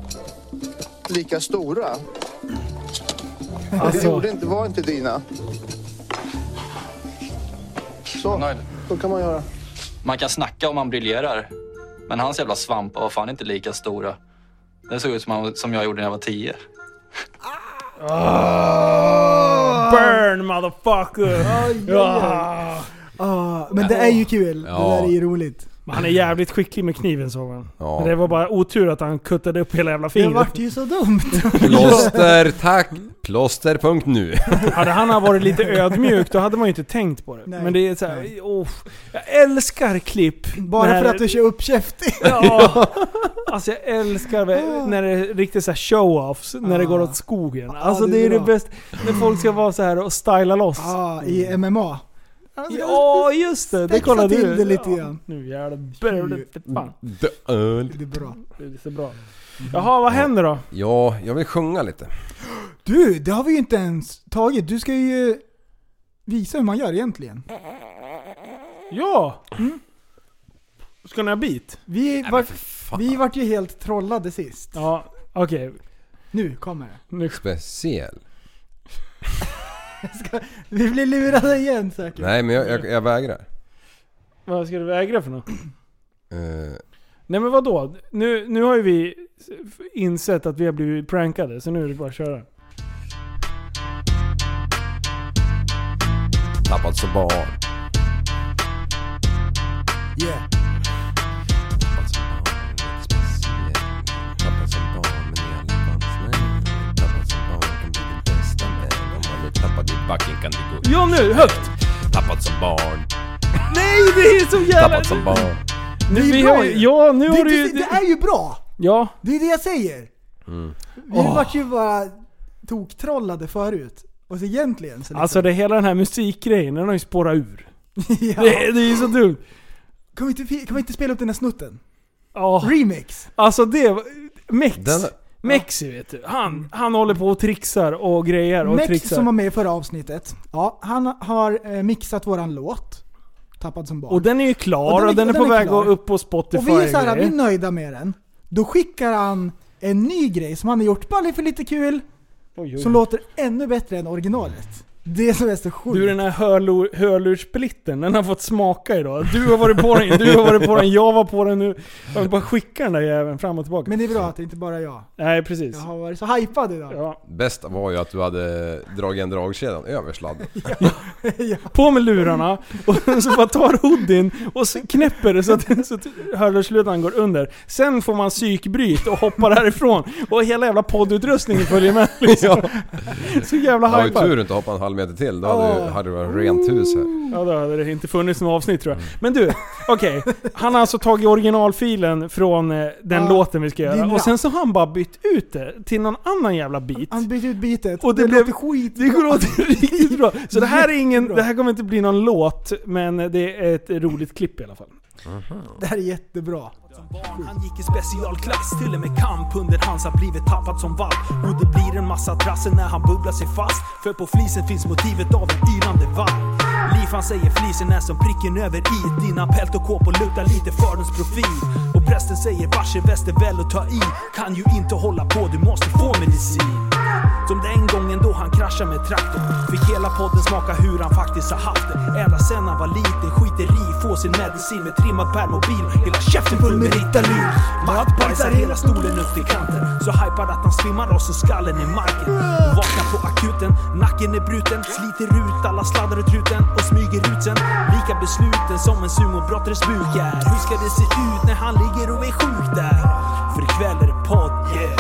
H: lika stora. Det
D: Alltså,
H: gjorde inte, var inte dina. Så,
I: Nöjd.
H: så kan man göra.
I: Man kan snacka om man briljerar. Men hans jävla svampar var fan inte lika stora. Det såg ut som, han, som jag gjorde när jag var tio.
D: Ah. burn motherfucker! Ja.
G: Ah, men det är ju kul. Det
F: Ja.
G: där är ju roligt.
D: Men Han är jävligt skicklig med kniven såg man.
F: Ja.
D: Men det var bara otur att han kuttade upp hela jävla
G: Det
D: fingret.
G: vart ju
D: *laughs*
G: så dumt.
F: Plåster, tack! Plåster, punkt nu.
D: Hade han har varit lite ödmjuk då hade man ju inte tänkt på det.
G: Nej.
D: Men det är såhär, oh, jag älskar klipp.
G: Bara
D: när-
G: för att du kör uppkäftig.
D: Ja. *laughs* Alltså jag älskar vä- när det är riktigt så här show-offs, när det går åt skogen. Alltså
G: det
D: det är
G: är
D: det
G: bra.
D: bästa. När folk ska vara så här och styla loss.
G: Ja, *laughs* i MMA.
D: mm. Ja just det, det
G: spexa
D: kollar
G: till
D: du.
G: det lite
D: Ja,
G: grann.
D: Nu jävlar, det- det- fan.
F: The öl.
G: Det är bra.
D: Det ser bra. Jaha, vad händer då?
F: Ja, jag vill sjunga lite.
G: Du, det har vi ju inte ens tagit. Du ska ju visa hur man gör egentligen.
D: Ja! Ska ni ha bit?
G: Vi,
F: Nej, men
G: var,
F: för fan.
G: vi vart ju helt trollade sist.
D: Ja, okej.
G: Nu kommer det.
D: Nu
G: *laughs*
F: Speciell.
G: Vi blir lurade igen säkert.
F: Nej men jag, jag, jag vägrar.
D: Vad ska du vägra för något?
F: Eh,
D: Nej men vadå? Nu, nu har ju vi insett att vi har blivit prankade, så nu är det bara att köra.
F: tappad som barn. Yeah. Tappad som barn, lite speciell. Tappad som barn, men i alla fall snäll. Tappad som barn kan bli den bästa.
D: Ja nu, högt!
E: Tappat som barn,
D: Nej, det är så jävla...
E: tappat som barn.
D: Nu,
G: Det är
D: vi
G: bra
D: har,
G: ju.
D: ja, nu
G: Det,
D: har du
G: det,
D: ju...
G: det är ju bra!
D: Ja,
G: Det är det jag säger!
D: Mm.
G: Vi vart ju bara toktrollade förut. Och så egentligen så liksom,
D: alltså det, hela den här musikgrejen, den har ju spårat ur.
G: *laughs* ja.
D: Det, det är ju så dumt.
G: kan, vi inte, fi- kan vi inte spela upp den här snutten?
D: Ja,
G: Remix!
D: alltså det... var- Mex.
F: Den-
D: Mexi vet du. Han, han håller på och trixar och grejer och
G: Mex
D: trixar.
G: som var med i förra avsnittet, ja, han har eh, mixat våran låt. Tappad som barn.
D: Och den är ju klar
G: Och
D: och
G: den
D: den är,
G: är- och
D: på
G: den är
D: väg
G: klar.
D: att upp på Spotify
G: Och vi är, så här, vi är
D: grejer.
G: nöjda med den. Då skickar han en ny grej som han har gjort bara för lite kul, som låter ännu bättre än originalet. Det är som är så sjukt.
D: Du den här hörlur, hörlurssplitten, den har fått smaka idag. Du har varit på den, du har varit på den, jag var på den nu. Jag vill bara skicka den där jäveln fram och tillbaka.
G: Men det är bra att det inte bara är jag.
D: Nej precis.
G: Jag har varit så hypad idag.
D: Ja.
F: Bästa var ju att du hade dragit en dragkedjan över sladden.
D: På med lurarna, och *laughs* så bara tar hoodien och så knäpper det så att, så att hörlurslutan går under. Sen får man psykbryt och hoppar härifrån. Och hela jävla poddutrustningen följer med liksom. Så jävla
F: Det var ju
D: hypad.
F: tur att inte hoppa en halv meter till, då hade, du- hade du varit rent hus här.
D: Ja, då hade det inte funnits något avsnitt tror jag. Men du, okej. Han har alltså tagit originalfilen från eh, den
G: Ja,
D: låten vi ska
G: din
D: göra.
G: rap.
D: Och sen så har han bara bytt ut det till någon annan jävla bit.
G: Han bytte ut bitet.
D: Och det
G: det
D: blev-
G: låter skit.
D: Det går åt riktigt bra. Så det här, är ingen,
G: Jättebra.
D: det här kommer inte bli någon låt, men det är ett roligt klipp i alla fall.
G: *laughs* Det här är jättebra.
J: som barn. Han gick i specialklass, till och med kamphunden hans har blivit tappad som valp. Och det blir en massa trassel när han bubblar sig fast. För på flisen finns motivet av en ylande valp. Liv han säger flisen är som pricken över i. Dina pält och kåpor luktar lite fördomsprofil. Och prästen säger varse väster väl och ta i. Kan ju inte hålla på, du måste få medicin. Som den gången då han kraschade med traktorn Fick hela podden smaka hur han faktiskt har haft det Ända sen han var liten skiter i få sin medicin med trimmad permobil Hela käften full med Ritalin Matt bajsar hela stolen upp till kanten Så hypad att han svimmar av så skallen i marken Och vaknar på akuten, nacken är bruten Sliter ut alla sladdar och truten och smyger ut sen Lika besluten som en sumobrottares buk är Hur ska det se ut när han ligger och är sjuk där? För ikväll är det podd, yeah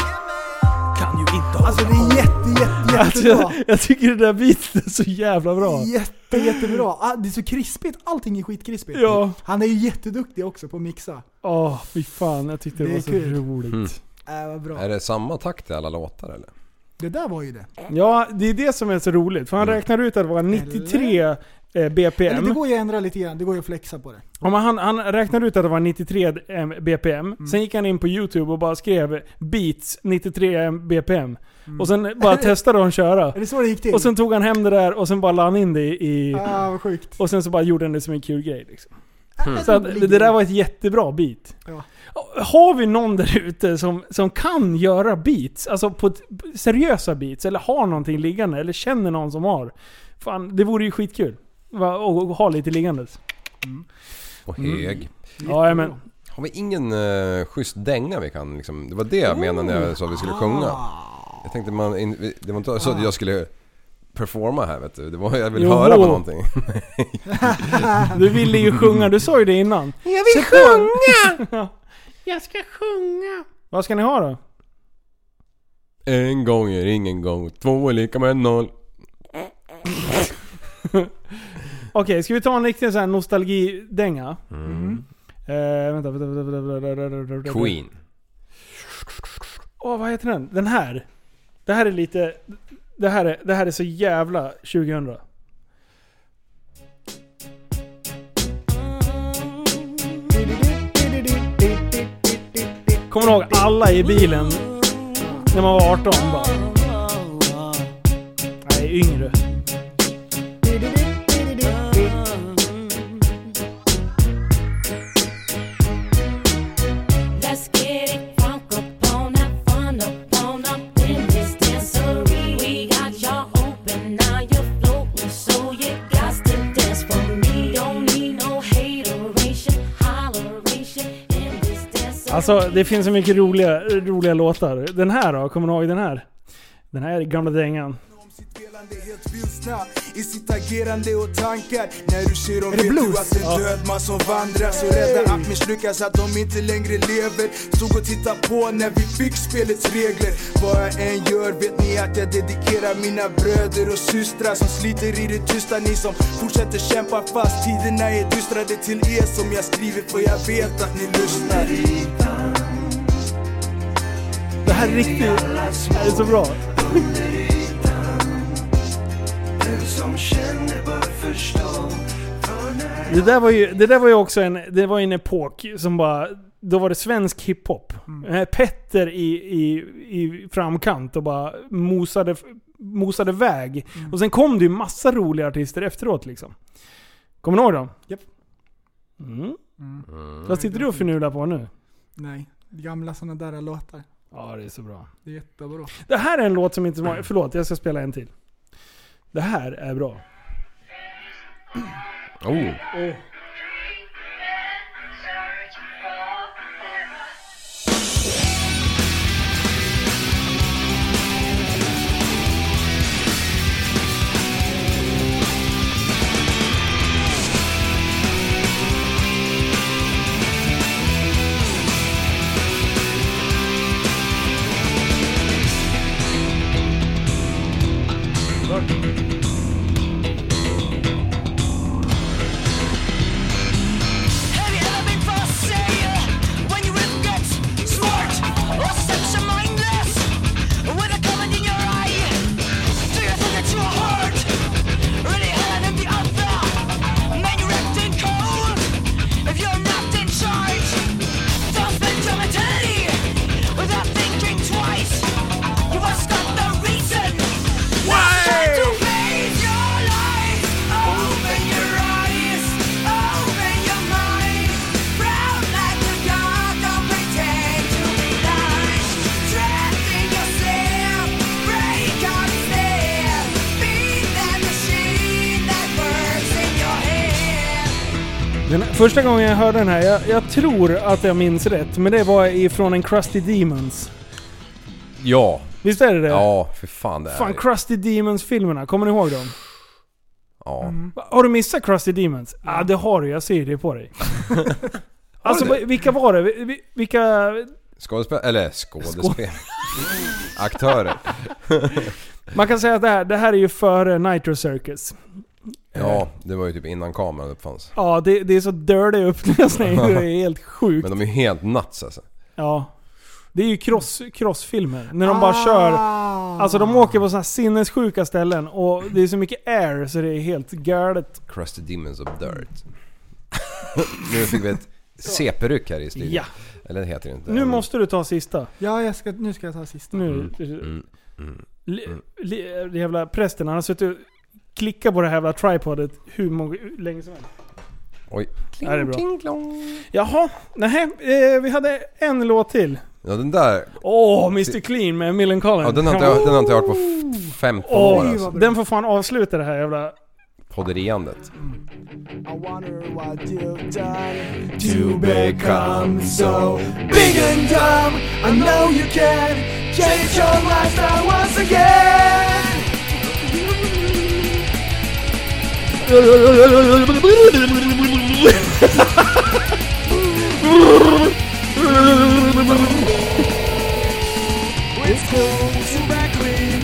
J: Kan ju inte hålla
G: Alltså det är jätte, jätte,
D: Alltså,
G: jättebra.
D: jag, jag tycker det där bitet är så jävla bra.
G: Jätte, jättebra. Ah, Det är så krispigt. Allting är skitkrispigt.
D: Ja.
G: Han är ju jätteduktig också på att mixa.
D: Åh, fy fan. Jag tyckte det,
G: Det är
D: var så
G: kul.
D: roligt.
G: Äh, vad bra.
F: Är det samma takt i alla låtar eller?
G: Det där var ju det.
D: Ja, det är det som är så roligt. För han räknar ut att det var 93 eh,
G: Eller det
D: BPM.
G: går ju att ändra lite grann. Det går ju att flexa på det.
D: Ja, men han, han räknade ut att det var 93 m BPM,
G: Mm.
D: sen gick han in på YouTube och bara skrev beats 93 m BPM.
G: Mm.
D: Och sen
G: *laughs*
D: bara testade de att köra.
G: Är det så det gick till?
D: Och sen tog han hem det där och sen bara la han in det i...
G: ah, vad sjukt.
D: Och sen så bara gjorde han det som en kul grej. Liksom.
G: Äh,
D: Så att, det det där var ett jättebra beat.
G: Ja.
D: Har vi någon där ute som, som kan göra beats? Alltså på ett, seriösa beats? Eller har någonting liggande? Eller känner någon som har? Fan, det vore ju skitkul. Va, och, och ha lite liggandes.
F: Och hög.
D: Ja, men
F: Har vi ingen uh, schysst dänga vi kan liksom? Det var det jag menade när jag sa att vi skulle
D: Oh.
F: sjunga. Jag tänkte man, in, det var inte så att jag skulle performa här vet du. Det var jag ville
D: Joho.
F: höra på någonting.
D: Du ville ju sjunga, du sa ju det innan. Jag vill sjunga! *laughs* ja. Jag ska sjunga. Vad ska ni ha då?
F: En gång är ingen gång, två är lika med noll.
D: Okej, ska vi ta en riktig sån här nostalgidänga? Eh, vänta, vänta, vänta, vänta, vänta, vänta, vänta, vänta.
F: Queen.
D: Åh, vad heter den? Den här. Det här är lite... Det här är, det här är så jävla 2000. Kommer ni ihåg alla i bilen? När man var 18 bara. Nej, yngre.
K: Let's get it drunk upon that fun upon up in this dancery. We got y'all open, now you're floating, so you got to dance for me. Don't need no hateration, holleration in this dancery.
D: Alltså det finns så mycket roliga, roliga låtar. Den här då? Kommer ni ihåg den här? Den här gamla dängan.
G: Spelande helt vilsna i sitt agerande och tankar När du ser dem vet du att det är en död man som vandrar Så rädda att misslyckas, att de inte längre lever Stod och tittade på när vi fick spelets regler Vad jag än gör vet ni att jag dedikerar mina bröder och systrar Som sliter i det tysta, ni som fortsätter kämpa fast tiderna är dystra Det är till er som jag skriver för jag vet att ni lyssnar
D: Det här är riktigt... Det här är så bra. Det där var ju, det där var ju också en, det var ju en epok som bara... Då var det svensk hiphop. Eh, Petter i, i, i framkant och bara mosade, mosade väg. Och sen kom det ju massa roliga artister efteråt liksom. Kommer ni ihåg dem?
L: Japp.
D: Mm. Vad sitter du och förnular på nu?
L: Nej, gamla såna där låtar.
D: Ja, det är så bra.
L: Det är jättebra.
D: Det här är en låt som inte var... Förlåt, jag ska spela en till. Det här är bra.
F: Oh.
M: Have you ever been frustrated when your rhythm gets smart or such a mindless with a comment in your eye? Do you think that you are hurt? Really had an empty offer? Man, you're acting cold if you're not in charge. Don't spend your mentality without thinking twice. You must stop the reason. Why? To face your life, open your eyes, open your mind. Brown like the dark, don't pretend to be nice. Trapped in yourself, break out there. Be that machine that works in your head.
D: Den här, första gången jag hörde den här, jag, jag tror att jag minns rätt, men det var ifrån en Crusty Demons.
F: Ja.
D: Visst är det det?
F: Ja, för fan det är
D: Fan, Crusty Demons-filmerna, kommer ni ihåg dem?
F: Ja.
D: Va, Har du missat Crusty Demons? Ja, ah, det har du. Jag ser det på dig. alltså, vi- vilka var det? Vi- vi- Vilka...
F: Skådespel... Eller skådespel. *laughs* Aktörer.
D: Man kan säga att det här, det här är ju före Nitro Circus.
F: ja, det var ju typ innan kameran uppfanns.
D: Ja, det, det är så dirty upplösning. Det är helt sjukt.
F: *laughs* Men de är ju helt nuts alltså.
D: Ja. Det är ju cross, crossfilmer. När de bara kör... Alltså de åker på sådana här sinnessjuka ställen och det är så mycket air så det är helt galet.
F: Crusty Demons of Dirt. *laughs* nu fick vi ett CP-ryck här i studion.
D: Ja.
F: Eller det heter det inte.
D: Nu måste du ta sista.
L: Ja, jag ska, nu ska jag ta sista.
D: Nu.
F: Mm, mm,
D: Li,
F: mm.
D: li, det jävla prästen, han har suttit och klickat på det här jävla tripodet hur många, hur länge som helst.
F: Oj.
D: Ja, det är bra. Jaha, nej, eh, vi hade en låt till.
F: Ja den där.
D: Åh, Mr Clean med Millencolin.
F: Ja, den har inte jag, den har inte jag hört på f- 15 år
D: Åh,
F: alltså.
D: den får fan avsluta det här jävla...
F: Podderiandet.
G: I wonder what you've done
F: To
G: become so big and dumb. I know you can change your lifestyle once again. It's cool to back clean.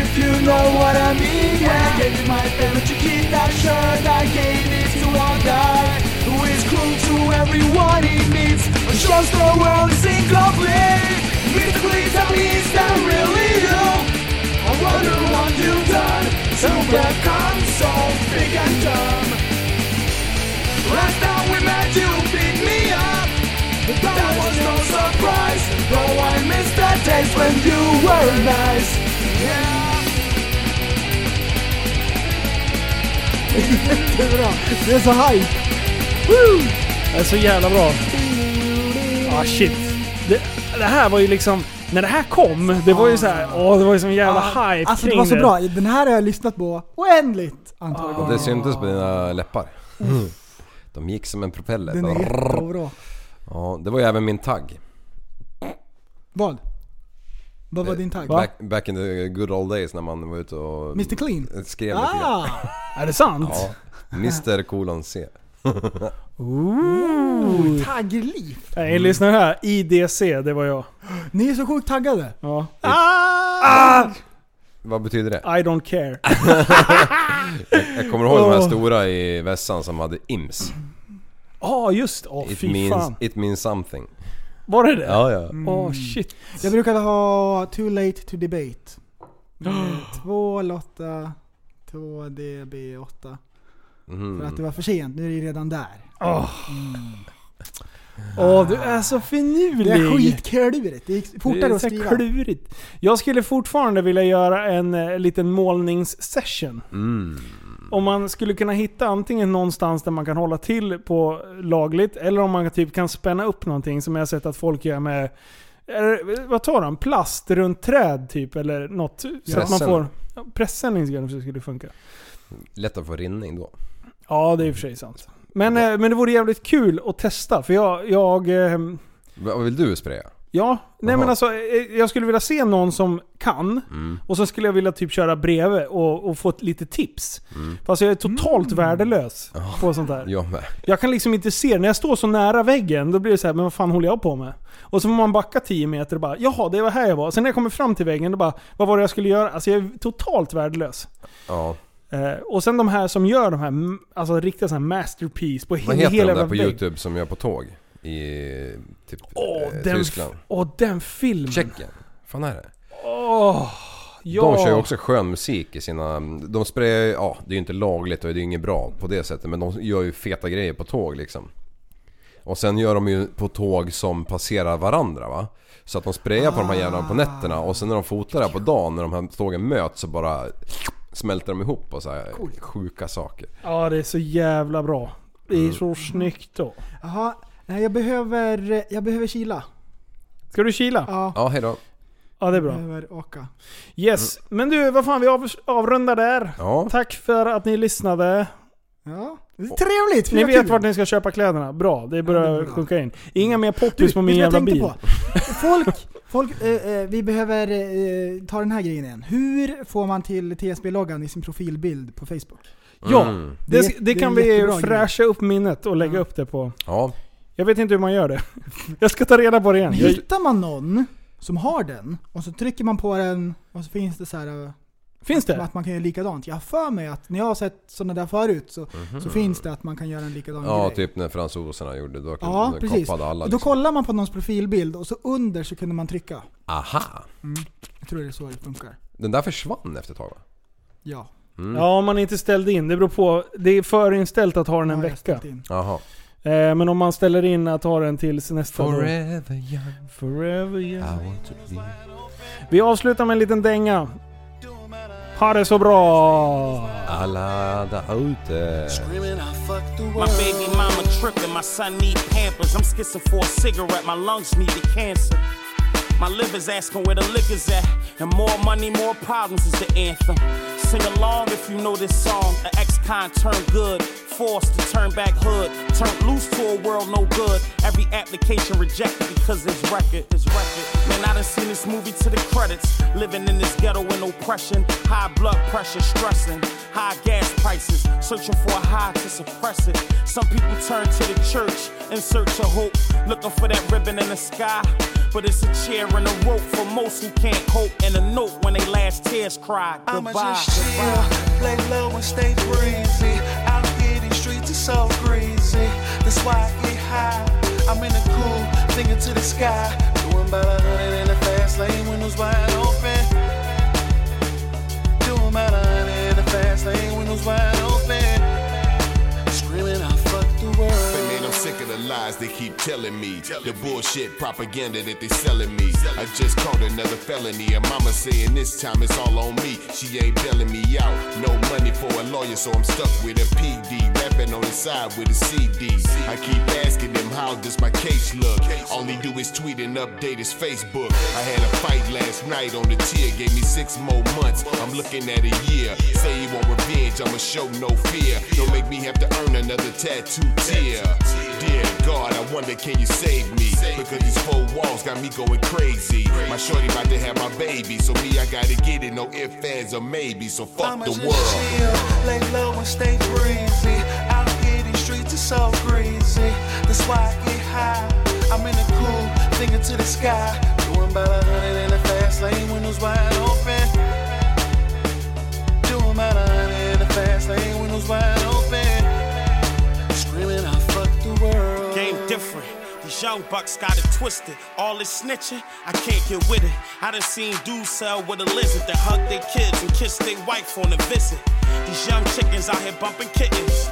G: If you know what I mean, I gave you my favorite to keep that shirt. I gave it to all guy who is cruel to everyone he meets. But shows the world is incomplete. Please, please tell me is that really you? I wonder what you've done to become so big and dumb. Last time we met, you beat me up. That was no surprise, though I missed that days when you were nice. Yeah.
L: det är bra. Det är så hype.
D: Woo! Det är så jävla bra. Ah shit. Det, det här var ju liksom... När det här kom, det var ju så här, åh det var ju sån jävla hype
L: Ah. Alltså det
D: kring
L: var så bra. Den här har jag lyssnat på oändligt antal
F: Och
L: gånger.
F: det syntes på dina läppar.
D: Mm.
F: De gick som en propeller.
L: Den är jättebra.
F: Ja, det var ju även min tagg.
L: Vad?
G: Vad var din tagg?
F: Back, back in the good old days när man var ute och...
G: Mr Clean?
F: Skrev lite
G: ah!
F: grann.
D: Är det sant?
F: Ja. Mr kolon C.
G: Mm.
D: Ooh.
G: Taggeliv!
D: Nej, lyssna här. IDC, det var jag.
G: Ni är så sjukt taggade!
D: Ja.
G: Ah!
F: Vad betyder det?
D: I don't care.
F: Jag kommer ihåg de här
D: Åh.
F: stora i vässan som hade IMS.
D: Ja, Ah, just Åh,
F: It
D: fy
F: means,
D: fan. Mm.
F: it means something.
D: Var det det?
F: Ja, ja.
D: Åh, shit.
G: Jag brukade ha Too late to debate. Mm, Två Lotta, två DB8.
F: Mm.
D: Mhm.
G: För att det var för sent, nu är det redan där.
D: Åh.
G: Mm.
D: Åh, du är så finurlig.
G: Det är skitklurigt. Det gick
D: Det är
G: fortare att
D: så
G: skriva.
D: klurigt. Jag skulle fortfarande vilja göra en eh, liten målningssession.
F: Mm.
D: Om man skulle kunna hitta antingen någonstans där man kan hålla till på lagligt, eller om man typ kan spänna upp någonting som jag har sett att folk gör med, är, vad tar de? Plast runt träd typ, eller något. Så att man
F: Pressen.
D: får... ja, Pressen kanske skulle funka.
F: Lätt att få rinning då.
D: Ja, det är i och för sig sant. Men, eh, men det vore jävligt kul att testa, för jag... jag eh,
F: Vad vill du spraya?
D: ja, nej
F: Jaha.
D: men alltså, eh, jag skulle vilja se någon som kan,
F: Mm.
D: och så skulle jag vilja typ köra bredvid och, och få ett lite tips.
F: Mm.
D: Fast jag är totalt värdelös på sånt där.
F: Jag med.
D: Jag kan liksom inte se, när jag står så nära väggen, då blir det så här, men vad fan håller jag på med? Och så får man backa 10 meter och bara, jaha det var här jag var. Sen när jag kommer fram till väggen, då bara, vad var det jag skulle göra? Alltså jag är totalt värdelös.
F: Ja.
D: Eh, och sen de här som gör de här, m- alltså riktiga så här masterpiece på
F: Vad
D: he- hela
F: heter de där
D: jävla
F: på
D: väggen.
F: youtube som gör på tåg? I typ
D: Åh,
F: eh,
D: den f-
F: Tyskland?
D: Åh den filmen.
F: Tjeckien? fan är det?
D: Åh, ja.
F: De kör ju också skön musik i sina... De sprayar ju- ja det är ju inte lagligt och det är ju inget bra på det sättet men de gör ju feta grejer på tåg liksom. Och sen gör de ju på tåg som passerar varandra va. Så att de sprayar på de här jävlarna på nätterna och sen när de fotar där på dagen när de här tågen möts så bara smälter de ihop och så här sjuka saker.
D: Ja det är så jävla bra. Det
F: Mm.
D: är så snyggt då.
G: Jaha, nej jag behöver, jag behöver kila.
D: Ska du kila?
G: Ja. Mm.
F: Ja hejdå.
D: Ja det är
G: Jag
D: bra.
G: behöver åka.
D: Yes, men du vad fan vi av, avrundar där.
F: Ja.
D: Tack för att ni lyssnade.
G: Ja. Det är trevligt!
D: Ni
G: vad
D: vet
G: kul.
D: vart ni ska köpa kläderna. Bra, det börjar sjunka in. Inga mer poppis på
G: Vet
D: min
G: du vad jag
D: jävla
G: tänkte
D: bil.
G: på?
F: Mm.
G: Folk, folk eh, eh, vi behöver eh, ta den här grejen igen. Hur får man till TSB-loggan i sin profilbild på Facebook?
D: Ja, det, det,
G: är
D: kan
G: en
D: vi
G: jättebra grej.
D: fräscha upp minnet och lägga upp det på.
F: Ja.
D: Jag vet inte hur man gör det. *laughs* Jag ska ta reda på det igen. Jag,
G: Hittar man någon som har den och så trycker man på den och så finns det så här... eh,
D: Finns det?
G: Att man kan göra likadant. Jag har för mig att när jag har sett sådana där förut så, så finns det att man kan göra en likadan
F: Mhm. Ja
G: grej.
F: typ när fransoserna gjorde då
G: Ja,
F: ja,
G: precis.
F: koppade alla
G: och då
F: liksom.
G: kollar man på någons profilbild och så under så kunde man trycka. Mm.
F: Aha!
G: Jag tror det är så det funkar.
F: Den där försvann efter ett tag va?
G: Ja.
F: Mm.
D: ja, om man inte ställde in. Det beror på. Det är förinställt att ha den en vecka.
F: Jaha.
D: Eh, men om man ställer in att ha den tills nästa dag.
F: Forever young.
D: Forever young.
F: I want to be.
D: Vi avslutar med en liten dänga. Ha det så bra!
F: Alla där ute.
N: My baby mama tripping, my son need pampers. I'm skissing for a cigarette, my lungs need the cancer. My liver's asking where the liquor's at, and more money, more problems is the anthem. Sing along if you know this song. An ex-con turned good, forced to turn back hood, turned loose to a world no good. Every application rejected because his record is record. Man, I done seen this movie to the credits. Living in this ghetto with oppression, high blood pressure, stressing, high gas prices, searching for a high to suppress it. Some people turn to the church in search of hope, looking for that ribbon in the sky. But it's a chair and a rope for most who can't cope, and a note when they last tears cry.
O: I'ma
N: Goodbye.
O: just chill, lay low and stay breezy. Out here these streets are so greasy, that's why I get high. I'm in the cool, singing to the sky, doing about a hundred in the fast lane, windows wide open. Doing about a hundred in the fast lane, windows wide open. Screaming, I fucked the world.
P: But man, I'm sick of the lies they keep telling me. The bullshit propaganda that they selling me. I just caught another felony, and mama saying this time it's all on me. She ain't bailing me out. No money for a lawyer, so I'm stuck with a PD. Rapping on the side with a CD. I keep asking them, how does my case look? All he do is tweet and update his Facebook. I had a fight last night on the tier, gave me six more months. I'm looking at a year. Say he want revenge, I'ma show no fear. Don't make me have to earn another tattoo tear. Dear God, I wonder can you save me? Because these four walls got me going crazy. My shorty about to have my baby, so me I gotta get it. No ifs, ands, or maybe. So fuck the world.
O: chill, lay low and stay breezy. Out here, these streets are so greasy. That's why I get high. I'm in the cool, thinking to the sky. Doing about a hundred in the fast lane, windows wide open. Doing about a hundred in the fast lane, windows wide open. Screaming, I fuck the world.
N: Game different. These young bucks got it twisted. All this snitching, I can't get with it. I done seen dudes sell with a lizard that hug their kids and kiss their wife on a visit. These young chickens out here bumping kittens.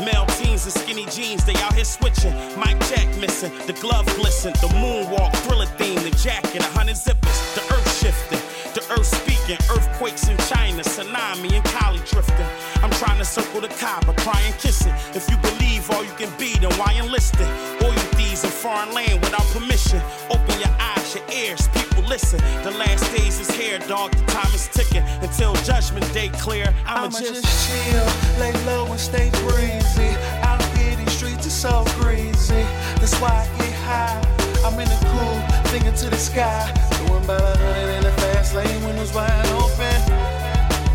N: Male teens in skinny jeans, they out here switching. Mike Jack missing, the glove glisten, the moonwalk, thriller theme, the jacket, a hundred zippers, the earth shifting. The earth speaking, earthquakes in China, tsunami and collie drifting. I'm trying to circle the Kaaba, cry and kiss it. If you believe all you can be, then why enlist it? Oil thieves in foreign land without permission. Open your eyes, your ears, people listen. The last days is here, dog. The time is ticking until judgment day clear. I'ma,
O: I'ma
N: just,
O: just chill, lay low and stay breezy. Out here, these streets are so greasy. That's why I get high. I'm in the cool, thinking to the sky. Doing about a hundred in the fast lane, windows wide open.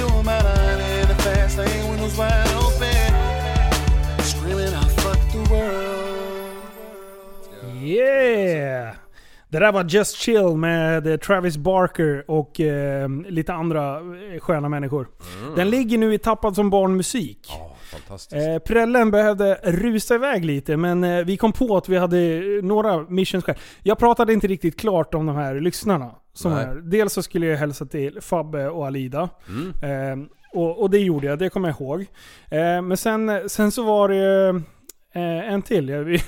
O: Doing about a hundred in the fast lane, windows wide open. Screaming, I fuck the world.
D: Yeah! Det där var Just Chill med eh, Travis Barker och eh, lite andra eh, sköna människor.
F: Mm.
D: Den ligger nu i Tappad som barn musik. Eh, prällen behövde rusa iväg lite, men eh, vi kom på att vi hade eh, några missions själv. Jag pratade inte riktigt klart om de här lyssnarna. Som
F: Nej.
D: är. Dels så skulle jag hälsa till Fabbe och Alida.
F: Mm.
D: Eh, och, och det gjorde jag, det kommer jag ihåg. Eh, men sen, sen så var det ju eh, en till jag, *laughs* vi,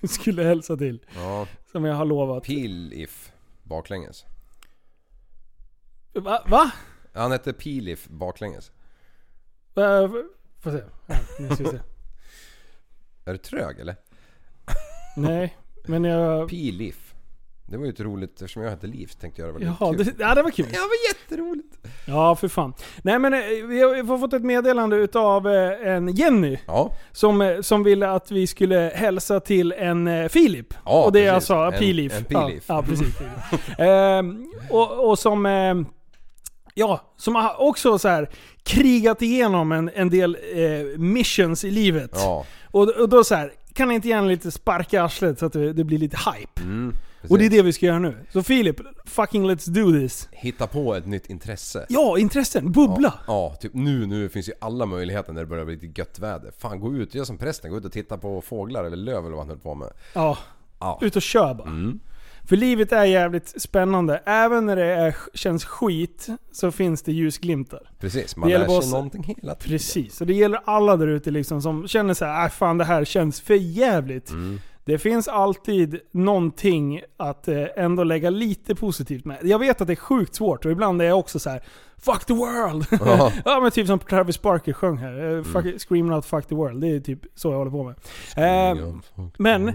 D: vi skulle hälsa till.
F: Ja.
D: Som jag har lovat.
F: Pilif baklänges.
D: Va? Va?
F: Han hette Pilif baklänges.
D: Eh, Får se. Ja, nu
F: *laughs*
D: ska vi se.
F: Är du trög eller?
D: Nej, men jag...
F: Pilif. Det var ju ett roligt, eftersom jag hette Liv så tänkte jag det var lite
D: Jaha,
F: kul.
D: det, ja, det var kul.
F: Ja, det var jätteroligt.
D: Ja, för fan. Nej men eh, vi har, vi har fått ett meddelande utav eh, en Jenny. Som, eh, som ville att vi skulle hälsa till en eh, Filip.
F: Ja,
D: och det är
F: precis.
D: alltså
F: En-
D: Pilif.
F: en
D: ja,
F: Pilif.
D: ja, precis. Ehm, och, och som... ehm, Ja, som har också så här krigat igenom en, en del eh, missions i livet.
F: Ja.
D: Och, och då så här, kan inte gärna lite sparka arslet så att det, det blir lite hype?
F: Mm,
D: och det är det vi ska göra nu. Så Filip, fucking let's do this.
F: Hitta på ett nytt intresse.
D: Ja, intressen. Bubbla.
F: Ja, typ nu, nu finns ju alla möjligheter när det börjar bli lite gött väder. Fan, gå ut, gör som prästen, gå ut och titta på fåglar eller löv eller vad han höll på med.
D: Ja.
F: Ja. Mm.
D: Ut och kör bara. För livet är jävligt spännande. Även när det är, känns skit så finns det ljusglimtar.
F: Precis,
D: Det
F: man
D: gäller
F: lär
D: bara
F: sig
D: oss-
F: någonting hela tiden.
D: Precis, och det gäller alla där ute liksom som känner så här, "Äh, fan det här känns för jävligt.
F: Mm.
D: Det finns alltid någonting att eh, ändå lägga lite positivt med. Jag vet att det är sjukt svårt och ibland är jag också så här: Fuck the world!
F: Ja.
D: *laughs*
F: Mm.
D: Ja, men typ som Travis Barker sjöng här. Eh, Fuck, Screaming out fuck the world. Det är typ så jag håller på med. Eh, men,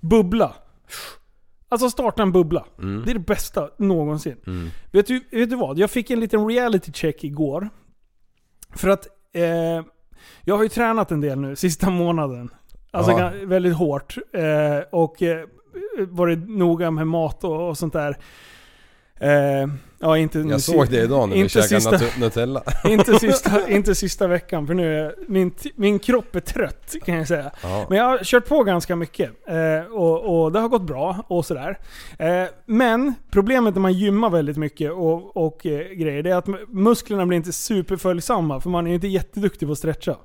D: bubbla. Alltså starta en bubbla.
F: Mm.
D: Det är det bästa någonsin.
F: Mm.
D: Vet du, vet du vad? Jag fick en liten reality check igår. För att eh, jag har ju tränat en del nu sista månaden. Alltså
F: Ja.
D: gan- väldigt hårt. Eh, och eh, varit noga med mat och, och sånt där. Eh, ja, inte nu
F: Jag såg det idag när vi
D: inte
F: käkade
D: sista-
F: nut- Nutella.
D: *laughs* inte, sista, inte sista veckan, för nu är min, t- min kropp är trött kan jag säga.
F: Ja.
D: Men jag har kört på ganska mycket eh, och, och det har gått bra och sådär. Eh, men problemet när man gymmar väldigt mycket och, och eh, grejer, det är att musklerna blir inte superföljsamma för man är ju inte jätteduktig på att stretcha.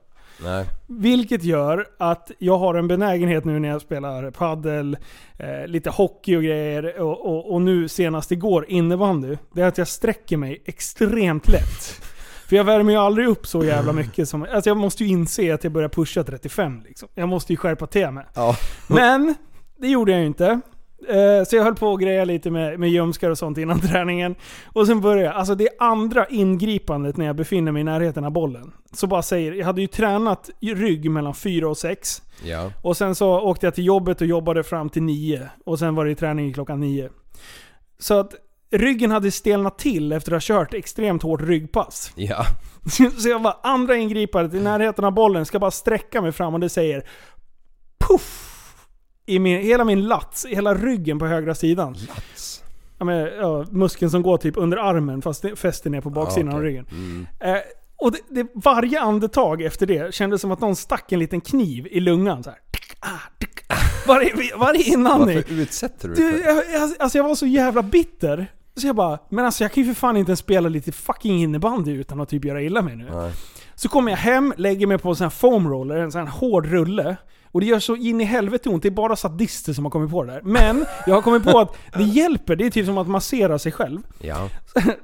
F: Nej.
D: Vilket gör att jag har en benägenhet nu när jag spelar paddel, eh, lite hockey och grejer och, och, och nu senast igår innebandy. Det är att jag sträcker mig extremt lätt. För jag värmer ju aldrig upp så jävla mycket som... Alltså jag måste ju inse att jag börjar pusha 35 liksom. Jag måste ju skärpa till mig. Men, det gjorde jag ju inte. Eh, Så jag höll på och greja lite med, med ljumskar och sånt innan *laughs* träningen. Och sen började jag. Alltså det andra ingripandet när jag befinner mig i närheten av bollen. Så bara säger, jag hade ju tränat i rygg mellan 4 och 6.
F: Ja.
D: Och sen så åkte jag till jobbet och jobbade fram till 9. Och sen var det ju träning klockan 9. Så att ryggen hade stelnat till efter att ha kört extremt hårt ryggpass.
F: Ja.
D: *laughs* Så jag bara, andra ingripandet i närheten av bollen, ska bara sträcka mig fram och det säger puff! I min, hela min lats, i hela ryggen på högra sidan. Lats? Ja, men, ja, muskeln som går typ under armen fast det fäster ner på baksidan
F: Ja,
D: av
F: okej.
D: ryggen.
F: Mm.
D: Eh, och det, det, varje andetag efter det kändes som att någon stack en liten kniv i lungan. Så här. Tick, ah, tick, ah. Varje, varje inandning.
F: Varför utsätter du dig
D: Du,
F: för
D: jag, jag, alltså jag var så jävla bitter. Så jag bara, men alltså jag kan ju för fan inte ens spela lite fucking innebandy utan att typ göra illa mig nu. Så kommer jag hem, lägger mig på en sån här foam roller, en sån här hård rulle. Och det gör så in i helvete ont. Det är bara sadister som har kommit på det där. Men jag har kommit på att det hjälper. Det är typ som att massera sig själv.
F: Ja.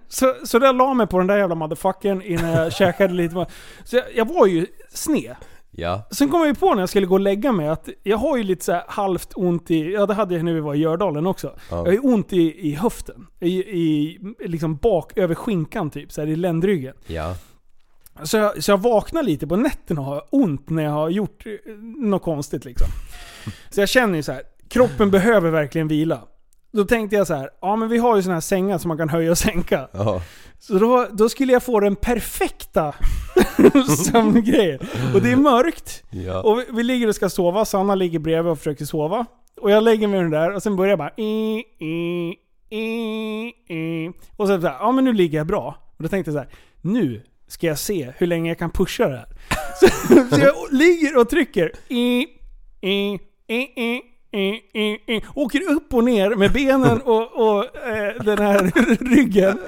D: Så, så där la mig på den där jävla motherfuckern innan jag käkade lite. Så jag, jag var ju sned.
F: Ja.
D: Sen kom jag ju på när jag skulle gå och lägga mig att jag har ju lite så här halvt ont i... Ja det hade jag när vi var i Gördalen också.
F: Ja.
D: Jag har ju ont i, i höften. I, i liksom bak över skinkan typ, så här i ländryggen.
F: Ja.
D: Så jag, så jag vaknar lite på nätterna och har ont när jag har gjort eh, något konstigt liksom. Så jag känner ju så här, kroppen behöver verkligen vila. Då tänkte jag så här, ja men vi har ju såna här sängar som man kan höja och sänka.
F: Ja.
D: Så då, då skulle jag få den perfekta *laughs* sömngrejen. Och det är mörkt.
F: Ja.
D: Och vi, vi ligger och ska sova, Sanna ligger bredvid och försöker sova. Och jag lägger mig den där och sen börjar jag bara... "I, i, i, i." Och sen såhär, ja men nu ligger jag bra. Och då tänkte jag så här, nu ska jag se hur länge jag kan pusha det här. *laughs* Så, så jag ligger och trycker. "I, i, i, i, i, i, i." eh, Åker upp och ner med benen och, och eh, den här *laughs* ryggen.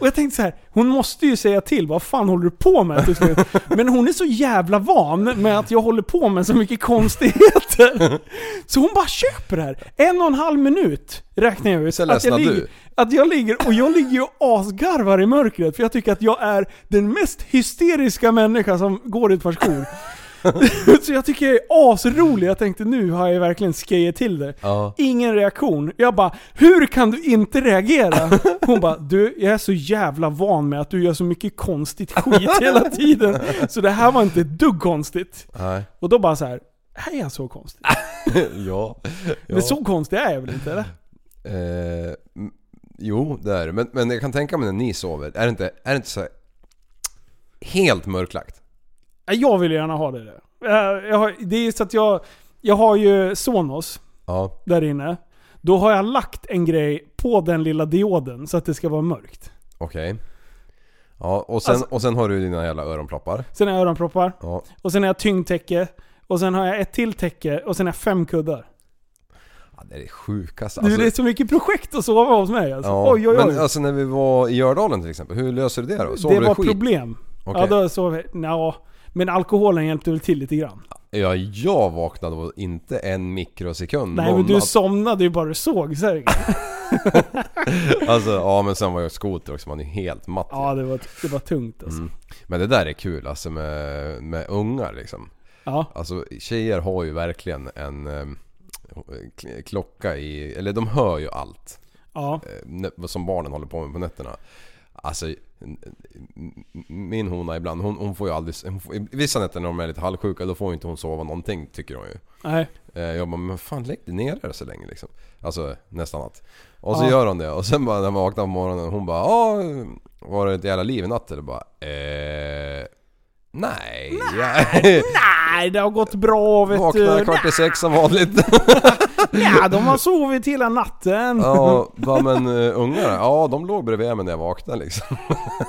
D: Och jag tänkte så här, hon måste ju säga till. Vad fan håller du på med till slut? Men hon är så jävla van med att jag håller på med så mycket konstigheter. Så hon bara köper det här. En och en halv minut räknar jag ut. Att jag,
F: ledsnad
D: ligger,
F: du.
D: att jag ligger, och jag ligger ju och asgarvar i mörkret. För jag tycker att jag är den mest hysteriska människa som går i ett par skor. så jag tycker jag är asrolig. Jag tänkte nu har jag verkligen skejat till det.
F: Ja.
D: Ingen reaktion. Jag bara, hur kan du inte reagera? Hon bara, du jag är så jävla van med att du gör så mycket konstigt skit
F: *laughs*
D: hela tiden. Så det här var inte ett dugg konstigt.
F: Nej.
D: Och då bara så här, är jag så konstig?
F: ja. ja.
D: Men så konstig är jag väl inte eller?
F: Eh, m- jo, det är det. Men, men jag kan tänka mig när ni sover. Är det inte, är det inte så här helt mörklagt?
D: Nej, Jag vill ju gärna ha det där. Eh, Jag har, det är ju så att jag, jag har ju Sonos
F: Ja.
D: där inne. Då har jag lagt en grej på den lilla dioden så att det ska vara mörkt.
F: Okej. Ja, och sen,
D: Alltså-
F: och sen har du dina jävla öronploppar.
D: Sen har jag öronproppar.
F: Ja.
D: Och sen har jag tyngdtäcke. Och sen har jag ett till täcke. Och sen har jag fem kuddar.
F: Ja, Det är det sjukaste.
D: du, det är så mycket projekt att sova hos mig alltså.
F: Alltså- ja.
D: Oj oj oj.
F: Men alltså när vi var i Gördalen till exempel, hur löser du det då? Sover
D: det
F: du
D: var
F: skit?
D: problem.
F: Okej.
D: Ja, då sov jag. Nja, men alkoholen hjälpte väl till lite grann.
F: Ja, jag vaknade på inte en mikrosekund.
D: Nej men
F: Någon
D: du
F: att-
D: somnade ju bara du såg sängen.
F: Alltså ja men sen var jag skoter också, man är ju helt matt.
D: ja det var, det var tungt alltså.
F: Mm. Men det där är kul alltså med, med ungar liksom.
D: Ja.
F: Alltså tjejer har ju verkligen en em, k- klocka i, eller de hör ju allt.
D: Ja.
F: Eh, nä- Som barnen håller på med på nätterna. Alltså n- n- min hona ibland, hon, hon får ju aldrig, hon får, i vissa nätter när de är lite halvsjuka då får ju inte hon sova någonting tycker hon ju.
D: Nej.
F: Eh, Jag bara, men fan lägg dig ner där så länge liksom. Alltså nästan att. Och så
D: Ja.
F: gör hon det och sen bara när man vaknar på morgonen hon bara ja var det ett jävla liv i natt eller bara eh, Nej. *laughs* Nej.
D: Nej det har gått bra vet
F: Vaknar
D: du.
F: kvart i sex som vanligt.
D: Ja, de har sovit hela natten.
F: *laughs* Ja, bara, men eh, ungarna, ja de låg bredvid mig när jag vaknade liksom.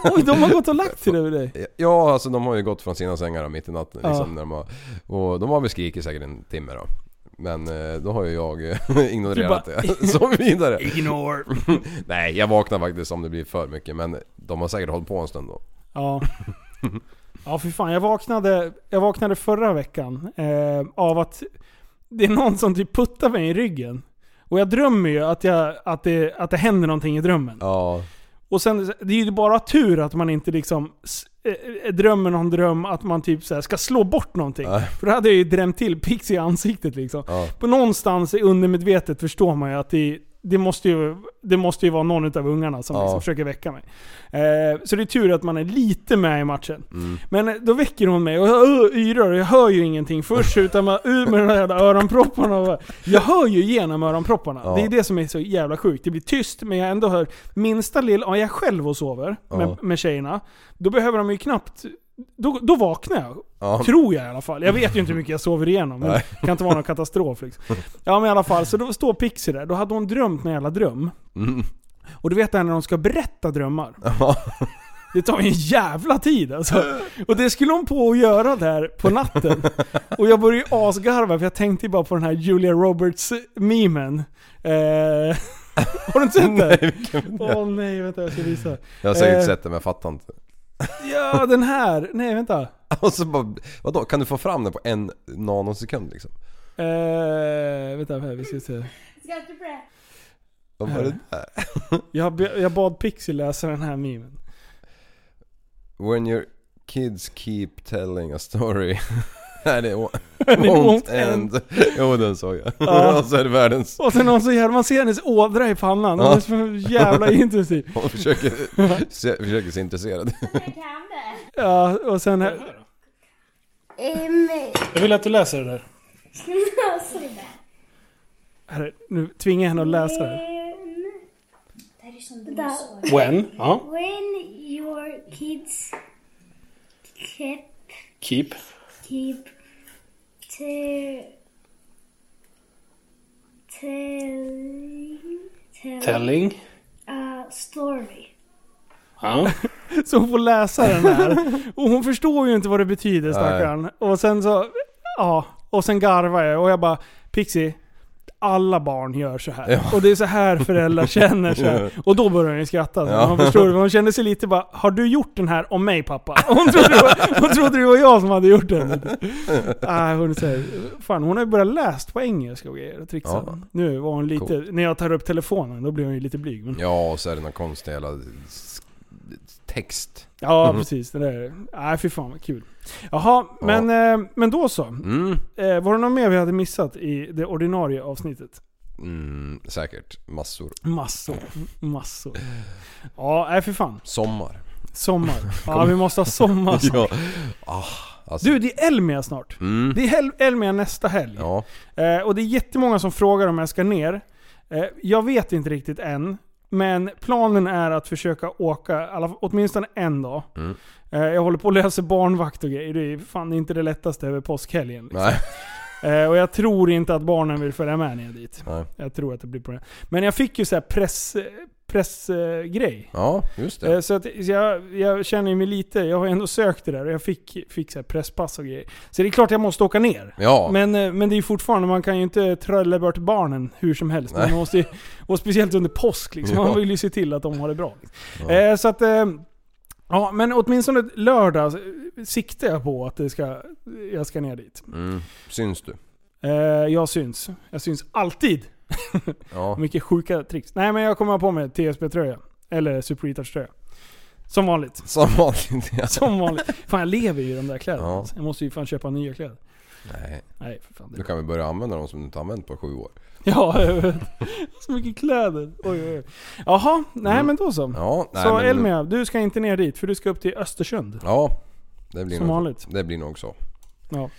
D: Oj, de har gått och lagt sig över dig.
F: Ja alltså de har ju gått från sina sängar mitt i natten
D: Ja.
F: liksom, när de har, Och de har väl skrikit säkert en timme då. Men eh, då har ju jag eh, *laughs* ignorerat
D: Du bara-
F: det. Så vidare.
D: Ignore.
F: *laughs* Nej, jag vaknar faktiskt om det blir för mycket men de har säkert hållit på en stund då.
D: Ja. *laughs* Ja för fan, jag vaknade, jag vaknade förra veckan eh, av att det är någon som typ puttar mig i ryggen. Och jag drömmer ju att, jag, att, det, att det händer någonting i drömmen.
F: Ja.
D: Och sen, det är ju bara tur att man inte liksom s- eh, eh, drömmer någon dröm att man typ så här ska slå bort någonting.
F: Nej.
D: För då hade jag ju drämt till pix i ansiktet liksom.
F: Ja.
D: På någonstans i undermedvetet förstår man ju att det, det måste ju, det måste ju vara någon utav ungarna som
F: Ja.
D: liksom försöker väcka mig. Eh, så det är tur att man är lite med i matchen.
F: Mm.
D: Men eh, då väcker hon mig och jag ö- yrar och jag hör ju ingenting först utan man ut med de där jävla öronpropparna. och bara- Jag hör ju genom öronpropparna.
F: Ja.
D: Det är det som är så jävla sjukt. Det blir tyst men jag ändå hör minsta lill... Om jag är själv och sover
F: Ja.
D: med, med tjejerna, då behöver de ju knappt... Då, då vaknar jag.
F: Ja.
D: Tror jag i alla fall. Jag vet ju inte hur mycket jag sover igenom. Men
F: Nej.
D: det kan inte vara någon katastrof liksom. Ja men i alla fall, så då står Pixie där. Då hade hon drömt en jävla dröm.
F: Mm.
D: Och du vet det här när de ska berätta drömmar. Det tar ju en jävla tid alltså. Och det skulle hon på att göra där på natten. Och jag började ju asgarva för jag tänkte ju bara på den här Julia Roberts-memen. Eh, *laughs* har du inte sett den? Åh nej, vänta jag ska visa.
F: Jag har säkert
D: Eh,
F: sett det men jag fattar inte. *laughs*
D: Ja, den här. Nej vänta.
F: Och så bara, vadå, kan du få fram det på en nanosekund liksom?
D: Eh, vänta här, vi ska se.
F: Vad var
D: Eh.
F: det där?
D: Jag, be- jag bad Pixie läsa den här memen.
F: When your kids keep telling a story *laughs*
D: *laughs*
F: and it won't,
D: And it won't
F: won't end. *laughs* Jo den såg jag.
D: Ja.
F: *laughs* Och så är det världens...
D: Och sen har hon så jävla, man ser hennes ådra i pannan. Hon
F: Ja.
D: är så jävla intensiv.
F: *laughs* Hon försöker, se, försöker se intresserad. *laughs*
D: Ja, och sen... Jag vill att du läser det där. Herre, nu tvingar jag henne att läsa det. When, ja.
Q: When your kids keep,
J: Keep.
Q: keep te, telling,
J: Telling.
Q: a story.
J: Ja.
D: *laughs* Så hon får läsa den här. Och hon förstår ju inte vad det betyder
J: Nej.
D: stackarn. Och sen så... Ja. Och sen garvar jag och jag bara Pixie, alla barn gör så här.
J: Ja.
D: Och det är så här föräldrar känner så här.
J: Ja.
D: Och då börjar hon ju skratta.
J: Ja.
D: Ja. Hon förstår Hon kände sig lite bara, har du gjort den här om mig pappa? Och Hon trodde det var, hon trodde det var jag som hade gjort den. Ah, hon, är så här, fan, hon har ju börjat läst på engelska och grejer och trixa.
F: Ja.
D: Nu var hon lite,
F: Coolt.
D: när jag tar upp telefonen då blir hon ju lite blyg. Men,
F: Ja och så är det någon konstig jävla s- text.
D: Ja, precis. Det där. Nej, fy fan vad kul. Jaha, men, eh, men då så.
F: Mm.
D: Eh, var det något mer vi hade missat i det ordinarie avsnittet?
F: Mm, säkert. Massor.
D: Massor. Massor. Ja, nej fy fan.
F: Sommar.
D: Sommar. Ja, vi
F: *laughs*
D: måste ha sommar
F: ja.
D: snart.
F: ah, alltså.
D: Du, det är Elmia snart.
F: Mm.
D: Det är Hel- Elmia nästa helg.
F: Ja.
D: Eh, och det är jättemånga som frågar om jag ska ner. Eh, jag vet inte riktigt än. Men planen är att försöka åka alla, åtminstone en dag.
F: Mm.
D: Eh, Jag håller på att lösa barnvakt och grejer. Det är fan inte det lättaste över påskhelgen. Liksom. Eh, Och jag tror inte att barnen vill följa med ner dit.
F: Nej.
D: Jag tror att det blir problem. Men jag fick ju så här press, pressgrej. Eh,
F: Ja, just det.
D: Så, att, så jag, jag känner ju mig lite, jag har ju ändå sökt det där och jag fick, fick så här presspass och grejer. Så det är klart jag måste åka ner.
F: Ja.
D: Men, eh, men det är ju fortfarande, man kan ju inte trölla bort barnen hur som helst. Man
F: Nej.
D: måste
F: *laughs*
D: ju, och speciellt under påsk liksom.
F: Ja.
D: Man vill ju se till att de har det bra.
F: Ja.
D: Eh, så att... Eh, ja, men åtminstone lördag eh, siktar jag på att det ska, jag ska ner dit.
F: Mm. Syns du?
D: Eh, jag syns. Jag syns alltid.
F: Ja.
D: Mycket sjuka tricks. Nej men jag kommer ha på mig TSB-tröja. Eller Super Retouch tröja Som vanligt.
F: Som vanligt *laughs* ja.
D: Som vanligt. Fan jag lever ju i de där kläderna.
F: Ja.
D: alltså. Jag måste ju fan köpa nya kläder.
F: Nej.
D: Nej för fan.
F: Du kan väl börja använda dem som du inte har använt på sju år?
D: Ja, *laughs* jag vet. Så mycket kläder. Oj, oj, oj. Jaha, nej
F: Mm.
D: men då så.
F: Ja, nej,
D: så
F: men-
D: Elmia, du ska inte ner dit för du ska upp till Östersund.
F: Ja. Det blir
D: Som
F: nog,
D: vanligt.
F: Det blir nog så.
D: Ja.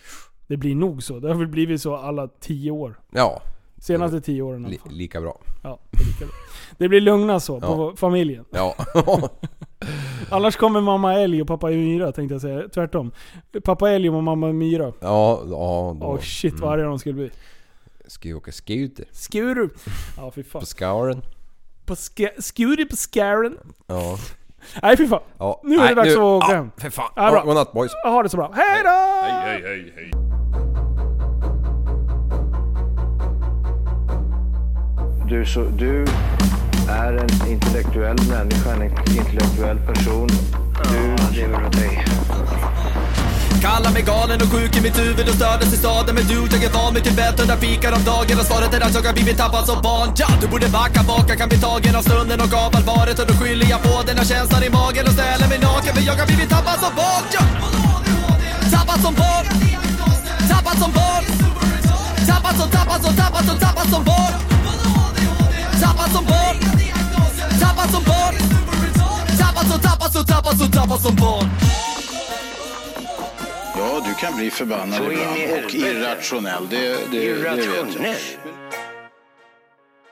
D: Det blir nog så. Det har väl blivit så alla tio år.
F: Ja.
D: Senaste tio åren i alla
F: Li,
D: fall.
F: lika bra.
D: Ja, det är lika bra. Det blir lugna så på
F: Ja.
D: familjen.
F: Ja. *laughs*
D: Annars kommer mamma älg och pappa myra tänkte jag säga. Tvärtom. Pappa älg och mamma myra.
F: Ja, ja Mm. då.
D: Åh shit vad arga de skulle bli.
F: Ska ju åka skuter.
D: Skuru. Ja fy fan.
F: På skaren.
D: På ska- Skuru på skaren.
F: Ja.
D: Nej fy fan.
F: ja.
D: Nu är det
F: Nej,
D: dags att åka
F: ja,
D: hem.
F: för fan.
D: Ja, bra.
F: Ja, Godnatt boys.
D: Ha det så bra. Hej då!
F: Hej, hej, hej.
C: Du, så, du är en intellektuell människa, en intellektuell person. Du lever av dig.
A: Kallar mig galen och sjuk i mitt huvud och stördes i staden Men du, jag är van vid Tibet och där fikar om dagen Och svaret är att jag har blivit tappad som barn ja, Du borde backa bak, jag kan bli tagen av stunden och av allvaret Och då skyller jag på den här känslan i magen och ställer mig naken För jag har blivit tappad som barn ja. Tappad som barn Tappad som barn Tappad som, tappad som, tappad som, tappad som barn Tappad som barn Tappad som barn Tappad som, tappad som, tappad som, tappad som barn
B: Ja, du kan bli förbannad
A: Så in i
B: ibland och
A: helvete.
B: irrationell. Det, det, det vet jag.
A: Irrationell.